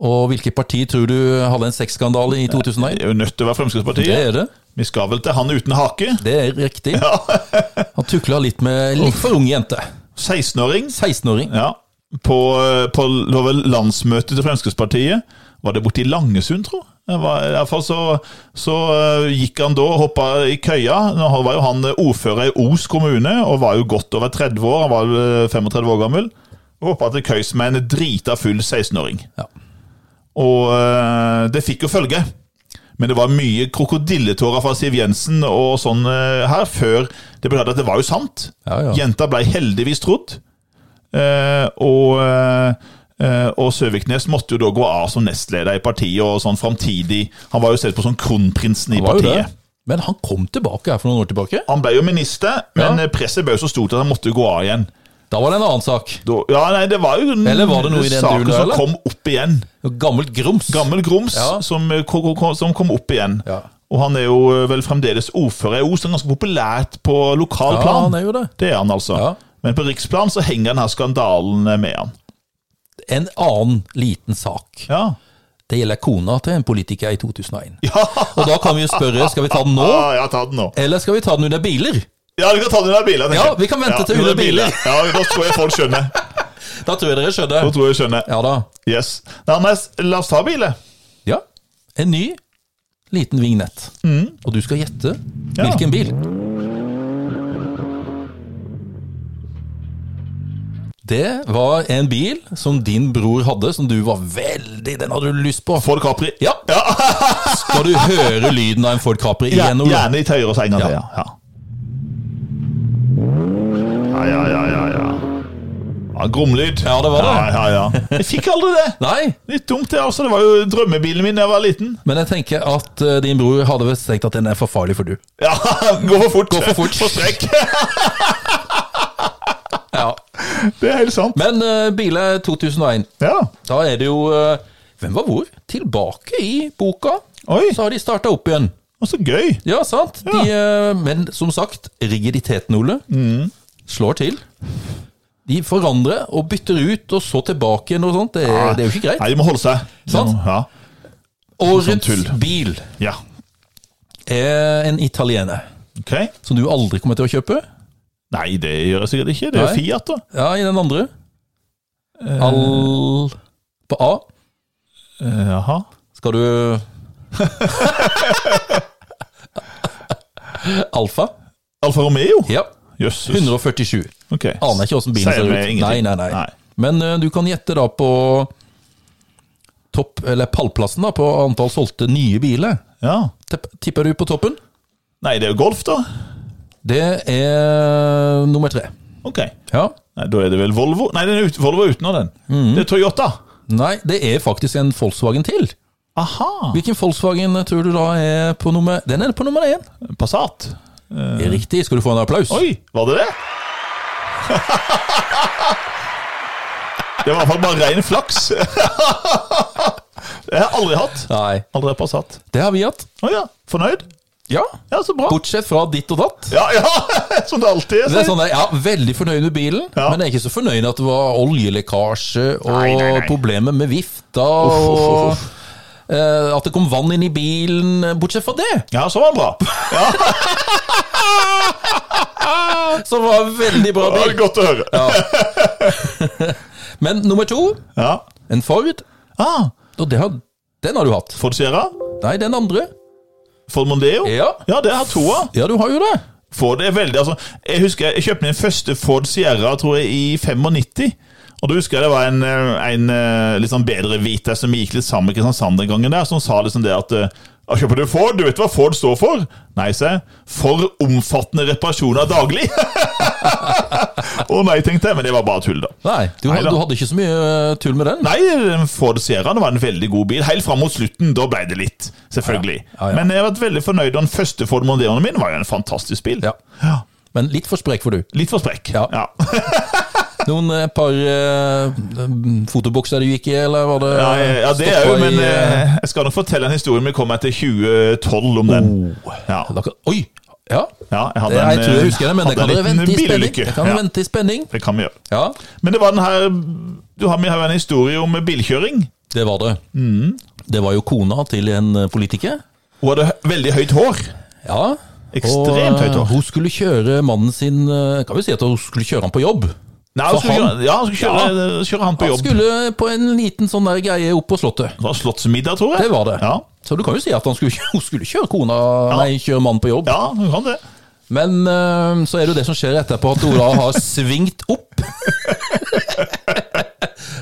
[SPEAKER 1] Og hvilket parti tror du hadde en sexskandale i 2001?
[SPEAKER 2] Det er jo nødt til å være
[SPEAKER 1] Det
[SPEAKER 2] Fremskrittspartiet.
[SPEAKER 1] er det.
[SPEAKER 2] Vi skal vel til han uten hake.
[SPEAKER 1] Det er riktig. Han tukla litt med litt for unge jente.
[SPEAKER 2] 16-åring.
[SPEAKER 1] 16-åring.
[SPEAKER 2] Ja. På, eh, på det var vel landsmøtet til Fremskrittspartiet. Var det borti Langesund, tro? Det var- I hvert fall så, så eh, gikk han da og hoppa i køya. Nå var jo han eh, ordfører i Os kommune og var jo godt over 30 år. Han var vel eh, 35 år gammel. Og hoppa til køys med en drita full 16-åring.
[SPEAKER 1] Ja.
[SPEAKER 2] Og eh, det fikk jo følge. Men det var mye krokodilletårer fra Siv Jensen og sånn eh, her før det ble klart at det var jo sant.
[SPEAKER 1] Ja, ja.
[SPEAKER 2] Jenta ble heldigvis trodd. Eh, og, eh, eh, og Søviknes måtte jo da gå av som nestleder i partiet, og sånn framtidig Han var jo sett på som kronprinsen i
[SPEAKER 1] Det var jo det.
[SPEAKER 2] partiet.
[SPEAKER 1] Men han kom tilbake her for noen år tilbake.
[SPEAKER 2] Han ble jo minister,
[SPEAKER 1] Ja.
[SPEAKER 2] men eh, presset ble jo så stort at han måtte gå av igjen.
[SPEAKER 1] Da var det en annen sak.
[SPEAKER 2] Da, ja, nei, det var jo
[SPEAKER 1] Eller var det noe i den
[SPEAKER 2] saken
[SPEAKER 1] duren,
[SPEAKER 2] som
[SPEAKER 1] eller?
[SPEAKER 2] kom opp igjen.
[SPEAKER 1] Gammelt grums.
[SPEAKER 2] Gammel grums
[SPEAKER 1] Ja.
[SPEAKER 2] som, eh, ko- ko- ko- som kom opp igjen.
[SPEAKER 1] Ja.
[SPEAKER 2] Og han er jo eh, vel fremdeles ordfører i Os, han er ganske populært på lokal
[SPEAKER 1] Ja,
[SPEAKER 2] plan.
[SPEAKER 1] han er jo det.
[SPEAKER 2] Det er han altså.
[SPEAKER 1] Ja.
[SPEAKER 2] Men på riksplan så henger denne skandalen eh, med han.
[SPEAKER 1] En annen liten sak.
[SPEAKER 2] Ja.
[SPEAKER 1] Det gjelder kona til en politiker i 2001.
[SPEAKER 2] Ja,
[SPEAKER 1] Og da kan vi jo spørre, skal vi ta den nå,
[SPEAKER 2] ah, jeg har tatt den nå.
[SPEAKER 1] eller skal vi ta den under biler?
[SPEAKER 2] Ja, vi kan ta den under bilen. tenker
[SPEAKER 1] Ja,
[SPEAKER 2] jeg.
[SPEAKER 1] vi kan vente til under bilen.
[SPEAKER 2] Ja, da tror jeg folk skjønner.
[SPEAKER 1] Da tror jeg dere
[SPEAKER 2] Da
[SPEAKER 1] skjønner.
[SPEAKER 2] tror jeg skjønner.
[SPEAKER 1] Ja da.
[SPEAKER 2] Yes. Nei, men la oss ta bilen.
[SPEAKER 1] Ja. En ny liten vignett. Og du skal gjette
[SPEAKER 2] Mm. Ja.
[SPEAKER 1] hvilken bil. Det var en bil som din bror hadde, som du var veldig Den hadde du lyst på.
[SPEAKER 2] Ford Capri.
[SPEAKER 1] Ja. Skal du høre lyden av en Ford Capri
[SPEAKER 2] Ja,
[SPEAKER 1] igjen, Ole?
[SPEAKER 2] Gjerne i tøyer og senger til,
[SPEAKER 1] Ja.
[SPEAKER 2] ja. ja. Ja, ja, ja, ja, ja. Ja, Gromlyd.
[SPEAKER 1] Ja, det var det.
[SPEAKER 2] Ja, ja, ja. Jeg fikk aldri det.
[SPEAKER 1] Nei,
[SPEAKER 2] Litt dumt, det. altså. Det var jo drømmebilen min da jeg var liten.
[SPEAKER 1] men jeg tenker at eh, din bror hadde vel tenkt at den er for farlig for du.
[SPEAKER 2] Ja, Gå for fort.
[SPEAKER 1] Gå for fort.
[SPEAKER 2] På strekk.
[SPEAKER 1] Ja.
[SPEAKER 2] Det er helt sant.
[SPEAKER 1] Men eh, biler 2001,
[SPEAKER 2] Ja.
[SPEAKER 1] da er det jo eh, Hvem var hvor? Tilbake i boka.
[SPEAKER 2] Oi,
[SPEAKER 1] Så har de starta opp igjen.
[SPEAKER 2] og så gøy.
[SPEAKER 1] Ja, sant? De, eh, men som sagt, rigiditeten, Ole, slår til. De forandrer og bytter ut, og så tilbake igjen og sånt. Det, er- det er jo ikke greit.
[SPEAKER 2] Ah, Nei, de må holde seg.
[SPEAKER 1] Sant?
[SPEAKER 2] Ja. sånn
[SPEAKER 1] Årets
[SPEAKER 2] tull.
[SPEAKER 1] bil
[SPEAKER 2] ja.
[SPEAKER 1] er en italiener
[SPEAKER 2] Ok.
[SPEAKER 1] som du aldri kommer til å kjøpe.
[SPEAKER 2] Nei, det gjør jeg sikkert ikke. Det er
[SPEAKER 1] Nei.
[SPEAKER 2] Fiat, da.
[SPEAKER 1] Ja, i den andre. Al... På A.
[SPEAKER 2] Eh, Jaha.
[SPEAKER 1] Skal du Alfa.
[SPEAKER 2] Alfa Romeo?
[SPEAKER 1] Ja.
[SPEAKER 2] Jøsses.
[SPEAKER 1] 147.
[SPEAKER 2] Ok.
[SPEAKER 1] Aner ikke åssen bilen
[SPEAKER 2] Sier
[SPEAKER 1] ser ut.
[SPEAKER 2] meg
[SPEAKER 1] Nei,
[SPEAKER 2] ingenting.
[SPEAKER 1] nei, nei,
[SPEAKER 2] Nei.
[SPEAKER 1] Men ø, du kan gjette da på topp, eller pallplassen da, på antall solgte nye biler.
[SPEAKER 2] Ja.
[SPEAKER 1] Tipp- Tipper du på toppen?
[SPEAKER 2] Nei, det er jo Golf, da.
[SPEAKER 1] Det er nummer tre.
[SPEAKER 2] Ok.
[SPEAKER 1] Ja.
[SPEAKER 2] Nei, Da er det vel Volvo? Nei, den er ut, Volvo er utenom den.
[SPEAKER 1] Mhm.
[SPEAKER 2] Det er Toyota.
[SPEAKER 1] Nei, det er faktisk en Volkswagen til.
[SPEAKER 2] Aha.
[SPEAKER 1] Hvilken Volkswagen tror du da er på nummer Den er på nummer én.
[SPEAKER 2] Passat.
[SPEAKER 1] Det er Riktig. Skal du få en applaus?
[SPEAKER 2] Eh. Oi, var det det? det var i hvert fall bare ren flaks. det har jeg aldri hatt.
[SPEAKER 1] Nei.
[SPEAKER 2] Aldri hatt Passat.
[SPEAKER 1] Det har vi hatt.
[SPEAKER 2] Å ja, fornøyd?
[SPEAKER 1] Ja.
[SPEAKER 2] Ja, så bra.
[SPEAKER 1] Bortsett fra ditt og datt.
[SPEAKER 2] Ja, ja, som det alltid er.
[SPEAKER 1] Det er
[SPEAKER 2] sier.
[SPEAKER 1] sånn der, ja, Veldig fornøyd med bilen,
[SPEAKER 2] Ja.
[SPEAKER 1] men jeg er ikke så fornøyd at det var oljelekkasje og
[SPEAKER 2] Nei, nei, nei.
[SPEAKER 1] problemer med vifta
[SPEAKER 2] Uff,
[SPEAKER 1] og
[SPEAKER 2] uff, uff.
[SPEAKER 1] eh, at det kom vann inn i bilen. Bortsett fra det,
[SPEAKER 2] Ja, så var den bra.
[SPEAKER 1] som var en veldig bra
[SPEAKER 2] Det
[SPEAKER 1] bil.
[SPEAKER 2] var godt å høre. Ja.
[SPEAKER 1] Men nummer to, en Ford,
[SPEAKER 2] Ah,
[SPEAKER 1] og det har, den har du hatt.
[SPEAKER 2] Ford Sierra?
[SPEAKER 1] Nei, den andre.
[SPEAKER 2] Ford Mondeo?
[SPEAKER 1] Ja.
[SPEAKER 2] ja det har jeg to av.
[SPEAKER 1] Ja, du har jo det.
[SPEAKER 2] Ford er veldig, altså, jeg husker jeg kjøpte min første Ford Sierra tror jeg, i 95. Og da husker jeg det var en, eh, en eh, litt sånn bedre hvite som gikk litt sammen med Kristiansand den gangen der, som sa liksom det at eh, «Ja, Kjøper du Ford? Du vet hva Ford står for? Nei, sa jeg. For omfattende reparasjoner daglig. Å nei, tenkte jeg, men det var bare tull, da.
[SPEAKER 1] Nei, du,
[SPEAKER 2] Nei da.
[SPEAKER 1] du hadde ikke så mye eh, tull med den.
[SPEAKER 2] Nei, den Ford Sierra det var en veldig god bil. Helt fram mot slutten, da ble det litt, selvfølgelig.
[SPEAKER 1] Ja, ja.
[SPEAKER 2] Men jeg har vært veldig fornøyd, og den første Ford Mondeoen min var jo en fantastisk bil.
[SPEAKER 1] Ja.
[SPEAKER 2] Ja.
[SPEAKER 1] Men litt for sprek for du.
[SPEAKER 2] Litt for sprekk.
[SPEAKER 1] Ja.
[SPEAKER 2] Ja.
[SPEAKER 1] Noen eh, par eh, fotobokser du gikk i, eller var det
[SPEAKER 2] Ja, ja, ja, det er jo,
[SPEAKER 1] stoppa i,
[SPEAKER 2] men
[SPEAKER 1] eh,
[SPEAKER 2] eh, jeg skal nok fortelle en historie om vi kommer etter 2012 om den. Ja,
[SPEAKER 1] da kan- Oi! Ja.
[SPEAKER 2] ja jeg hadde
[SPEAKER 1] Det, Oh. jeg tror jeg
[SPEAKER 2] eh,
[SPEAKER 1] husker det, men det
[SPEAKER 2] hadde
[SPEAKER 1] kan
[SPEAKER 2] en
[SPEAKER 1] dere
[SPEAKER 2] liten
[SPEAKER 1] vente i spenning.
[SPEAKER 2] bilulykke.
[SPEAKER 1] Det kan
[SPEAKER 2] ja,
[SPEAKER 1] dere vente i spenning.
[SPEAKER 2] det kan vi gjøre.
[SPEAKER 1] Ja.
[SPEAKER 2] Men det var den her Du har med her en historie om bilkjøring.
[SPEAKER 1] Det var det.
[SPEAKER 2] Mm.
[SPEAKER 1] Det var jo kona til en eh, politiker.
[SPEAKER 2] Hun hadde hø- veldig høyt hår.
[SPEAKER 1] Ja.
[SPEAKER 2] Ekstremt
[SPEAKER 1] og, eh,
[SPEAKER 2] høyt hår.
[SPEAKER 1] Hun skulle kjøre mannen sin eh, Kan vi si at hun skulle kjøre han på jobb?
[SPEAKER 2] Nei, hun
[SPEAKER 1] For
[SPEAKER 2] skulle
[SPEAKER 1] han-
[SPEAKER 2] kjøre, ja, hun skulle kjøre, eh, kjøre han på
[SPEAKER 1] Han
[SPEAKER 2] jobb.
[SPEAKER 1] skulle på en liten sånn der greie opp på Slottet.
[SPEAKER 2] Det var slottsmiddag, tror jeg.
[SPEAKER 1] Det var det.
[SPEAKER 2] Ja,
[SPEAKER 1] Så du kan jo si at han skulle, hun skulle kjøre kona Nei, kjøre mannen på jobb.
[SPEAKER 2] ja hun kan det.
[SPEAKER 1] Men eh, så er det jo det som skjer etterpå, at hun da har svingt opp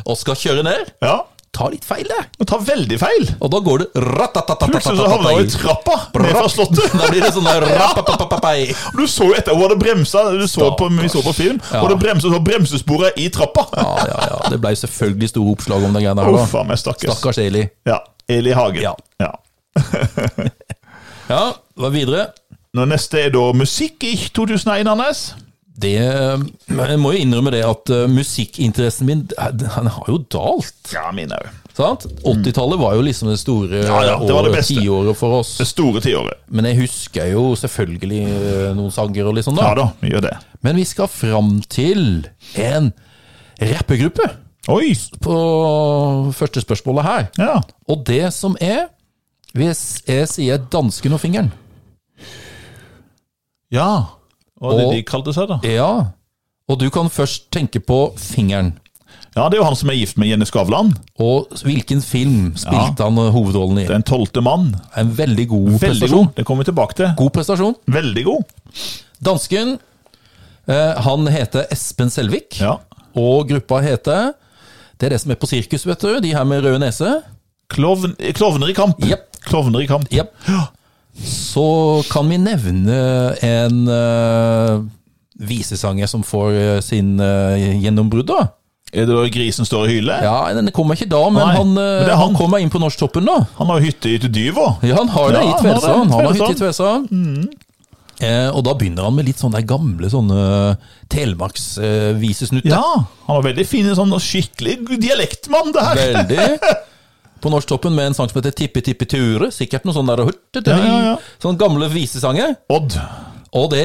[SPEAKER 1] og skal kjøre ned.
[SPEAKER 2] Ja.
[SPEAKER 1] Ta litt feil, det.
[SPEAKER 2] Hun tar veldig feil.
[SPEAKER 1] Og da går det
[SPEAKER 2] Plutselig så havna hun i
[SPEAKER 1] ratatatatatatai.
[SPEAKER 2] trappa ned fra slottet.
[SPEAKER 1] Da blir det sånn der rapapapapai.
[SPEAKER 2] Du så jo etter, Hun hadde bremsa, du så på, vi så på film,
[SPEAKER 1] Ja.
[SPEAKER 2] og det bremsa så bremsesporet i trappa.
[SPEAKER 1] Ja, ja, ja. Det ble selvfølgelig store oppslag om den greia her.
[SPEAKER 2] Uff
[SPEAKER 1] da.
[SPEAKER 2] a meg, stakkars.
[SPEAKER 1] Stakkars Eli.
[SPEAKER 2] Ja, Eli Hagen.
[SPEAKER 1] Ja.
[SPEAKER 2] Ja.
[SPEAKER 1] Ja, hva videre?
[SPEAKER 2] Nå Neste er da musikk i 2001, Anders.
[SPEAKER 1] Det Jeg må jo innrømme det at eh, musikkinteressen min den har jo dalt.
[SPEAKER 2] Ja, min òg.
[SPEAKER 1] Sant? 80-tallet var jo liksom det store
[SPEAKER 2] Ja, ja, det var det
[SPEAKER 1] året-
[SPEAKER 2] beste.
[SPEAKER 1] tiåret for oss.
[SPEAKER 2] Det store tiåret.
[SPEAKER 1] Men jeg husker jo selvfølgelig eh, noen sanger og litt sånn,
[SPEAKER 2] Ja
[SPEAKER 1] da.
[SPEAKER 2] da, vi gjør det.
[SPEAKER 1] Men vi skal fram til en rappegruppe
[SPEAKER 2] Oi!
[SPEAKER 1] på første spørsmålet her.
[SPEAKER 2] Ja.
[SPEAKER 1] Og det som er Hvis jeg sier dansken og fingeren
[SPEAKER 2] ja. Hva var det
[SPEAKER 1] Og-
[SPEAKER 2] de kalte seg, da?
[SPEAKER 1] Ja. Og du kan først tenke på fingeren.
[SPEAKER 2] Ja, Det er jo han som er gift med Jenny Skavlan.
[SPEAKER 1] Og hvilken film spilte han eh, hovedrollen i?
[SPEAKER 2] Den tolvte mann.
[SPEAKER 1] En veldig god
[SPEAKER 2] Veldig
[SPEAKER 1] prestasjon.
[SPEAKER 2] god. Det kommer vi tilbake til.
[SPEAKER 1] God prestasjon.
[SPEAKER 2] Veldig god.
[SPEAKER 1] Dansken eh, han heter Espen Selvik,
[SPEAKER 2] Ja.
[SPEAKER 1] og gruppa heter Det er det som er på sirkus, vet du. De her med rød nese.
[SPEAKER 2] Klovn, eh, klovner i kamp.
[SPEAKER 1] Jepp.
[SPEAKER 2] Klovner i kamp.
[SPEAKER 1] Jepp. Så kan vi nevne en eh, visesanger som får eh, sin eh, gjennombrudd, da.
[SPEAKER 2] Er det da grisen står og hyler?
[SPEAKER 1] Ja, Den kommer ikke da, men
[SPEAKER 2] Nei,
[SPEAKER 1] han,
[SPEAKER 2] men
[SPEAKER 1] eh,
[SPEAKER 2] det er
[SPEAKER 1] han.
[SPEAKER 2] han.
[SPEAKER 1] kommer inn på Norsktoppen, da.
[SPEAKER 2] Han har jo hytte i Dyvå.
[SPEAKER 1] Ja, han har det
[SPEAKER 2] Ja,
[SPEAKER 1] i
[SPEAKER 2] han har det i
[SPEAKER 1] Tvedestrand. Han har hytte i
[SPEAKER 2] Tvedestrand. Mm.
[SPEAKER 1] Tvedestrand. Eh, og da begynner han med litt sånne gamle sånne eh, telemarksvisesnutter.
[SPEAKER 2] Ja, han var veldig fin, en sånn skikkelig dialektmann, det her.
[SPEAKER 1] Veldig. På Norsktoppen med en sang som heter Tippi Tippi Ture. Sikkert noe sånn der hurtetøy.
[SPEAKER 2] Ja, ja, ja.
[SPEAKER 1] Sånne gamle visesanger.
[SPEAKER 2] Odd.
[SPEAKER 1] Og, det,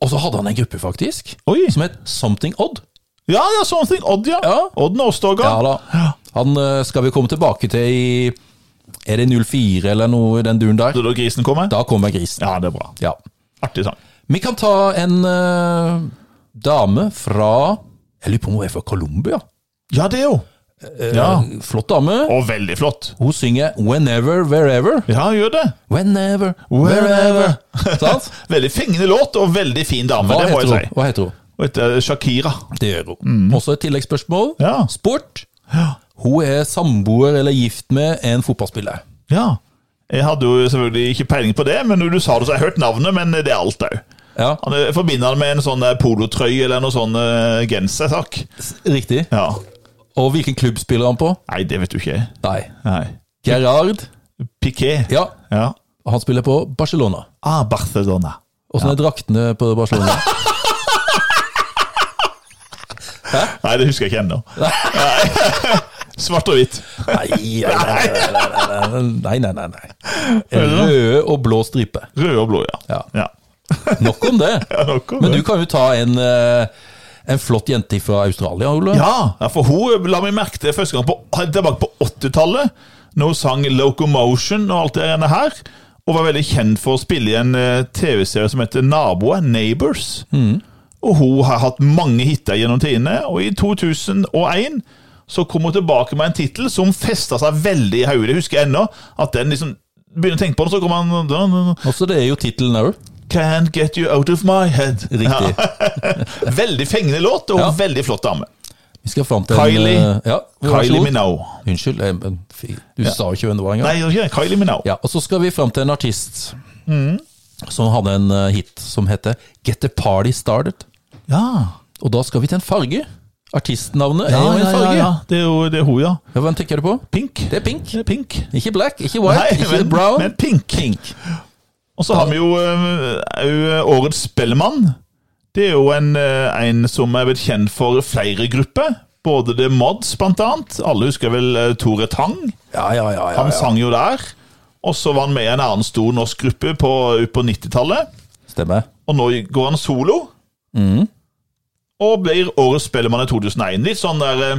[SPEAKER 1] og så hadde han en gruppe, faktisk,
[SPEAKER 2] Oi.
[SPEAKER 1] som het Something Odd.
[SPEAKER 2] Ja, ja, sånne ting. Odd, ja.
[SPEAKER 1] Ja.
[SPEAKER 2] Odd Nåstoga.
[SPEAKER 1] Ja da. Han eh, skal vi komme tilbake til i Er det 04 eller noe i den duren der?
[SPEAKER 2] Da, da grisen kommer?
[SPEAKER 1] Da kommer grisen.
[SPEAKER 2] Ja, det er bra.
[SPEAKER 1] Ja.
[SPEAKER 2] Artig sang.
[SPEAKER 1] Vi kan ta en eh, dame fra Jeg lurer på om hun er fra Colombia.
[SPEAKER 2] Ja, det er jo. ja.
[SPEAKER 1] Eh, Flott dame.
[SPEAKER 2] Og veldig flott.
[SPEAKER 1] Hun synger 'Whenever, Wherever'.
[SPEAKER 2] Ja, han gjør det.
[SPEAKER 1] Whenever,
[SPEAKER 2] Wherever.
[SPEAKER 1] wherever. Sant?
[SPEAKER 2] Veldig fengende låt, og veldig fin dame,
[SPEAKER 1] Hva
[SPEAKER 2] det må
[SPEAKER 1] heter
[SPEAKER 2] jeg
[SPEAKER 1] hun?
[SPEAKER 2] si.
[SPEAKER 1] Hva heter hun?
[SPEAKER 2] Og etter Shakira.
[SPEAKER 1] Det gjør hun. Også et tilleggsspørsmål.
[SPEAKER 2] Ja.
[SPEAKER 1] Sport. Hun er samboer eller gift med en fotballspiller.
[SPEAKER 2] Ja. Jeg hadde jo selvfølgelig ikke peiling på det, men når du sa det, så har jeg hørt navnet, men det er alt òg.
[SPEAKER 1] Ja,
[SPEAKER 2] Jeg forbinder det med en sånn eh, polotrøye eller noe sånn eh, gensersak.
[SPEAKER 1] s- Riktig.
[SPEAKER 2] Ja.
[SPEAKER 1] Og hvilken klubb spiller han på?
[SPEAKER 2] Nei, det vet du ikke.
[SPEAKER 1] Nei.
[SPEAKER 2] Nei.
[SPEAKER 1] Gerard.
[SPEAKER 2] Piquet.
[SPEAKER 1] Ja,
[SPEAKER 2] Ja.
[SPEAKER 1] han spiller på Barcelona.
[SPEAKER 2] Ah, Barcelona.
[SPEAKER 1] Åssen er draktene på Barcelona?
[SPEAKER 2] Nei, det husker jeg ikke ennå. Nei. Svart og hvitt.
[SPEAKER 1] Nei, nei, nei, nei, nei, nei, nei, nei. Røde og blå stripe.
[SPEAKER 2] Rød og blå, ja.
[SPEAKER 1] Ja.
[SPEAKER 2] ja.
[SPEAKER 1] Nok om det.
[SPEAKER 2] nok om
[SPEAKER 1] Men
[SPEAKER 2] det.
[SPEAKER 1] du kan jo ta en, eh, en flott jente fra Australia, Ole.
[SPEAKER 2] ja. ja, for hun la meg merke til første gang på, helt tilbake på 80-tallet, når hun sang 'Locomotion' og alt det greiene her. Og var veldig kjent for å spille i en eh, TV-serie som heter Naboer, 'Neighbors'.
[SPEAKER 1] Mm.
[SPEAKER 2] Og hun har hatt mange hiter gjennom tidene, og i 2001 så kom hun tilbake med en tittel som festa seg veldig i hodet. Jeg husker ennå at den liksom Begynner å tenke på den, så kommer han
[SPEAKER 1] Også det er jo tittelen òg.
[SPEAKER 2] Can't get you out of my head.
[SPEAKER 1] Riktig.
[SPEAKER 2] Ja. veldig fengende låt, og
[SPEAKER 1] Ja.
[SPEAKER 2] veldig flott dame.
[SPEAKER 1] Vi skal fram til
[SPEAKER 2] Kylie.
[SPEAKER 1] En, eh, ja, vær så
[SPEAKER 2] Kylie
[SPEAKER 1] god.
[SPEAKER 2] Minogue.
[SPEAKER 1] Unnskyld, jeg, men fy, du sa jo ikke hvem det var
[SPEAKER 2] Nei,
[SPEAKER 1] engang.
[SPEAKER 2] gjør ikke det. Kylie Minogue.
[SPEAKER 1] Ja, og så skal vi fram til en artist
[SPEAKER 2] Mm.
[SPEAKER 1] som hadde en eh, hit som heter 'Get the Party Started'.
[SPEAKER 2] Ja.
[SPEAKER 1] Og da skal vi til en farge. Artistnavnet
[SPEAKER 2] Ja,
[SPEAKER 1] er jo
[SPEAKER 2] ja,
[SPEAKER 1] en
[SPEAKER 2] ja,
[SPEAKER 1] farge.
[SPEAKER 2] ja. Det er jo det er hun, ja.
[SPEAKER 1] Ja, Hvem tenker du på?
[SPEAKER 2] Pink.
[SPEAKER 1] Det er pink.
[SPEAKER 2] Det er pink.
[SPEAKER 1] Ikke black, ikke white, ikke
[SPEAKER 2] men,
[SPEAKER 1] brown.
[SPEAKER 2] men pink. Og så har vi jo eh, eh, Årets Spellemann. Det er jo en, eh, en som er blitt kjent for flere grupper. Både The Mods, blant annet. Alle husker vel eh, Tore Tang.
[SPEAKER 1] Ja, ja, ja. ja, ja.
[SPEAKER 2] Han sang jo der. Og så var han med i en annen stor norsk gruppe på, ut på 90-tallet.
[SPEAKER 1] Stemmer.
[SPEAKER 2] Og nå går
[SPEAKER 1] Mm.
[SPEAKER 2] han solo. Og blir årets spellemann i 2001. Litt sånn der eh,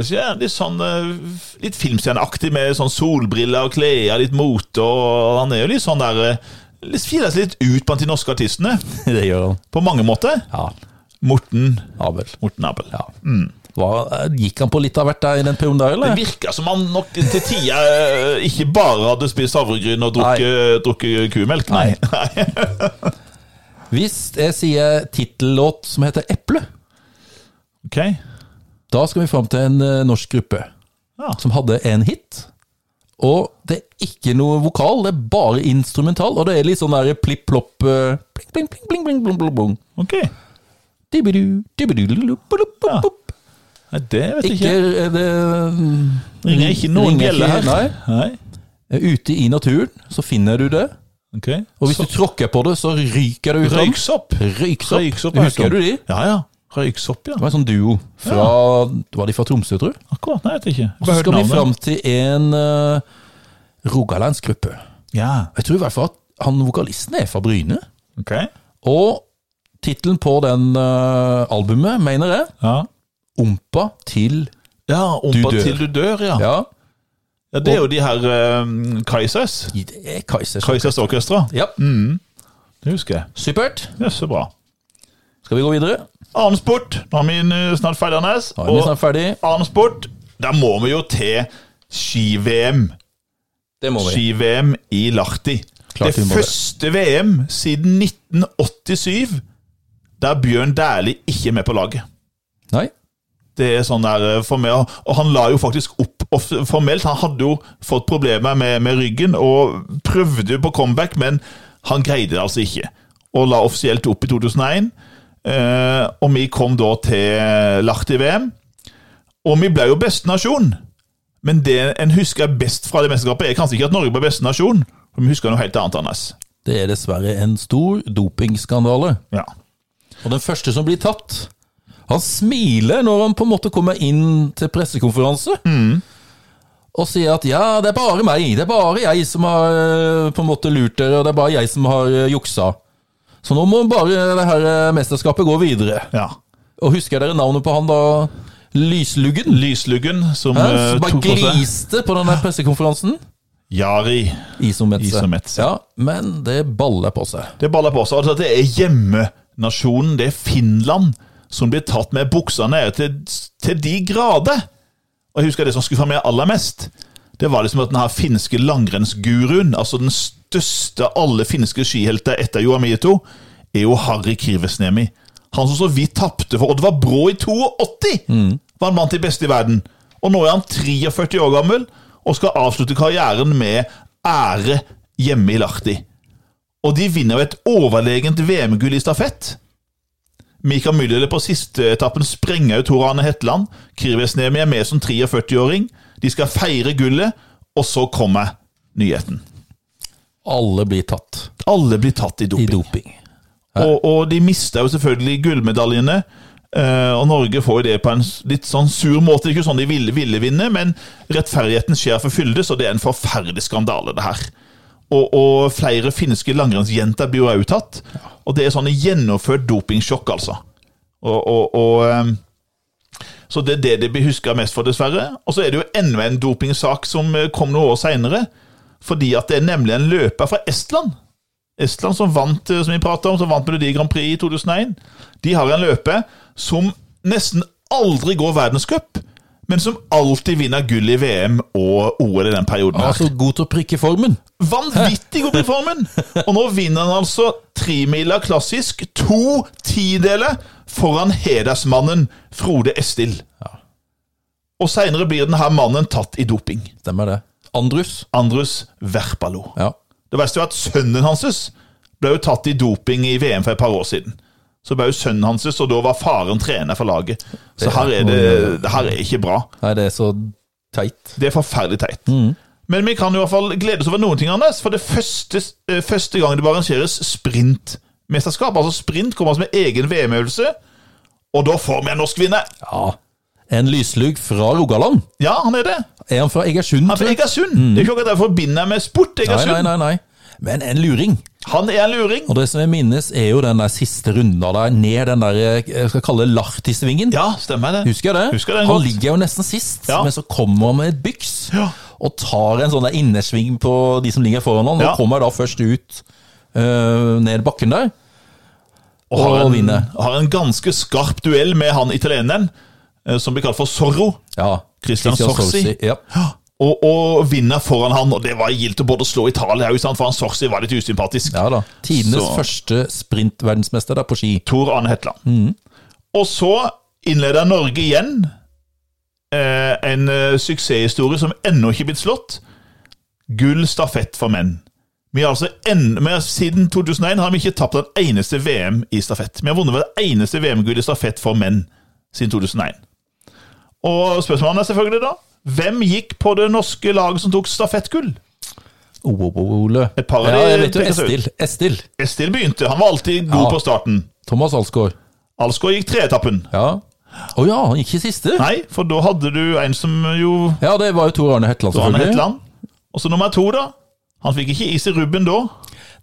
[SPEAKER 2] Så ja, litt sånn eh, Litt filmstjerneaktig med sånn solbriller og klær, litt mote. og Han er jo litt sånn der eh, litt Skiller seg litt ut blant de norske artistene,
[SPEAKER 1] Det gjør han.
[SPEAKER 2] på mange måter.
[SPEAKER 1] Ja.
[SPEAKER 2] Morten
[SPEAKER 1] Abel.
[SPEAKER 2] Morten Abel.
[SPEAKER 1] Ja. Hva, eh, gikk han på litt av hvert der i den perioden der,
[SPEAKER 2] Det
[SPEAKER 1] eller?
[SPEAKER 2] virka som han nok til tider eh, ikke bare hadde spist havregryn og drukket, drukket kumelk. Nei. Nei.
[SPEAKER 1] Hvis jeg sier tittellåt som heter Eple,
[SPEAKER 2] Ok.
[SPEAKER 1] da skal vi fram til en eh, norsk gruppe
[SPEAKER 2] Ja.
[SPEAKER 1] som hadde en hit. Og det er ikke noe vokal, det er bare instrumental, og det er litt sånn der plipp-plopp eh, pling, pling, pling, pling, pling, pling, pling, pling.
[SPEAKER 2] ok.
[SPEAKER 1] Dibidu, dibidu, lulu, bulu, bup,
[SPEAKER 2] Ja.
[SPEAKER 1] bup.
[SPEAKER 2] Nei, det vet jeg
[SPEAKER 1] Ikke
[SPEAKER 2] ikke.
[SPEAKER 1] eh, det
[SPEAKER 2] Ringer ikke noen
[SPEAKER 1] ringer
[SPEAKER 2] bjelle
[SPEAKER 1] ikke-
[SPEAKER 2] her.
[SPEAKER 1] Nei. Eh,
[SPEAKER 2] Nei.
[SPEAKER 1] Ute i naturen så finner du det.
[SPEAKER 2] Ok.
[SPEAKER 1] Og hvis
[SPEAKER 2] Så-
[SPEAKER 1] du tråkker på det, så ryker det ut. av den.
[SPEAKER 2] Røyksopp.
[SPEAKER 1] Røyksopp.
[SPEAKER 2] Røyksopp,
[SPEAKER 1] Husker
[SPEAKER 2] røyksopp.
[SPEAKER 1] du de?
[SPEAKER 2] Ja, ja. Røyksopp, ja.
[SPEAKER 1] Det var en sånn duo fra Var de fra Tromsø, tror jeg?
[SPEAKER 2] Akkurat. Nei, jeg vet ikke.
[SPEAKER 1] Og så skal vi
[SPEAKER 2] navnet.
[SPEAKER 1] fram til en eh, rogalandsgruppe.
[SPEAKER 2] Ja.
[SPEAKER 1] Jeg tror i hvert fall at han vokalisten er fra Bryne.
[SPEAKER 2] Ok.
[SPEAKER 1] Og tittelen på den eh, albumet, mener jeg,
[SPEAKER 2] Ja.
[SPEAKER 1] Ompa til
[SPEAKER 2] Ja, Ompa
[SPEAKER 1] dør.
[SPEAKER 2] til du dør, ja. ja.
[SPEAKER 1] Ja,
[SPEAKER 2] Det er jo de her um, Kaizers.
[SPEAKER 1] det er Mm. Kaizers.
[SPEAKER 2] Kaizers Orkestra.
[SPEAKER 1] Ja,
[SPEAKER 2] Det husker jeg.
[SPEAKER 1] supert.
[SPEAKER 2] Det er så bra.
[SPEAKER 1] Skal vi gå videre?
[SPEAKER 2] Annen sport. Nå er vi eh, snart ferdig, Anders.
[SPEAKER 1] Da er vi snart ferdig.
[SPEAKER 2] annen sport, da må vi jo til ski-VM.
[SPEAKER 1] Det må vi.
[SPEAKER 2] Ski-VM i Lahti.
[SPEAKER 1] Klart vi
[SPEAKER 2] det
[SPEAKER 1] må det.
[SPEAKER 2] første VM siden 1987 der Bjørn Dæhlie ikke er med på laget.
[SPEAKER 1] Nei.
[SPEAKER 2] Det er sånn der eh, for meg, Og han la jo faktisk opp og f- formelt. Han hadde jo fått problemer med, med ryggen og prøvde jo på comeback, men han greide det altså ikke. Og la offisielt opp i 2001. Eh, og vi kom da til Lahti-VM. Og vi ble jo beste nasjon. Men det en husker best fra det mesterskapet, er kanskje ikke at Norge ble beste nasjon. For vi husker noe helt annet, Anders.
[SPEAKER 1] Det er dessverre en stor dopingskandale.
[SPEAKER 2] Ja.
[SPEAKER 1] Og den første som blir tatt, han smiler når han på en måte kommer inn til pressekonferanse. Og sier at ja, det er bare meg, det er bare jeg som har eh, på en måte lurt dere, og det er bare jeg som har eh, juksa. Så nå må bare det her eh, mesterskapet gå videre.
[SPEAKER 2] ja.
[SPEAKER 1] Og husker dere navnet på han da? Lysluggen?
[SPEAKER 2] Lysluggen som
[SPEAKER 1] Hæ?
[SPEAKER 2] eh,
[SPEAKER 1] Som bare
[SPEAKER 2] tok på seg
[SPEAKER 1] gliste på den der pressekonferansen?
[SPEAKER 2] Jari.
[SPEAKER 1] Isometse.
[SPEAKER 2] Isometse.
[SPEAKER 1] Ja, men det baller på seg.
[SPEAKER 2] Det baller på seg. Altså, det er hjemmenasjonen, det er Finland, som blir tatt med buksa nede til, til de grader. Og jeg husker det som skuffa meg aller mest, det var liksom at den her finske langrennsguruen, altså den største av alle finske skihelter etter Johan Mieto, er jo Harry Krivesnemi. Han som så vidt tapte for Oddvar Brå i 82, var en mann til beste i verden. Og nå er han 43 år gammel og skal avslutte karrieren med ære hjemme i Lahti. Og de vinner jo et overlegent VM-gull i stafett. Mikael Müller på siste etappen sprenger ut Tor Arne Hetland. Kirvesnemi er med som 43-åring. De skal feire gullet, og så kommer nyheten.
[SPEAKER 1] Alle blir tatt
[SPEAKER 2] Alle blir tatt i
[SPEAKER 1] i
[SPEAKER 2] doping.
[SPEAKER 1] doping.
[SPEAKER 2] Og, og de mister jo selvfølgelig gullmedaljene. eh, og Norge får jo det på en s- litt sånn sur måte. Det er ikke sånn de ville, ville vinne, men rettferdigheten skjer for fylde, så det er en forferdelig skandale, det her. Og, og flere finske langrennsjenter blir jo også tatt. Og det er sånn gjennomført dopingsjokk, altså. Og, og, og eh, så det er det det blir huska mest for, dessverre. Og så er det jo enda en dopingsak som eh, kom noen år seinere. Fordi at det er nemlig en løper fra Estland. Estland som vant eh, som vi pratet om, som vant Melodi Grand Prix i 2001. De har en løper som nesten aldri går verdenscup, men som alltid vinner gull i VM og OL i den perioden. her.
[SPEAKER 1] Altså god til å prikke formen.
[SPEAKER 2] Vanvittig god i formen! Og nå vinner han altså tremila klassisk to tideler foran hedersmannen Frode Estil. Og seinere blir denne mannen tatt i doping.
[SPEAKER 1] Stemmer det. Andrus.
[SPEAKER 2] Andrus Verpalo.
[SPEAKER 1] Ja.
[SPEAKER 2] Det verste var at sønnen hans ble jo tatt i doping i VM for et par år siden. Så ble jo sønnen hans, og da var faren trener for laget. Så her er det, det her er ikke bra.
[SPEAKER 1] Nei, det er så teit.
[SPEAKER 2] Det er forferdelig teit.
[SPEAKER 1] Mm.
[SPEAKER 2] Men vi kan i hvert fall glede oss over noen ting, Anders. For det første, eh, første gang det bør arrangeres sprintmesterskap. Altså sprint kommer som en egen VM-øvelse. Og da får vi en norsk vinner!
[SPEAKER 1] Ja. En lyslugg fra Rogaland.
[SPEAKER 2] Ja, han er det.
[SPEAKER 1] Er han fra Egersund?
[SPEAKER 2] Han er
[SPEAKER 1] tror
[SPEAKER 2] fra
[SPEAKER 1] jeg?
[SPEAKER 2] Egersund. Det er ikke akkurat det jeg forbinder med sport.
[SPEAKER 1] Mm. Nei,
[SPEAKER 2] Egersund.
[SPEAKER 1] nei, nei, nei. men en luring.
[SPEAKER 2] Han er en luring!
[SPEAKER 1] Og det som jeg minnes, er jo den der siste runden av deg, ned den der eh, jeg skal kalle det lartisvingen.
[SPEAKER 2] Ja, stemmer det.
[SPEAKER 1] Husker jeg det?
[SPEAKER 2] Husker den
[SPEAKER 1] han
[SPEAKER 2] godt.
[SPEAKER 1] ligger jo nesten sist,
[SPEAKER 2] Ja.
[SPEAKER 1] men så kommer han med et byks
[SPEAKER 2] Ja.
[SPEAKER 1] og tar en sånn der innersving på de som ligger foran han,
[SPEAKER 2] Ja.
[SPEAKER 1] og kommer da først ut øh, ned bakken der.
[SPEAKER 2] Og har
[SPEAKER 1] Og
[SPEAKER 2] en,
[SPEAKER 1] vinner.
[SPEAKER 2] har en ganske skarp duell med han italieneren, eh, som blir kalt for Zorro.
[SPEAKER 1] Ja.
[SPEAKER 2] Christian Sorsi.
[SPEAKER 1] Ja.
[SPEAKER 2] Og, og vinner foran han, og det var gildt å både slå Italia, ikke sant? for han Sorsi var litt usympatisk.
[SPEAKER 1] ja da. Tidenes
[SPEAKER 2] Så-
[SPEAKER 1] første sprintverdensmester der på ski.
[SPEAKER 2] Tor Arne Hetland. Og så innleder Norge igjen eh, en eh, suksesshistorie som ennå ikke er blitt slått. Gull stafett for menn. Vi har altså enn- vi har, siden 2001 har vi ikke tapt en eneste VM i stafett. Vi har vunnet hvert eneste VM-gull i stafett for menn siden 2001. Og spørsmålet er selvfølgelig da Hvem gikk på det norske laget som tok stafettgull?
[SPEAKER 1] Oh, oh, oh, Ole.
[SPEAKER 2] Et par av
[SPEAKER 1] ja,
[SPEAKER 2] de
[SPEAKER 1] jeg vet jo
[SPEAKER 2] peker seg ut.
[SPEAKER 1] Estil. Estil.
[SPEAKER 2] Estil begynte. Han var alltid god
[SPEAKER 1] Ja.
[SPEAKER 2] på starten.
[SPEAKER 1] Thomas Alsgaard.
[SPEAKER 2] Alsgaard gikk treetappen.
[SPEAKER 1] Ja. Å ja, han gikk i siste?
[SPEAKER 2] Nei, for da hadde du en som jo
[SPEAKER 1] Ja, det var jo Tor Arne Hetland,
[SPEAKER 2] Arne
[SPEAKER 1] selvfølgelig.
[SPEAKER 2] Hetland. Og så nummer to, da. Han fikk ikke is i rubben da.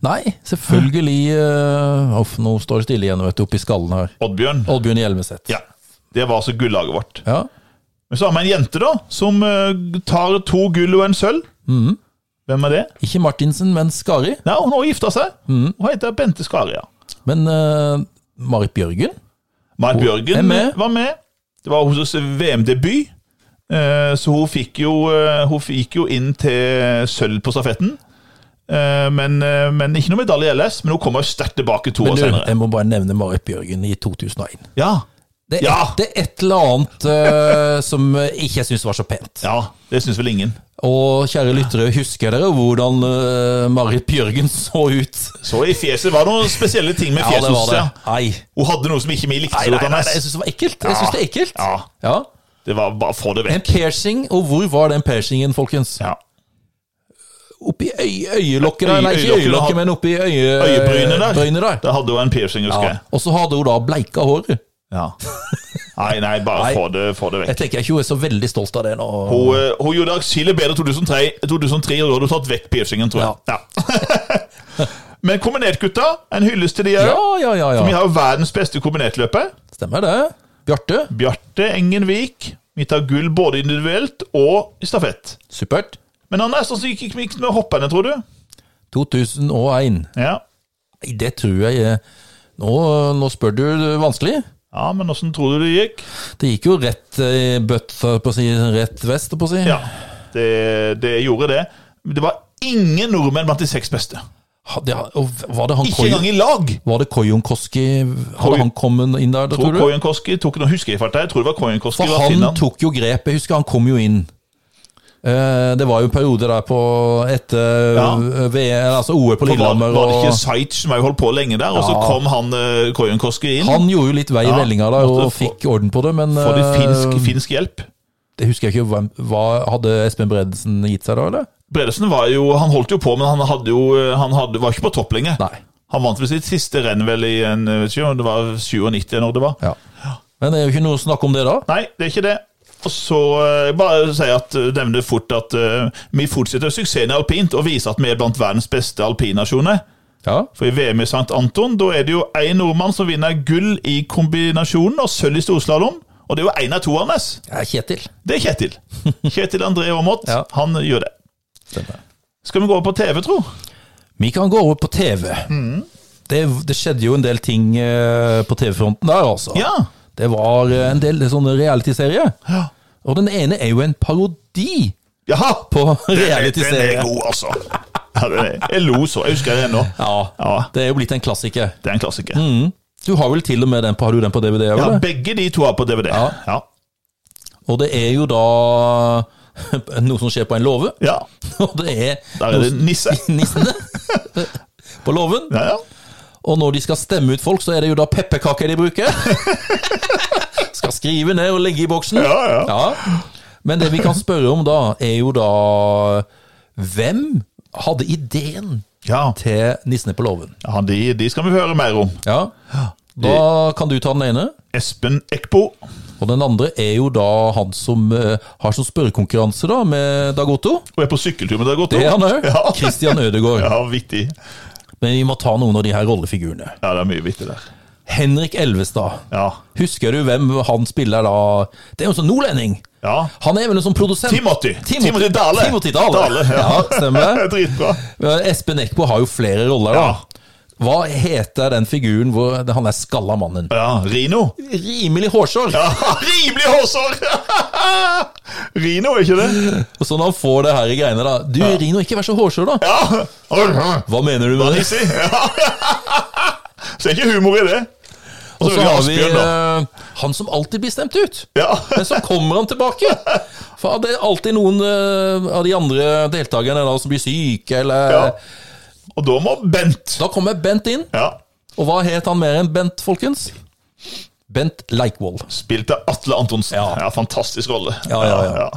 [SPEAKER 1] Nei, selvfølgelig eh, Uff, nå står det stille igjen, vet du, oppi skallen her.
[SPEAKER 2] Oddbjørn.
[SPEAKER 1] Oddbjørn Hjelmeset.
[SPEAKER 2] Ja. Det var altså gullaget vårt.
[SPEAKER 1] Ja.
[SPEAKER 2] Men så har vi en jente, da, som eh, tar to gull og en sølv.
[SPEAKER 1] Mm.
[SPEAKER 2] Hvem er det?
[SPEAKER 1] Ikke Martinsen, men Skari.
[SPEAKER 2] Nei, hun har gifta seg.
[SPEAKER 1] Mm.
[SPEAKER 2] Hun heter Bente Skaria.
[SPEAKER 1] Men eh, Marit Bjørgen? er
[SPEAKER 2] Marit Bjørgen
[SPEAKER 1] med.
[SPEAKER 2] var med. Det var hennes VM-debut. Eh, Så hun fikk, jo, eh, hun fikk jo inn til sølv på stafetten. Eh, Men, eh, men ikke noe medalje i LS, men hun kommer sterkt tilbake to
[SPEAKER 1] Men
[SPEAKER 2] år
[SPEAKER 1] du,
[SPEAKER 2] senere.
[SPEAKER 1] jeg må bare nevne Marit Bjørgen i 2001.
[SPEAKER 2] Ja,
[SPEAKER 1] Det er,
[SPEAKER 2] Ja.
[SPEAKER 1] et, det er et eller annet eh, som ikke jeg syns var så pent.
[SPEAKER 2] ja det syns vel ingen.
[SPEAKER 1] Og kjære lyttere, husker dere hvordan eh, Marit Bjørgen så ut?
[SPEAKER 2] Så i fjeset var det noen spesielle ting med
[SPEAKER 1] Ja, det
[SPEAKER 2] fjeset.
[SPEAKER 1] var det.
[SPEAKER 2] Ja,
[SPEAKER 1] Nei.
[SPEAKER 2] Hun hadde noe som ikke vi likte
[SPEAKER 1] Nei,
[SPEAKER 2] så
[SPEAKER 1] nei, nei,
[SPEAKER 2] godt.
[SPEAKER 1] nei, jeg
[SPEAKER 2] Anders.
[SPEAKER 1] syns det var ekkelt. Jeg synes det er ekkelt.
[SPEAKER 2] Ja,
[SPEAKER 1] Ja.
[SPEAKER 2] det var bare få det
[SPEAKER 1] En
[SPEAKER 2] vekk.
[SPEAKER 1] piercing, og hvor var den piercingen, folkens?
[SPEAKER 2] Ja.
[SPEAKER 1] Oppi øy, øyelokket der, nei, ikke
[SPEAKER 2] Øyelokket,
[SPEAKER 1] øyelokket,
[SPEAKER 2] da.
[SPEAKER 1] men oppi øye,
[SPEAKER 2] Øyebrynet der.
[SPEAKER 1] brynet der.
[SPEAKER 2] Da hadde hun en piercing, husker
[SPEAKER 1] Ja.
[SPEAKER 2] jeg.
[SPEAKER 1] Og så hadde hun da bleika håret.
[SPEAKER 2] Ja. Nei, nei, bare
[SPEAKER 1] Nei.
[SPEAKER 2] få det, få det vekk.
[SPEAKER 1] Jeg tenker ikke hun er så veldig stolt av det nå.
[SPEAKER 2] Hun, eh, hun gjorde aksillet bedre i 2003, 2003, og da hadde hun tatt vekk piercingen, tror jeg. Ja. Men kombinertgutta, en hyllest til de òg.
[SPEAKER 1] Ja, ja, ja.
[SPEAKER 2] Vi
[SPEAKER 1] ja.
[SPEAKER 2] har jo verdens beste kombinertløper.
[SPEAKER 1] Stemmer det. Bjarte,
[SPEAKER 2] Bjarte Engenvik. Vi tar gull både individuelt og i stafett.
[SPEAKER 1] supert.
[SPEAKER 2] Men Anders, hvordan gikk det med hopperne, tror du?
[SPEAKER 1] 2001.
[SPEAKER 2] Ja,
[SPEAKER 1] Nei, det tror jeg er nå, nå spør du det vanskelig.
[SPEAKER 2] ja men hvordan tror du det gikk?
[SPEAKER 1] Det gikk jo rett eh, bøtt, holdt på å si, rett vest, holdt på å si.
[SPEAKER 2] Ja, det, det gjorde det. Men Det var ingen nordmenn blant de seks beste.
[SPEAKER 1] Ha- det- og var det han
[SPEAKER 2] Ikke
[SPEAKER 1] Koy,
[SPEAKER 2] engang i lag!
[SPEAKER 1] Var det Kojonkoski Hadde
[SPEAKER 2] Koy-
[SPEAKER 1] han kommet inn der, da,
[SPEAKER 2] Og
[SPEAKER 1] tror du?
[SPEAKER 2] Kojankoski tok Nå husker jeg ikke farta, jeg tror det var Kojankoski.
[SPEAKER 1] For han tok jo grep. Jeg husker han kom jo inn. Eh, Det var jo en periode der på etter
[SPEAKER 2] Ja.
[SPEAKER 1] eh, VM, altså OL på
[SPEAKER 2] For var,
[SPEAKER 1] Lillehammer.
[SPEAKER 2] var det
[SPEAKER 1] og-
[SPEAKER 2] ikke Sajc som også holdt på lenge der, og så
[SPEAKER 1] Ja.
[SPEAKER 2] kom han eh, Kojankoski inn?
[SPEAKER 1] Han gjorde jo litt vei i
[SPEAKER 2] Ja,
[SPEAKER 1] vellinga der og
[SPEAKER 2] måtte få-
[SPEAKER 1] fikk orden på det, men
[SPEAKER 2] for
[SPEAKER 1] eh,
[SPEAKER 2] det finsk, finsk hjelp.
[SPEAKER 1] det husker jeg ikke. Hvem, hva, hadde Espen Bredesen gitt seg da, eller?
[SPEAKER 2] Bredesen var jo, han holdt jo på, men han, hadde jo, eh, han hadde, var ikke på topp lenger.
[SPEAKER 1] Nei.
[SPEAKER 2] Han vant vel sitt siste renn vel i en, jeg vet ikke, om det var 97 eller når det var.
[SPEAKER 1] Ja. Men det er jo ikke noe snakk om det da.
[SPEAKER 2] Nei, det er ikke det. Og så eh, bare si at eh, nevne fort at eh, vi fortsetter suksessen i alpint og viser at vi er blant verdens beste alpinnasjoner.
[SPEAKER 1] Ja.
[SPEAKER 2] For i VM i St. Anton da er det jo én nordmann som vinner gull i kombinasjonen og sølv i storslalåm. Og det er jo én av to, Anders.
[SPEAKER 1] Jeg er Kjetil.
[SPEAKER 2] Det er Kjetil. Kjetil André Aamodt.
[SPEAKER 1] Ja.
[SPEAKER 2] Han gjør det. Skal vi gå over på TV, tro?
[SPEAKER 1] Vi kan gå over på TV.
[SPEAKER 2] Mm.
[SPEAKER 1] Det, det skjedde jo en del ting eh, på TV-fronten der, altså.
[SPEAKER 2] Ja.
[SPEAKER 1] Det var eh, en del sånne reality-serier.
[SPEAKER 2] Ja.
[SPEAKER 1] Og den ene er jo en parodi
[SPEAKER 2] Jaha!
[SPEAKER 1] på
[SPEAKER 2] Den er
[SPEAKER 1] reality-serie.
[SPEAKER 2] god, altså. Ja, den er- Jeg lo så. Jeg husker det ennå.
[SPEAKER 1] Ja,
[SPEAKER 2] Ja,
[SPEAKER 1] det er jo blitt en klassiker.
[SPEAKER 2] det er en klassiker.
[SPEAKER 1] Mm, Du har vel til og med den på, har du den på DVD?
[SPEAKER 2] Ja,
[SPEAKER 1] eller?
[SPEAKER 2] begge de to er på DVD.
[SPEAKER 1] Ja.
[SPEAKER 2] Ja.
[SPEAKER 1] Og det er jo da noe som skjer på en låve,
[SPEAKER 2] ja.
[SPEAKER 1] og det er
[SPEAKER 2] Der er det nisse.
[SPEAKER 1] nissene på låven.
[SPEAKER 2] Ja, ja.
[SPEAKER 1] Og når de skal stemme ut folk, så er det jo da pepperkaker de bruker. Skal skrive ned og legge i boksen.
[SPEAKER 2] Ja, ja.
[SPEAKER 1] Ja. Men det vi kan spørre om da, er jo da Hvem hadde ideen
[SPEAKER 2] ja.
[SPEAKER 1] til Nissene på låven?
[SPEAKER 2] ja de, de skal vi høre mer om.
[SPEAKER 1] Ja. Da kan du ta den ene.
[SPEAKER 2] Espen Eckbo.
[SPEAKER 1] Og den andre er jo da han som eh, har som spørrekonkurranse da, med Dag Otto.
[SPEAKER 2] Og er på sykkeltur med deg, Otto.
[SPEAKER 1] Det er han òg.
[SPEAKER 2] Ja.
[SPEAKER 1] Christian Ødegaard.
[SPEAKER 2] ja, vittig.
[SPEAKER 1] Men vi må ta noen av de her rollefigurene.
[SPEAKER 2] Ja, det er mye vittig der.
[SPEAKER 1] Henrik Elvestad.
[SPEAKER 2] Ja.
[SPEAKER 1] Husker du hvem han spiller da? Det er jo en sånn nordlending.
[SPEAKER 2] ja.
[SPEAKER 1] Han er vel en sånn produsent.
[SPEAKER 2] Timothy.
[SPEAKER 1] Timothy,
[SPEAKER 2] Timothy Dale.
[SPEAKER 1] Timothy Dale.
[SPEAKER 2] ja.
[SPEAKER 1] Ja, stemmer.
[SPEAKER 2] Dritbra.
[SPEAKER 1] Eh, Espen Eckbo har jo flere roller, da. Hva heter den figuren hvor han er skalla mannen?
[SPEAKER 2] Ja, Rino.
[SPEAKER 1] Rimelig hårsår.
[SPEAKER 2] Ja, rimelig hårsår! Rino, er ikke det?
[SPEAKER 1] Og så når han får det her i greiene, da. Du, Rino, ikke vær så hårsår, da.
[SPEAKER 2] Ja.
[SPEAKER 1] Hva mener du med det?
[SPEAKER 2] Nissy. Ja. Så det er ikke humor i det.
[SPEAKER 1] Og så
[SPEAKER 2] vi
[SPEAKER 1] har vi
[SPEAKER 2] Asbjørn, da.
[SPEAKER 1] eh, han som alltid blir stemt ut.
[SPEAKER 2] Ja.
[SPEAKER 1] Men så kommer han tilbake. For det er alltid noen eh, av de andre deltakerne da, som blir syke, eller
[SPEAKER 2] Ja. Og da må Bent
[SPEAKER 1] Da kommer Bent inn.
[SPEAKER 2] ja.
[SPEAKER 1] Og hva het han mer enn Bent, folkens? Bent Leikvoll.
[SPEAKER 2] Spilt av Atle Antonsen.
[SPEAKER 1] Ja.
[SPEAKER 2] Ja. fantastisk rolle.
[SPEAKER 1] Ja, ja, ja.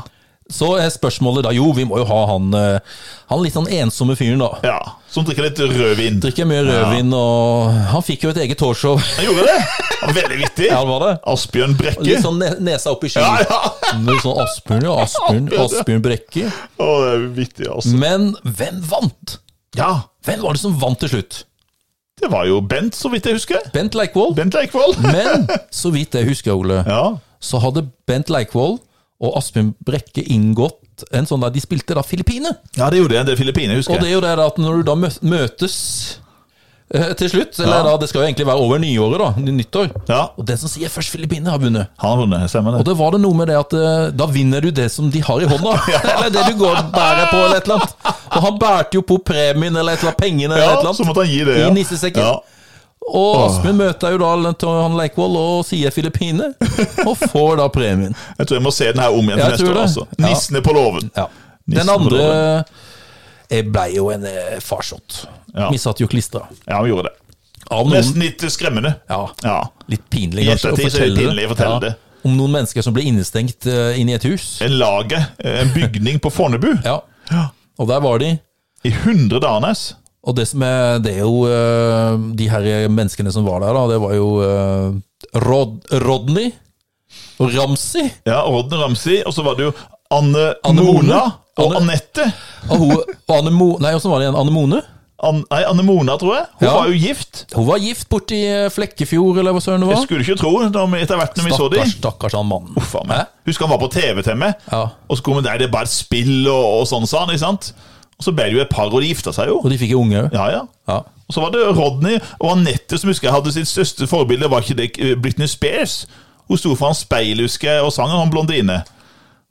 [SPEAKER 1] Så er spørsmålet da Jo, vi må jo ha han eh, Han litt sånn ensomme fyren, da.
[SPEAKER 2] Ja, Som drikker litt rødvin.
[SPEAKER 1] Drikker mye rødvin, og han fikk jo et eget talkshow.
[SPEAKER 2] Han gjorde det! Han var veldig vittig.
[SPEAKER 1] Ja, han var det.
[SPEAKER 2] Asbjørn Brekke.
[SPEAKER 1] Litt sånn ne- nesa opp i skyen.
[SPEAKER 2] Ja, ja.
[SPEAKER 1] Noe sånn Asbjørn, ja. Asbjørn, Asbjørn Brekke.
[SPEAKER 2] Å, det er vittig, altså.
[SPEAKER 1] Men hvem vant?
[SPEAKER 2] Ja,
[SPEAKER 1] Hvem var det som vant til slutt?
[SPEAKER 2] det var jo Bent, så vidt jeg husker.
[SPEAKER 1] Bent Leikvoll.
[SPEAKER 2] Bent Leikvoll.
[SPEAKER 1] Men så vidt jeg husker, Ole,
[SPEAKER 2] Ja.
[SPEAKER 1] så hadde Bent Leikvoll og Asbjørn Brekke inngått en sånn der De spilte da Filippine.
[SPEAKER 2] ja, det gjorde jeg. Det er Filippinene, husker
[SPEAKER 1] Og det
[SPEAKER 2] jeg.
[SPEAKER 1] er jo det da at når du da mø- møtes eh, til slutt, eller
[SPEAKER 2] Ja.
[SPEAKER 1] da det skal jo egentlig være over nyåret, da, nyttår
[SPEAKER 2] Ja,
[SPEAKER 1] Og den som sier først Filippinene, har vunnet.
[SPEAKER 2] Han har vunnet, stemmer
[SPEAKER 1] Og
[SPEAKER 2] det.
[SPEAKER 1] da var det noe med det at eh, da vinner du det som de har i hånda. eller det du går og bærer på, eller et eller annet. Og han bærte jo på premien eller et eller annet, pengene eller
[SPEAKER 2] Ja,
[SPEAKER 1] et eller
[SPEAKER 2] så
[SPEAKER 1] annet.
[SPEAKER 2] måtte han gi det. Ja.
[SPEAKER 1] I nissesekken.
[SPEAKER 2] Ja.
[SPEAKER 1] Og Asbjørn møter jo da den- han Leikvoll og sier Filippine, og får da premien.
[SPEAKER 2] Jeg tror jeg må se den her om igjen
[SPEAKER 1] Ja,
[SPEAKER 2] til
[SPEAKER 1] jeg
[SPEAKER 2] neste
[SPEAKER 1] tror
[SPEAKER 2] år.
[SPEAKER 1] det.
[SPEAKER 2] altså.
[SPEAKER 1] Ja.
[SPEAKER 2] Nissene på låven.
[SPEAKER 1] Ja.
[SPEAKER 2] Nissen
[SPEAKER 1] Den andre eh, ble jo en eh, farsott.
[SPEAKER 2] Ja.
[SPEAKER 1] Vi satt jo klistra.
[SPEAKER 2] Ja, vi gjorde det.
[SPEAKER 1] Av noen
[SPEAKER 2] Nesten litt skremmende.
[SPEAKER 1] Ja.
[SPEAKER 2] Ja.
[SPEAKER 1] Litt pinlig,
[SPEAKER 2] I
[SPEAKER 1] kanskje, å
[SPEAKER 2] ettertid så er det
[SPEAKER 1] fortelle,
[SPEAKER 2] pinlig å fortelle det.
[SPEAKER 1] Om noen mennesker som ble innestengt eh, inne i et hus.
[SPEAKER 2] En lager, en bygning på Fornebu,
[SPEAKER 1] Ja. Og der var de.
[SPEAKER 2] i 100 dager, Nes.
[SPEAKER 1] Og det som er Det er jo eh, de her menneskene som var der, da. Det var jo eh, Rod Rodney og Ramsi.
[SPEAKER 2] Ja, Rodden Ramsi, og så var det jo Anne,
[SPEAKER 1] Anne
[SPEAKER 2] Mona
[SPEAKER 1] Mona.
[SPEAKER 2] og
[SPEAKER 1] Anne-
[SPEAKER 2] Anette.
[SPEAKER 1] Og hun og Anne Mo... Nei, åssen var det igjen? Anne Mone?
[SPEAKER 2] An, nei, Anne Mona, tror jeg. Hun
[SPEAKER 1] Ja.
[SPEAKER 2] var jo gift.
[SPEAKER 1] Hun var gift borti eh, Flekkefjord, eller hva søren det
[SPEAKER 2] Jeg
[SPEAKER 1] var.
[SPEAKER 2] skulle ikke tro når vi, etter hvert når vi så dem.
[SPEAKER 1] Stakkars, stakkars han mannen.
[SPEAKER 2] Uff a meg. Husker han var på TV til meg,
[SPEAKER 1] Ja.
[SPEAKER 2] og så kom han der, det er bare et spill og, og sånn, sa han. ikke sant? Og så ble det jo et par, og de gifta seg jo.
[SPEAKER 1] Og de fikk jo unge òg.
[SPEAKER 2] Ja, ja.
[SPEAKER 1] Ja.
[SPEAKER 2] Og så var det Rodney og Anette som husker jeg hadde sitt største forbilde. Var ikke det eh, Britney Spears? Hun sto foran speilet, husker jeg, og sang en sånn blondine.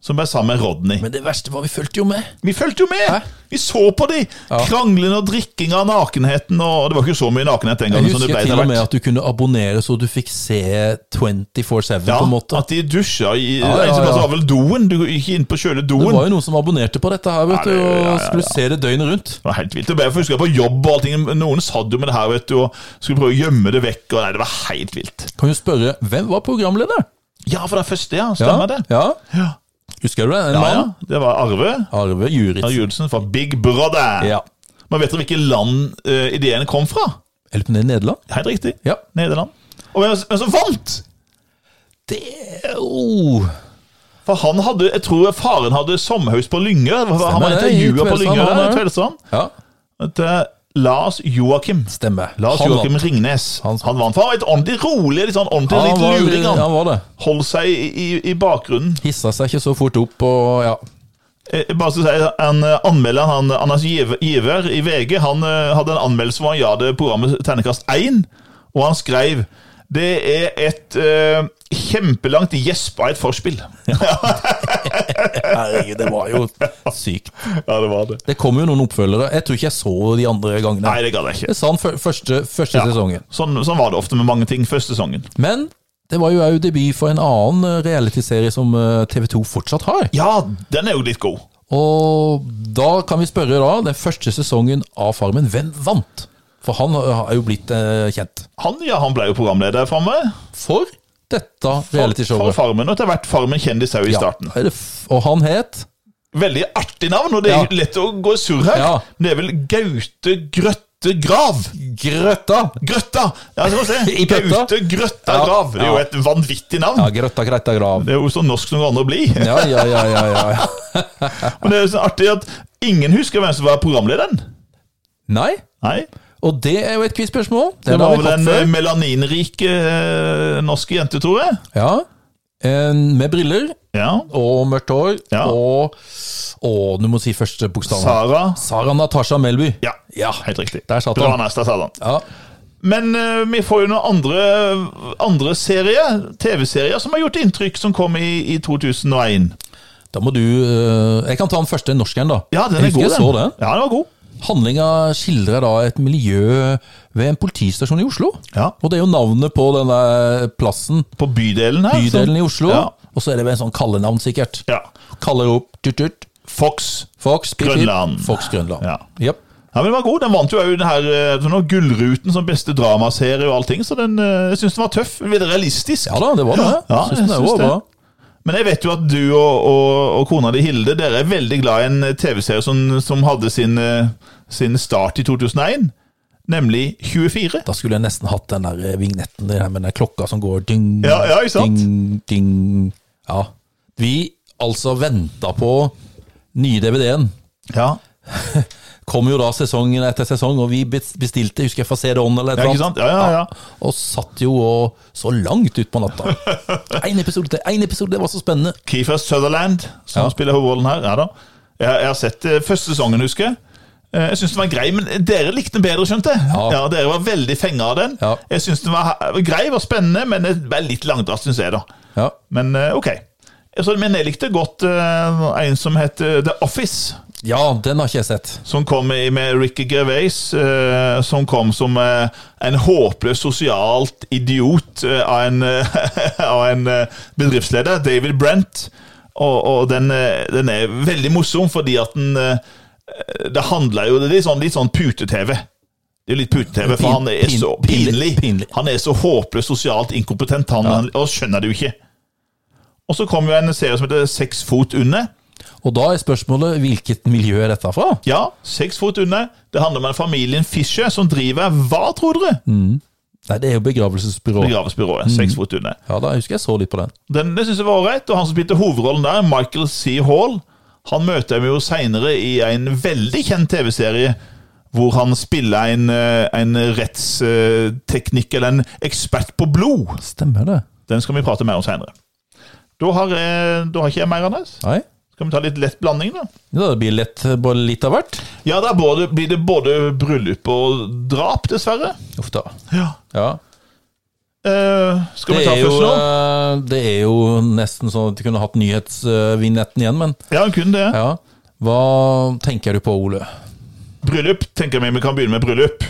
[SPEAKER 2] Som ble sammen med Rodney.
[SPEAKER 1] Men det verste var vi fulgte jo med.
[SPEAKER 2] Vi fulgte jo med! Vi så på de! Krangling og drikkinga og nakenheten. Og det var ikke så mye nakenhet den
[SPEAKER 1] Jeg
[SPEAKER 2] gangen. som sånn det
[SPEAKER 1] husker
[SPEAKER 2] ble
[SPEAKER 1] til
[SPEAKER 2] etter
[SPEAKER 1] og med
[SPEAKER 2] hvert.
[SPEAKER 1] at du kunne abonnere så du fikk se 24-7
[SPEAKER 2] ja,
[SPEAKER 1] på en måte.
[SPEAKER 2] At de dusja i
[SPEAKER 1] Ja, ja,
[SPEAKER 2] En som
[SPEAKER 1] ja.
[SPEAKER 2] var vel doen. Du gikk inn på sjøle doen.
[SPEAKER 1] Det var jo noen som abonnerte på dette her, vet
[SPEAKER 2] Ja,
[SPEAKER 1] du,
[SPEAKER 2] det- ja, ja,
[SPEAKER 1] og
[SPEAKER 2] ja.
[SPEAKER 1] skulle se det døgnet rundt.
[SPEAKER 2] Det var helt vilt. Jeg ble- jeg husker jeg på jobb og allting. Noen satt jo med det her, vet du, og skulle prøve å gjemme det vekk. Og nei, det var helt vilt.
[SPEAKER 1] Kan jo spørre, hvem var programleder?
[SPEAKER 2] Ja, for det første, ja. Stemmer det.
[SPEAKER 1] Ja.
[SPEAKER 2] Ja.
[SPEAKER 1] Husker du det? En
[SPEAKER 2] Ja,
[SPEAKER 1] mann?
[SPEAKER 2] ja. Det var Arve.
[SPEAKER 1] Arve Juritz.
[SPEAKER 2] Arve Judsen fra Big Brother.
[SPEAKER 1] Ja.
[SPEAKER 2] Men vet dere hvilke land eh, ideen kom fra?
[SPEAKER 1] Eller på det er Nederland?
[SPEAKER 2] Helt riktig.
[SPEAKER 1] Ja.
[SPEAKER 2] Nederland. Og hvem hvem som vant?
[SPEAKER 1] Det oh.
[SPEAKER 2] For han hadde, jeg tror faren hadde sommerhus på Lyngør. Hva- hva-
[SPEAKER 1] Stemmer
[SPEAKER 2] Han var
[SPEAKER 1] det, i
[SPEAKER 2] intervjua på
[SPEAKER 1] Tvedestrand,
[SPEAKER 2] Lyngør
[SPEAKER 1] han
[SPEAKER 2] der, i
[SPEAKER 1] er.
[SPEAKER 2] Tvedestrand.
[SPEAKER 1] Ja,
[SPEAKER 2] At, eh, Lars Joakim.
[SPEAKER 1] stemmer.
[SPEAKER 2] Lars
[SPEAKER 1] Han
[SPEAKER 2] Joakim
[SPEAKER 1] vant.
[SPEAKER 2] Ringnes.
[SPEAKER 1] Han-
[SPEAKER 2] Han, vant. For han var et ordentlig rolig, litt sånn ordentlig
[SPEAKER 1] Ja, han
[SPEAKER 2] litt
[SPEAKER 1] var,
[SPEAKER 2] luring.
[SPEAKER 1] ja,
[SPEAKER 2] Han
[SPEAKER 1] han var det.
[SPEAKER 2] holdt seg i, i, i bakgrunnen.
[SPEAKER 1] Hissa seg ikke så fort opp og ja.
[SPEAKER 2] Eh, Bare skal si, en eh, anmelder, han, eh, Anders Giv- Giver i VG, han eh, hadde en anmeldelse hvor han ga det programmet Ternekast 1, og han skrev det er et eh, kjempelangt gjesp av et forspill.
[SPEAKER 1] Herregud, det var jo sykt.
[SPEAKER 2] Ja, det var det.
[SPEAKER 1] Det kom jo noen oppfølgere. Jeg tror ikke jeg så de andre gangene.
[SPEAKER 2] Nei, det gadd jeg ikke.
[SPEAKER 1] Jeg sa den fø- første, første
[SPEAKER 2] Ja.
[SPEAKER 1] sesongen.
[SPEAKER 2] Sånn, sånn var det ofte med mange ting første sesongen.
[SPEAKER 1] Men det var jo òg debut for en annen eh, realityserie som eh, TV 2 fortsatt har.
[SPEAKER 2] Ja, den er jo litt god.
[SPEAKER 1] Og da kan vi spørre, da, den første sesongen av Farmen, hvem vant? For han har jo blitt eh, kjent.
[SPEAKER 2] Han, ja, han ble jo programleder framme.
[SPEAKER 1] For dette
[SPEAKER 2] For
[SPEAKER 1] realityshowet.
[SPEAKER 2] Farmen, og etter hvert Farmen kjendis òg i
[SPEAKER 1] Ja,
[SPEAKER 2] starten.
[SPEAKER 1] da er det f- og han het
[SPEAKER 2] Veldig artig navn, og det
[SPEAKER 1] Ja.
[SPEAKER 2] er lett å gå i surr her.
[SPEAKER 1] Ja.
[SPEAKER 2] Det er vel Gaute Grøtte grøttegrav.
[SPEAKER 1] Grøtta!
[SPEAKER 2] Grøtta! Ja, så må vi se.
[SPEAKER 1] I pøtta?
[SPEAKER 2] Grøtta
[SPEAKER 1] Ja.
[SPEAKER 2] grav. Det er jo
[SPEAKER 1] Ja.
[SPEAKER 2] et vanvittig navn.
[SPEAKER 1] Ja, grøtta, grøtta, grav.
[SPEAKER 2] Det er jo så norsk som det går an å bli.
[SPEAKER 1] Ja, ja, ja, ja, ja, ja.
[SPEAKER 2] Men det er jo så artig at ingen husker hvem som var programlederen.
[SPEAKER 1] Nei?
[SPEAKER 2] Nei.
[SPEAKER 1] Og det er jo et quizspørsmål.
[SPEAKER 2] Det
[SPEAKER 1] Den har
[SPEAKER 2] var
[SPEAKER 1] vi
[SPEAKER 2] vel
[SPEAKER 1] hatt
[SPEAKER 2] den eh,
[SPEAKER 1] før.
[SPEAKER 2] melaninrike eh, norske jente, tror jeg.
[SPEAKER 1] Ja. En med briller
[SPEAKER 2] Ja.
[SPEAKER 1] og mørkt hår
[SPEAKER 2] Ja.
[SPEAKER 1] og Og du må si første bokstaven.
[SPEAKER 2] Sara.
[SPEAKER 1] Sara Natasha Melby.
[SPEAKER 2] Ja,
[SPEAKER 1] Ja.
[SPEAKER 2] helt riktig.
[SPEAKER 1] Der satt
[SPEAKER 2] Det var
[SPEAKER 1] han.
[SPEAKER 2] neste, sa han.
[SPEAKER 1] Ja.
[SPEAKER 2] Men eh, vi får jo noen andre, andre serier, TV-serier, som har gjort inntrykk, som kom i, i 2001.
[SPEAKER 1] Da må du eh, Jeg kan ta den første norskeren, da.
[SPEAKER 2] Ja, den er
[SPEAKER 1] jeg husker jeg
[SPEAKER 2] god, den.
[SPEAKER 1] så den.
[SPEAKER 2] Ja, den var god.
[SPEAKER 1] Handlinga skildrer da et miljø ved en politistasjon i Oslo.
[SPEAKER 2] Ja.
[SPEAKER 1] Og det er jo navnet på denne plassen,
[SPEAKER 2] På bydelen her.
[SPEAKER 1] bydelen
[SPEAKER 2] så-
[SPEAKER 1] i Oslo.
[SPEAKER 2] Ja.
[SPEAKER 1] Og så er det vel en sånn kallenavn, sikkert.
[SPEAKER 2] ja.
[SPEAKER 1] Kaller opp tut-tut.
[SPEAKER 2] Fox.
[SPEAKER 1] Fox pip, pip.
[SPEAKER 2] Grønland.
[SPEAKER 1] Fox Grønland.
[SPEAKER 2] Ja.
[SPEAKER 1] Jep.
[SPEAKER 2] Ja, men Den var god. Den vant jo òg den her eh, sånn noe Gullruten som beste dramaserie og allting, så den, eh, jeg syns den var tøff. Veldig realistisk.
[SPEAKER 1] Ja da, det var det.
[SPEAKER 2] Ja, ja,
[SPEAKER 1] Synes
[SPEAKER 2] jeg
[SPEAKER 1] det var
[SPEAKER 2] synes det.
[SPEAKER 1] bra.
[SPEAKER 2] Men jeg vet jo at du og, og, og kona di Hilde Dere er veldig glad i en eh, TV-serie som, som hadde sin, eh, sin start i 2001, nemlig 24.
[SPEAKER 1] Da skulle jeg nesten hatt den der eh, vignetten der med den klokka som går ding,
[SPEAKER 2] Ja, ja, ikke sant?
[SPEAKER 1] ding, ding. Ja. Vi altså venta på nye DVD-en.
[SPEAKER 2] Ja,
[SPEAKER 1] Kom jo da sesongen etter sesong, og vi bes- bestilte, husker jeg, fra CD-ON eller et
[SPEAKER 2] ja
[SPEAKER 1] eller annet.
[SPEAKER 2] ikke sant? Ja, ja, ja.
[SPEAKER 1] Og satt jo og så langt ut på natta. Én episode til, én episode, det var så spennende.
[SPEAKER 2] Kiefer Sutherland, som
[SPEAKER 1] Ja.
[SPEAKER 2] spiller hovedrollen her. Ja da. Jeg, jeg har sett eh, første sesongen, husker jeg. Eh, Jeg syns den var grei, men dere likte den bedre, skjønte jeg.
[SPEAKER 1] Ja.
[SPEAKER 2] Dere var veldig fenga av den.
[SPEAKER 1] Ja.
[SPEAKER 2] Jeg syns den var he- grei, var spennende, men det var litt langdratt, syns jeg, da.
[SPEAKER 1] Ja.
[SPEAKER 2] Men eh, ok. Så, men jeg likte godt eh, en som het eh, The Office.
[SPEAKER 1] ja, den har ikke jeg sett.
[SPEAKER 2] Som kom i- med Ricky Gervais, eh, som kom som eh, en håpløs sosialt idiot eh, av en, eh, av en eh, bedriftsleder, David Brent. Og, og den, eh, den er veldig morsom, fordi at den eh, Det handler jo Det er litt sånn, litt sånn pute-TV. Det er jo litt pute-TV, for han er
[SPEAKER 1] Pin-
[SPEAKER 2] så
[SPEAKER 1] pin-
[SPEAKER 2] pinlig.
[SPEAKER 1] pinlig.
[SPEAKER 2] Han er så håpløst sosialt inkompetent, han, han og skjønner det jo ikke. Og så kom jo en serie som heter Seks fot under.
[SPEAKER 1] Og da er spørsmålet hvilket miljø er dette fra?
[SPEAKER 2] Ja, seks fot unna. Det handler om en familien Fischer som driver hva, tror dere?
[SPEAKER 1] Nei, det er jo begravelsesbyrå.
[SPEAKER 2] Begravelsesbyrået. Seks fot unna.
[SPEAKER 1] Ja, da husker jeg så litt på den.
[SPEAKER 2] Den det synes jeg var ålreit, og han som spilte hovedrollen der, Michael C. Hall, han møter vi jo seinere i en veldig kjent TV-serie. Hvor han spiller en, eh, en rettsteknikk, eller en ekspert på blod.
[SPEAKER 1] Stemmer det?
[SPEAKER 2] Den skal vi prate mer om seinere. Da har, jeg- da har ikke jeg mer, Anders.
[SPEAKER 1] Nei?
[SPEAKER 2] Skal vi ta litt lett blanding, da?
[SPEAKER 1] Ja, det blir lett, bare litt av hvert.
[SPEAKER 2] Ja, der både, blir det både bryllup og drap, dessverre.
[SPEAKER 1] Uff da.
[SPEAKER 2] Ja.
[SPEAKER 1] Ja.
[SPEAKER 2] Eh, skal
[SPEAKER 1] Det
[SPEAKER 2] vi ta
[SPEAKER 1] er, jo,
[SPEAKER 2] først nå?
[SPEAKER 1] eh, det er jo nesten sånn at du kunne hatt nyhetsvinnetten igjen, men
[SPEAKER 2] Ja, hun kunne det.
[SPEAKER 1] ja. Hva tenker du på, Ole?
[SPEAKER 2] Bryllup tenker jeg vi kan begynne med bryllup.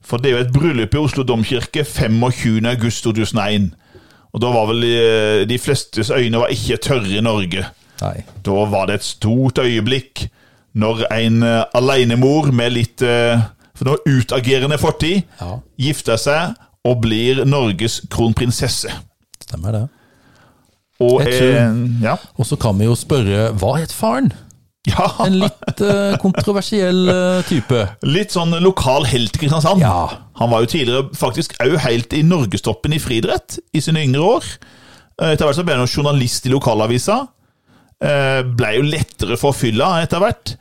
[SPEAKER 2] For det er jo et bryllup i Oslo domkirke 25. august 2001. Og da var vel eh, de flestes øyne var ikke tørre i Norge.
[SPEAKER 1] Nei.
[SPEAKER 2] Da var det et stort øyeblikk når en eh, alenemor med litt eh, for det var utagerende fortid
[SPEAKER 1] Ja.
[SPEAKER 2] gifter seg og blir Norges kronprinsesse.
[SPEAKER 1] Stemmer det.
[SPEAKER 2] Og
[SPEAKER 1] Jeg tror-
[SPEAKER 2] eh, ja.
[SPEAKER 1] Og så kan vi jo spørre hva het faren?
[SPEAKER 2] ja.
[SPEAKER 1] En litt eh, kontroversiell eh, type.
[SPEAKER 2] Litt sånn lokal helt i Kristiansand.
[SPEAKER 1] Ja.
[SPEAKER 2] Han var jo tidligere faktisk òg helt i norgestoppen i friidrett i sine yngre år. Eh, Etter hvert så ble han jo journalist i lokalavisa. Eh, Ble jo lettere for fylla etter hvert.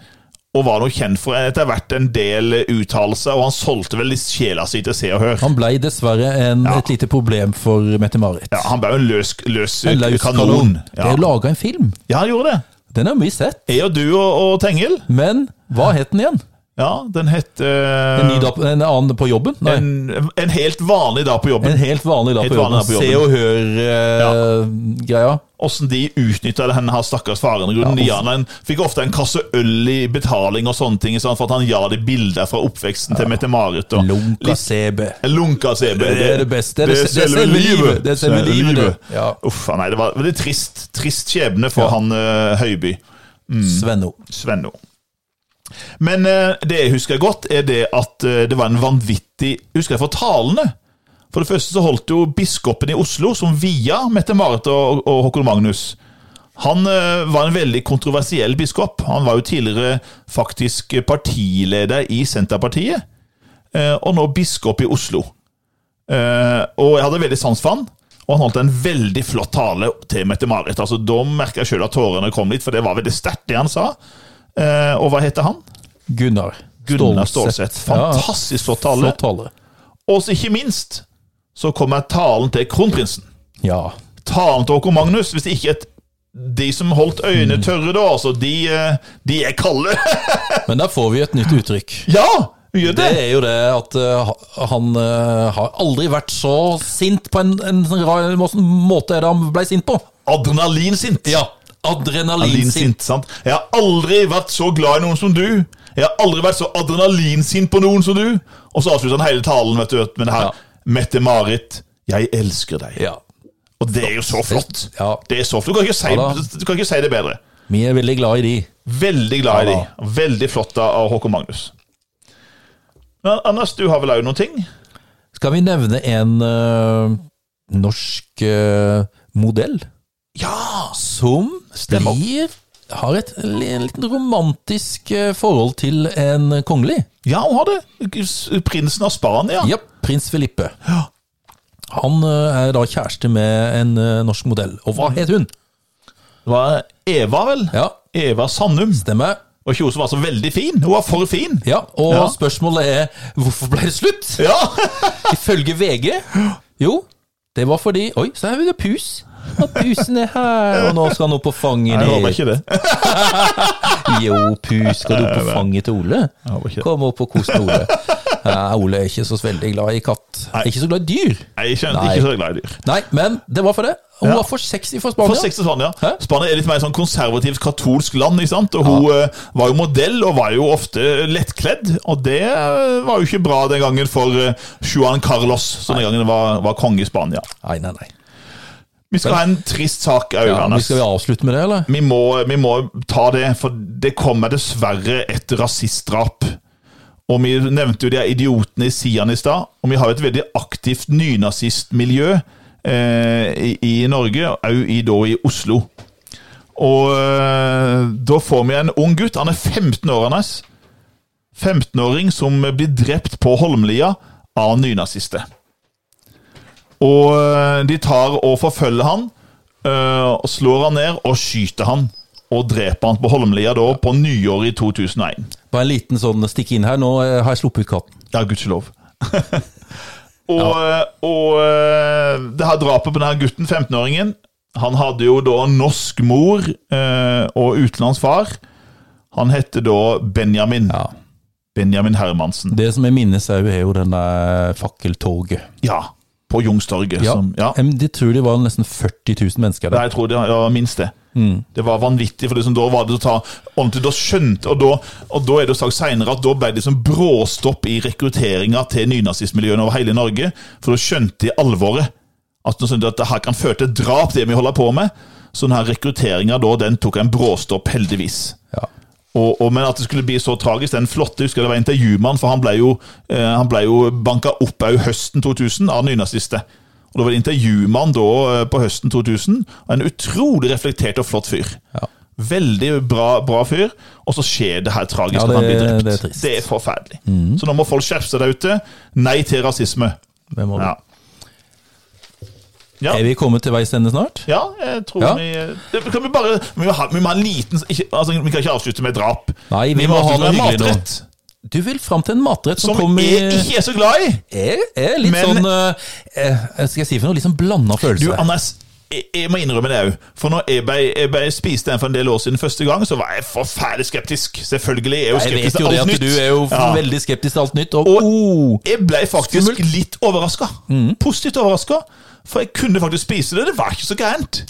[SPEAKER 2] Og var nå kjent for etter hvert en del uttalelser, og han solgte vel litt sjela si til Se og Hør.
[SPEAKER 1] Han blei dessverre en, et lite problem for Mette-Marit.
[SPEAKER 2] Ja, han ble jo en løs, løs,
[SPEAKER 1] En laus
[SPEAKER 2] kanon.
[SPEAKER 1] Det
[SPEAKER 2] Ja.
[SPEAKER 1] er laga en film.
[SPEAKER 2] ja, han gjorde det.
[SPEAKER 1] Den har vi sett.
[SPEAKER 2] Jeg og du og, og Tengel.
[SPEAKER 1] Men hva het den igjen?
[SPEAKER 2] Ja, den het eh,
[SPEAKER 1] En, ny dag, en annen på jobben? Nei.
[SPEAKER 2] en, en helt vanlig dag på jobben.
[SPEAKER 1] En helt vanlig lapp
[SPEAKER 2] Helt
[SPEAKER 1] på jobben.
[SPEAKER 2] vanlig lapp på jobben.
[SPEAKER 1] Se og eh, hør-greia.
[SPEAKER 2] Åssen de utnytta denne her stakkars faren. Grunnen
[SPEAKER 1] Ja,
[SPEAKER 2] ja, han fikk ofte en kasse øl i betaling og sånne ting, sånn, for at han ga de bilder fra oppveksten til Mette-Marit. og
[SPEAKER 1] Lunka
[SPEAKER 2] litt-
[SPEAKER 1] CB.
[SPEAKER 2] Lunka CB.
[SPEAKER 1] Det er det beste. Det er se- det er selve livet. Det er selve livet, det. Ja.
[SPEAKER 2] Uff, nei, det var veldig trist, trist skjebne for han eh, Høiby. Mm.
[SPEAKER 1] Svenno.
[SPEAKER 2] Svenno. Men eh, det jeg husker godt, er det at eh, det var en vanvittig Husker jeg for talene? For det første så holdt jo biskopen i Oslo, som via Mette-Marit og, og Håkon Magnus Han eh, var en veldig kontroversiell biskop. Han var jo tidligere faktisk partileder i Senterpartiet. eh, og nå biskop i Oslo. Eh, og jeg hadde veldig sans for han, og han holdt en veldig flott tale til Mette-Marit. Altså, da merka jeg sjøl at tårene kom litt, for det var veldig sterkt, det han sa. Eh, og hva heter han?
[SPEAKER 1] Gunnar.
[SPEAKER 2] Gunnar Stålsett.
[SPEAKER 1] Ja,
[SPEAKER 2] Fantastisk flott tale.
[SPEAKER 1] flott tale.
[SPEAKER 2] Og så ikke minst så kommer talen til kronprinsen.
[SPEAKER 1] Ja.
[SPEAKER 2] Talen til Håkon Magnus, hvis det ikke er et de som holdt øynene tørre da, altså, de, eh, de er kalde.
[SPEAKER 1] Men der får vi et nytt uttrykk.
[SPEAKER 2] ja, vi gjør det!
[SPEAKER 1] Det er jo det at eh, ha- han eh, har aldri vært så sint på en, en sånn rar må- sånn måte er det han ble sint på.
[SPEAKER 2] Adrenalinsint.
[SPEAKER 1] Ja, adrenalinsint.
[SPEAKER 2] sant? Jeg har aldri vært så glad i noen som du. Jeg har aldri vært så adrenalinsint på noen som du. Og så avslutter han hele talen vet du, med det her.
[SPEAKER 1] Ja.
[SPEAKER 2] Mette-Marit, jeg elsker deg.
[SPEAKER 1] Ja.
[SPEAKER 2] Og det er jo så flott.
[SPEAKER 1] Ja.
[SPEAKER 2] Det er så flott. Du kan ikke si,
[SPEAKER 1] Ja da.
[SPEAKER 2] du kan ikke si det bedre.
[SPEAKER 1] Vi er veldig glad i de.
[SPEAKER 2] Veldig glad i
[SPEAKER 1] Ja
[SPEAKER 2] de. Veldig flott av av Håkon Magnus. Men Anders, du har vel òg noen ting?
[SPEAKER 1] Skal vi nevne en eh, norsk eh, modell
[SPEAKER 2] Ja!
[SPEAKER 1] som
[SPEAKER 2] Stemmer.
[SPEAKER 1] blir har et li- en liten romantisk eh, forhold til en kongelig.
[SPEAKER 2] Ja, hun har det. Prinsen av Spania.
[SPEAKER 1] Ja, prins Filippe. Han eh, er da kjæreste med en eh, norsk modell. Og hva het hun?
[SPEAKER 2] Det var Eva, vel?
[SPEAKER 1] Ja,
[SPEAKER 2] Eva Sandum.
[SPEAKER 1] stemmer.
[SPEAKER 2] Og ikke hun som var så veldig fin. Hun var for fin.
[SPEAKER 1] Ja, og
[SPEAKER 2] Ja.
[SPEAKER 1] spørsmålet er hvorfor ble det slutt?
[SPEAKER 2] Ja!
[SPEAKER 1] Ifølge VG Jo, det var fordi Oi, så her er det pus. Og pusen er her, og nå skal han opp på fanget
[SPEAKER 2] Jeg håper
[SPEAKER 1] ditt.
[SPEAKER 2] ikke det.
[SPEAKER 1] Jo, pus, skal du opp på fanget til Ole?
[SPEAKER 2] Jeg håper ikke det.
[SPEAKER 1] Kom opp og kos deg, Ole. Ja, Ole er ikke så veldig glad i katt. Er ikke så glad i dyr.
[SPEAKER 2] Nei, Jeg skjønner,
[SPEAKER 1] Nei.
[SPEAKER 2] ikke så glad i dyr.
[SPEAKER 1] Nei, men det var for det. Hun
[SPEAKER 2] Ja.
[SPEAKER 1] var for sexy for
[SPEAKER 2] For
[SPEAKER 1] Spania.
[SPEAKER 2] 60 Spania.
[SPEAKER 1] Hæ?
[SPEAKER 2] Spania er litt mer sånn konservativt katolsk land, ikke sant? og hun eh, var jo modell og var jo ofte lettkledd. Og det eh, var jo ikke bra den gangen for eh, Juan Carlos, som den gangen var, var konge i Spania.
[SPEAKER 1] Nei, nei, nei.
[SPEAKER 2] Vi skal ha en trist sak òg,
[SPEAKER 1] Ja, men
[SPEAKER 2] Anders.
[SPEAKER 1] skal vi avslutte med det, eller?
[SPEAKER 2] Vi må, vi må ta det, for det kommer dessverre et rasistdrap. Og vi nevnte jo de her idiotene i Sian i stad, og vi har jo et veldig aktivt nynazistmiljø eh, i, i Norge, òg i, da i Oslo. Og eh, da får vi en ung gutt, han er 15 år, Anders. 15-åring som blir drept på Holmlia av nynazister. Og eh, de tar og forfølger han, eh, og slår han ned og skyter han. Og dreper han på Holmlia da på nyåret i 2001.
[SPEAKER 1] Bare en liten sånn stikk inn her. Nå eh, har jeg sluppet ut katten.
[SPEAKER 2] Ja, gudskjelov. og og eh, det her drapet på denne gutten, 15-åringen Han hadde jo da norsk mor eh, og utenlandsk far. Han heter da Benjamin.
[SPEAKER 1] Ja.
[SPEAKER 2] Benjamin Hermansen.
[SPEAKER 1] Det som jeg minnes er jo, er jo den der fakkeltoget.
[SPEAKER 2] Ja, på Youngstorget.
[SPEAKER 1] Ja.
[SPEAKER 2] som- Ja.
[SPEAKER 1] Em, De tror det var nesten 40 000 mennesker
[SPEAKER 2] Nei,
[SPEAKER 1] der.
[SPEAKER 2] jeg tror det var minst det. Det var vanvittig, for det som da var det å ta ordentlig, da skjønte, og da, og da er det jo sagt senere at da ble det som bråstopp i rekrutteringen til nynazistmiljøene over hele Norge, for da skjønte de alvoret. At, de skjønte at det her kan føre til drap, det vi holder på med. Så denne rekrutteringen da, den tok en bråstopp heldigvis.
[SPEAKER 1] Ja.
[SPEAKER 2] Og, og, men at det skulle bli så tragisk Den flotte, husker jeg det var intervjumann For han ble jo, eh, han ble jo banka opp Av høsten 2000 av nynazister Og da var det intervjumann da eh, På høsten 2000 Og en utrolig reflektert og flott fyr
[SPEAKER 1] Ja.
[SPEAKER 2] Veldig bra, bra fyr Og så skjer det her tragisk
[SPEAKER 1] Ja,
[SPEAKER 2] at han
[SPEAKER 1] det-
[SPEAKER 2] blir drept
[SPEAKER 1] det er trist. Mhm.
[SPEAKER 2] forferdelig Så nå må folk skjerpe seg der ute Nei til rasisme
[SPEAKER 1] Det må du.
[SPEAKER 2] Ja, ja.
[SPEAKER 1] Er vi kommet til veis ende snart?
[SPEAKER 2] Ja, jeg tror
[SPEAKER 1] Ja.
[SPEAKER 2] vi det, kan vi, bare, vi, må ha, vi må ha en liten ikke, altså, Vi kan ikke avslutte med drap.
[SPEAKER 1] Nei, vi må ha
[SPEAKER 2] avslutte
[SPEAKER 1] noe
[SPEAKER 2] med
[SPEAKER 1] hyggelig nå.
[SPEAKER 2] matrett,
[SPEAKER 1] Du vil fram til en matrett som,
[SPEAKER 2] Som
[SPEAKER 1] kommer i
[SPEAKER 2] jeg ikke er så glad i.
[SPEAKER 1] er, er litt
[SPEAKER 2] Men-
[SPEAKER 1] sånn eh, eh, Skal jeg si for noe? Litt sånn blanda
[SPEAKER 2] Du,
[SPEAKER 1] følelse.
[SPEAKER 2] Anders, jeg, jeg må innrømme det òg. For når jeg ble, jeg ble spiste den for en del år siden første gang, så var jeg forferdelig skeptisk. Selvfølgelig er jeg jo
[SPEAKER 1] jeg vet
[SPEAKER 2] skeptisk
[SPEAKER 1] jo
[SPEAKER 2] til
[SPEAKER 1] det
[SPEAKER 2] alt
[SPEAKER 1] at
[SPEAKER 2] nytt.
[SPEAKER 1] du er jo
[SPEAKER 2] Ja.
[SPEAKER 1] veldig skeptisk til alt nytt. Og,
[SPEAKER 2] Og-
[SPEAKER 1] oh,
[SPEAKER 2] Jeg ble faktisk
[SPEAKER 1] Skummelt. Mm.
[SPEAKER 2] litt overraska. Positivt overraska. For jeg kunne faktisk spise det. Det var ikke så gærent.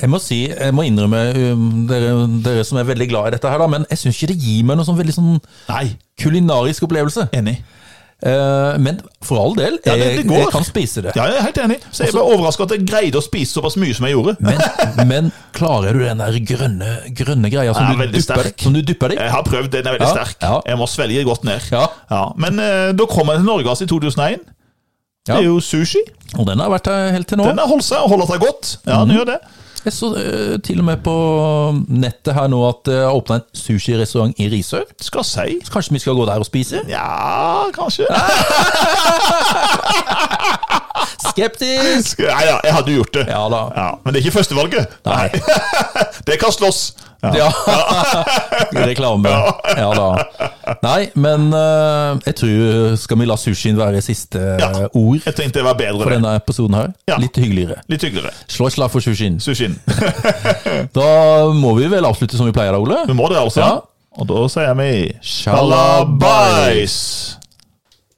[SPEAKER 1] Jeg må si, jeg må innrømme, um, dere, dere som er veldig glad i dette her, da, men jeg syns ikke det gir meg noen sånn veldig sånn
[SPEAKER 2] Nei,
[SPEAKER 1] kulinarisk opplevelse.
[SPEAKER 2] enig.
[SPEAKER 1] Eh, men for all del, jeg,
[SPEAKER 2] Ja, det, det går.
[SPEAKER 1] jeg kan spise det.
[SPEAKER 2] Ja, jeg er helt enig. Så
[SPEAKER 1] Altså-
[SPEAKER 2] jeg ble overraska at jeg greide å spise såpass mye som jeg gjorde.
[SPEAKER 1] Men, men klarer du den der grønne, grønne greia som,
[SPEAKER 2] Ja,
[SPEAKER 1] du
[SPEAKER 2] veldig
[SPEAKER 1] dupper,
[SPEAKER 2] sterk.
[SPEAKER 1] som du dupper deg?
[SPEAKER 2] Jeg har prøvd, den er veldig
[SPEAKER 1] Ja,
[SPEAKER 2] sterk.
[SPEAKER 1] ja.
[SPEAKER 2] Jeg må svelge godt ned.
[SPEAKER 1] Ja.
[SPEAKER 2] Men eh, da kom jeg til Norge altså, i 2001.
[SPEAKER 1] Ja.
[SPEAKER 2] Det er jo sushi.
[SPEAKER 1] Og den har vært her helt til nå. Mhm.
[SPEAKER 2] Den har holdt seg og holder seg godt. Ja, den gjør det.
[SPEAKER 1] Jeg så eh, til og med på nettet her nå at det har åpna en sushirestaurant i Risør.
[SPEAKER 2] Skal si
[SPEAKER 1] Så kanskje vi skal gå der og spise?
[SPEAKER 2] Ja, kanskje.
[SPEAKER 1] Skeptisk!
[SPEAKER 2] Nei da, jeg hadde jo gjort det.
[SPEAKER 1] Ja da.
[SPEAKER 2] Ja, men det er ikke førstevalget.
[SPEAKER 1] Nei.
[SPEAKER 2] Det kan slåss. Ja.
[SPEAKER 1] Ja. Reklame. Ja da. Nei, men eh, jeg tror Skal vi la sushien være siste eh, ord
[SPEAKER 2] Jeg tenkte det var bedre.
[SPEAKER 1] for
[SPEAKER 2] det.
[SPEAKER 1] denne episoden her?
[SPEAKER 2] Ja.
[SPEAKER 1] Litt hyggeligere.
[SPEAKER 2] Litt hyggeligere.
[SPEAKER 1] Slå et slag for sushien.
[SPEAKER 2] Sushien.
[SPEAKER 1] Da må vi vel avslutte som vi pleier da, Ole?
[SPEAKER 2] Vi må det, altså.
[SPEAKER 1] Ja.
[SPEAKER 2] Og da sier vi
[SPEAKER 1] Shalabais!
[SPEAKER 2] Shalabais!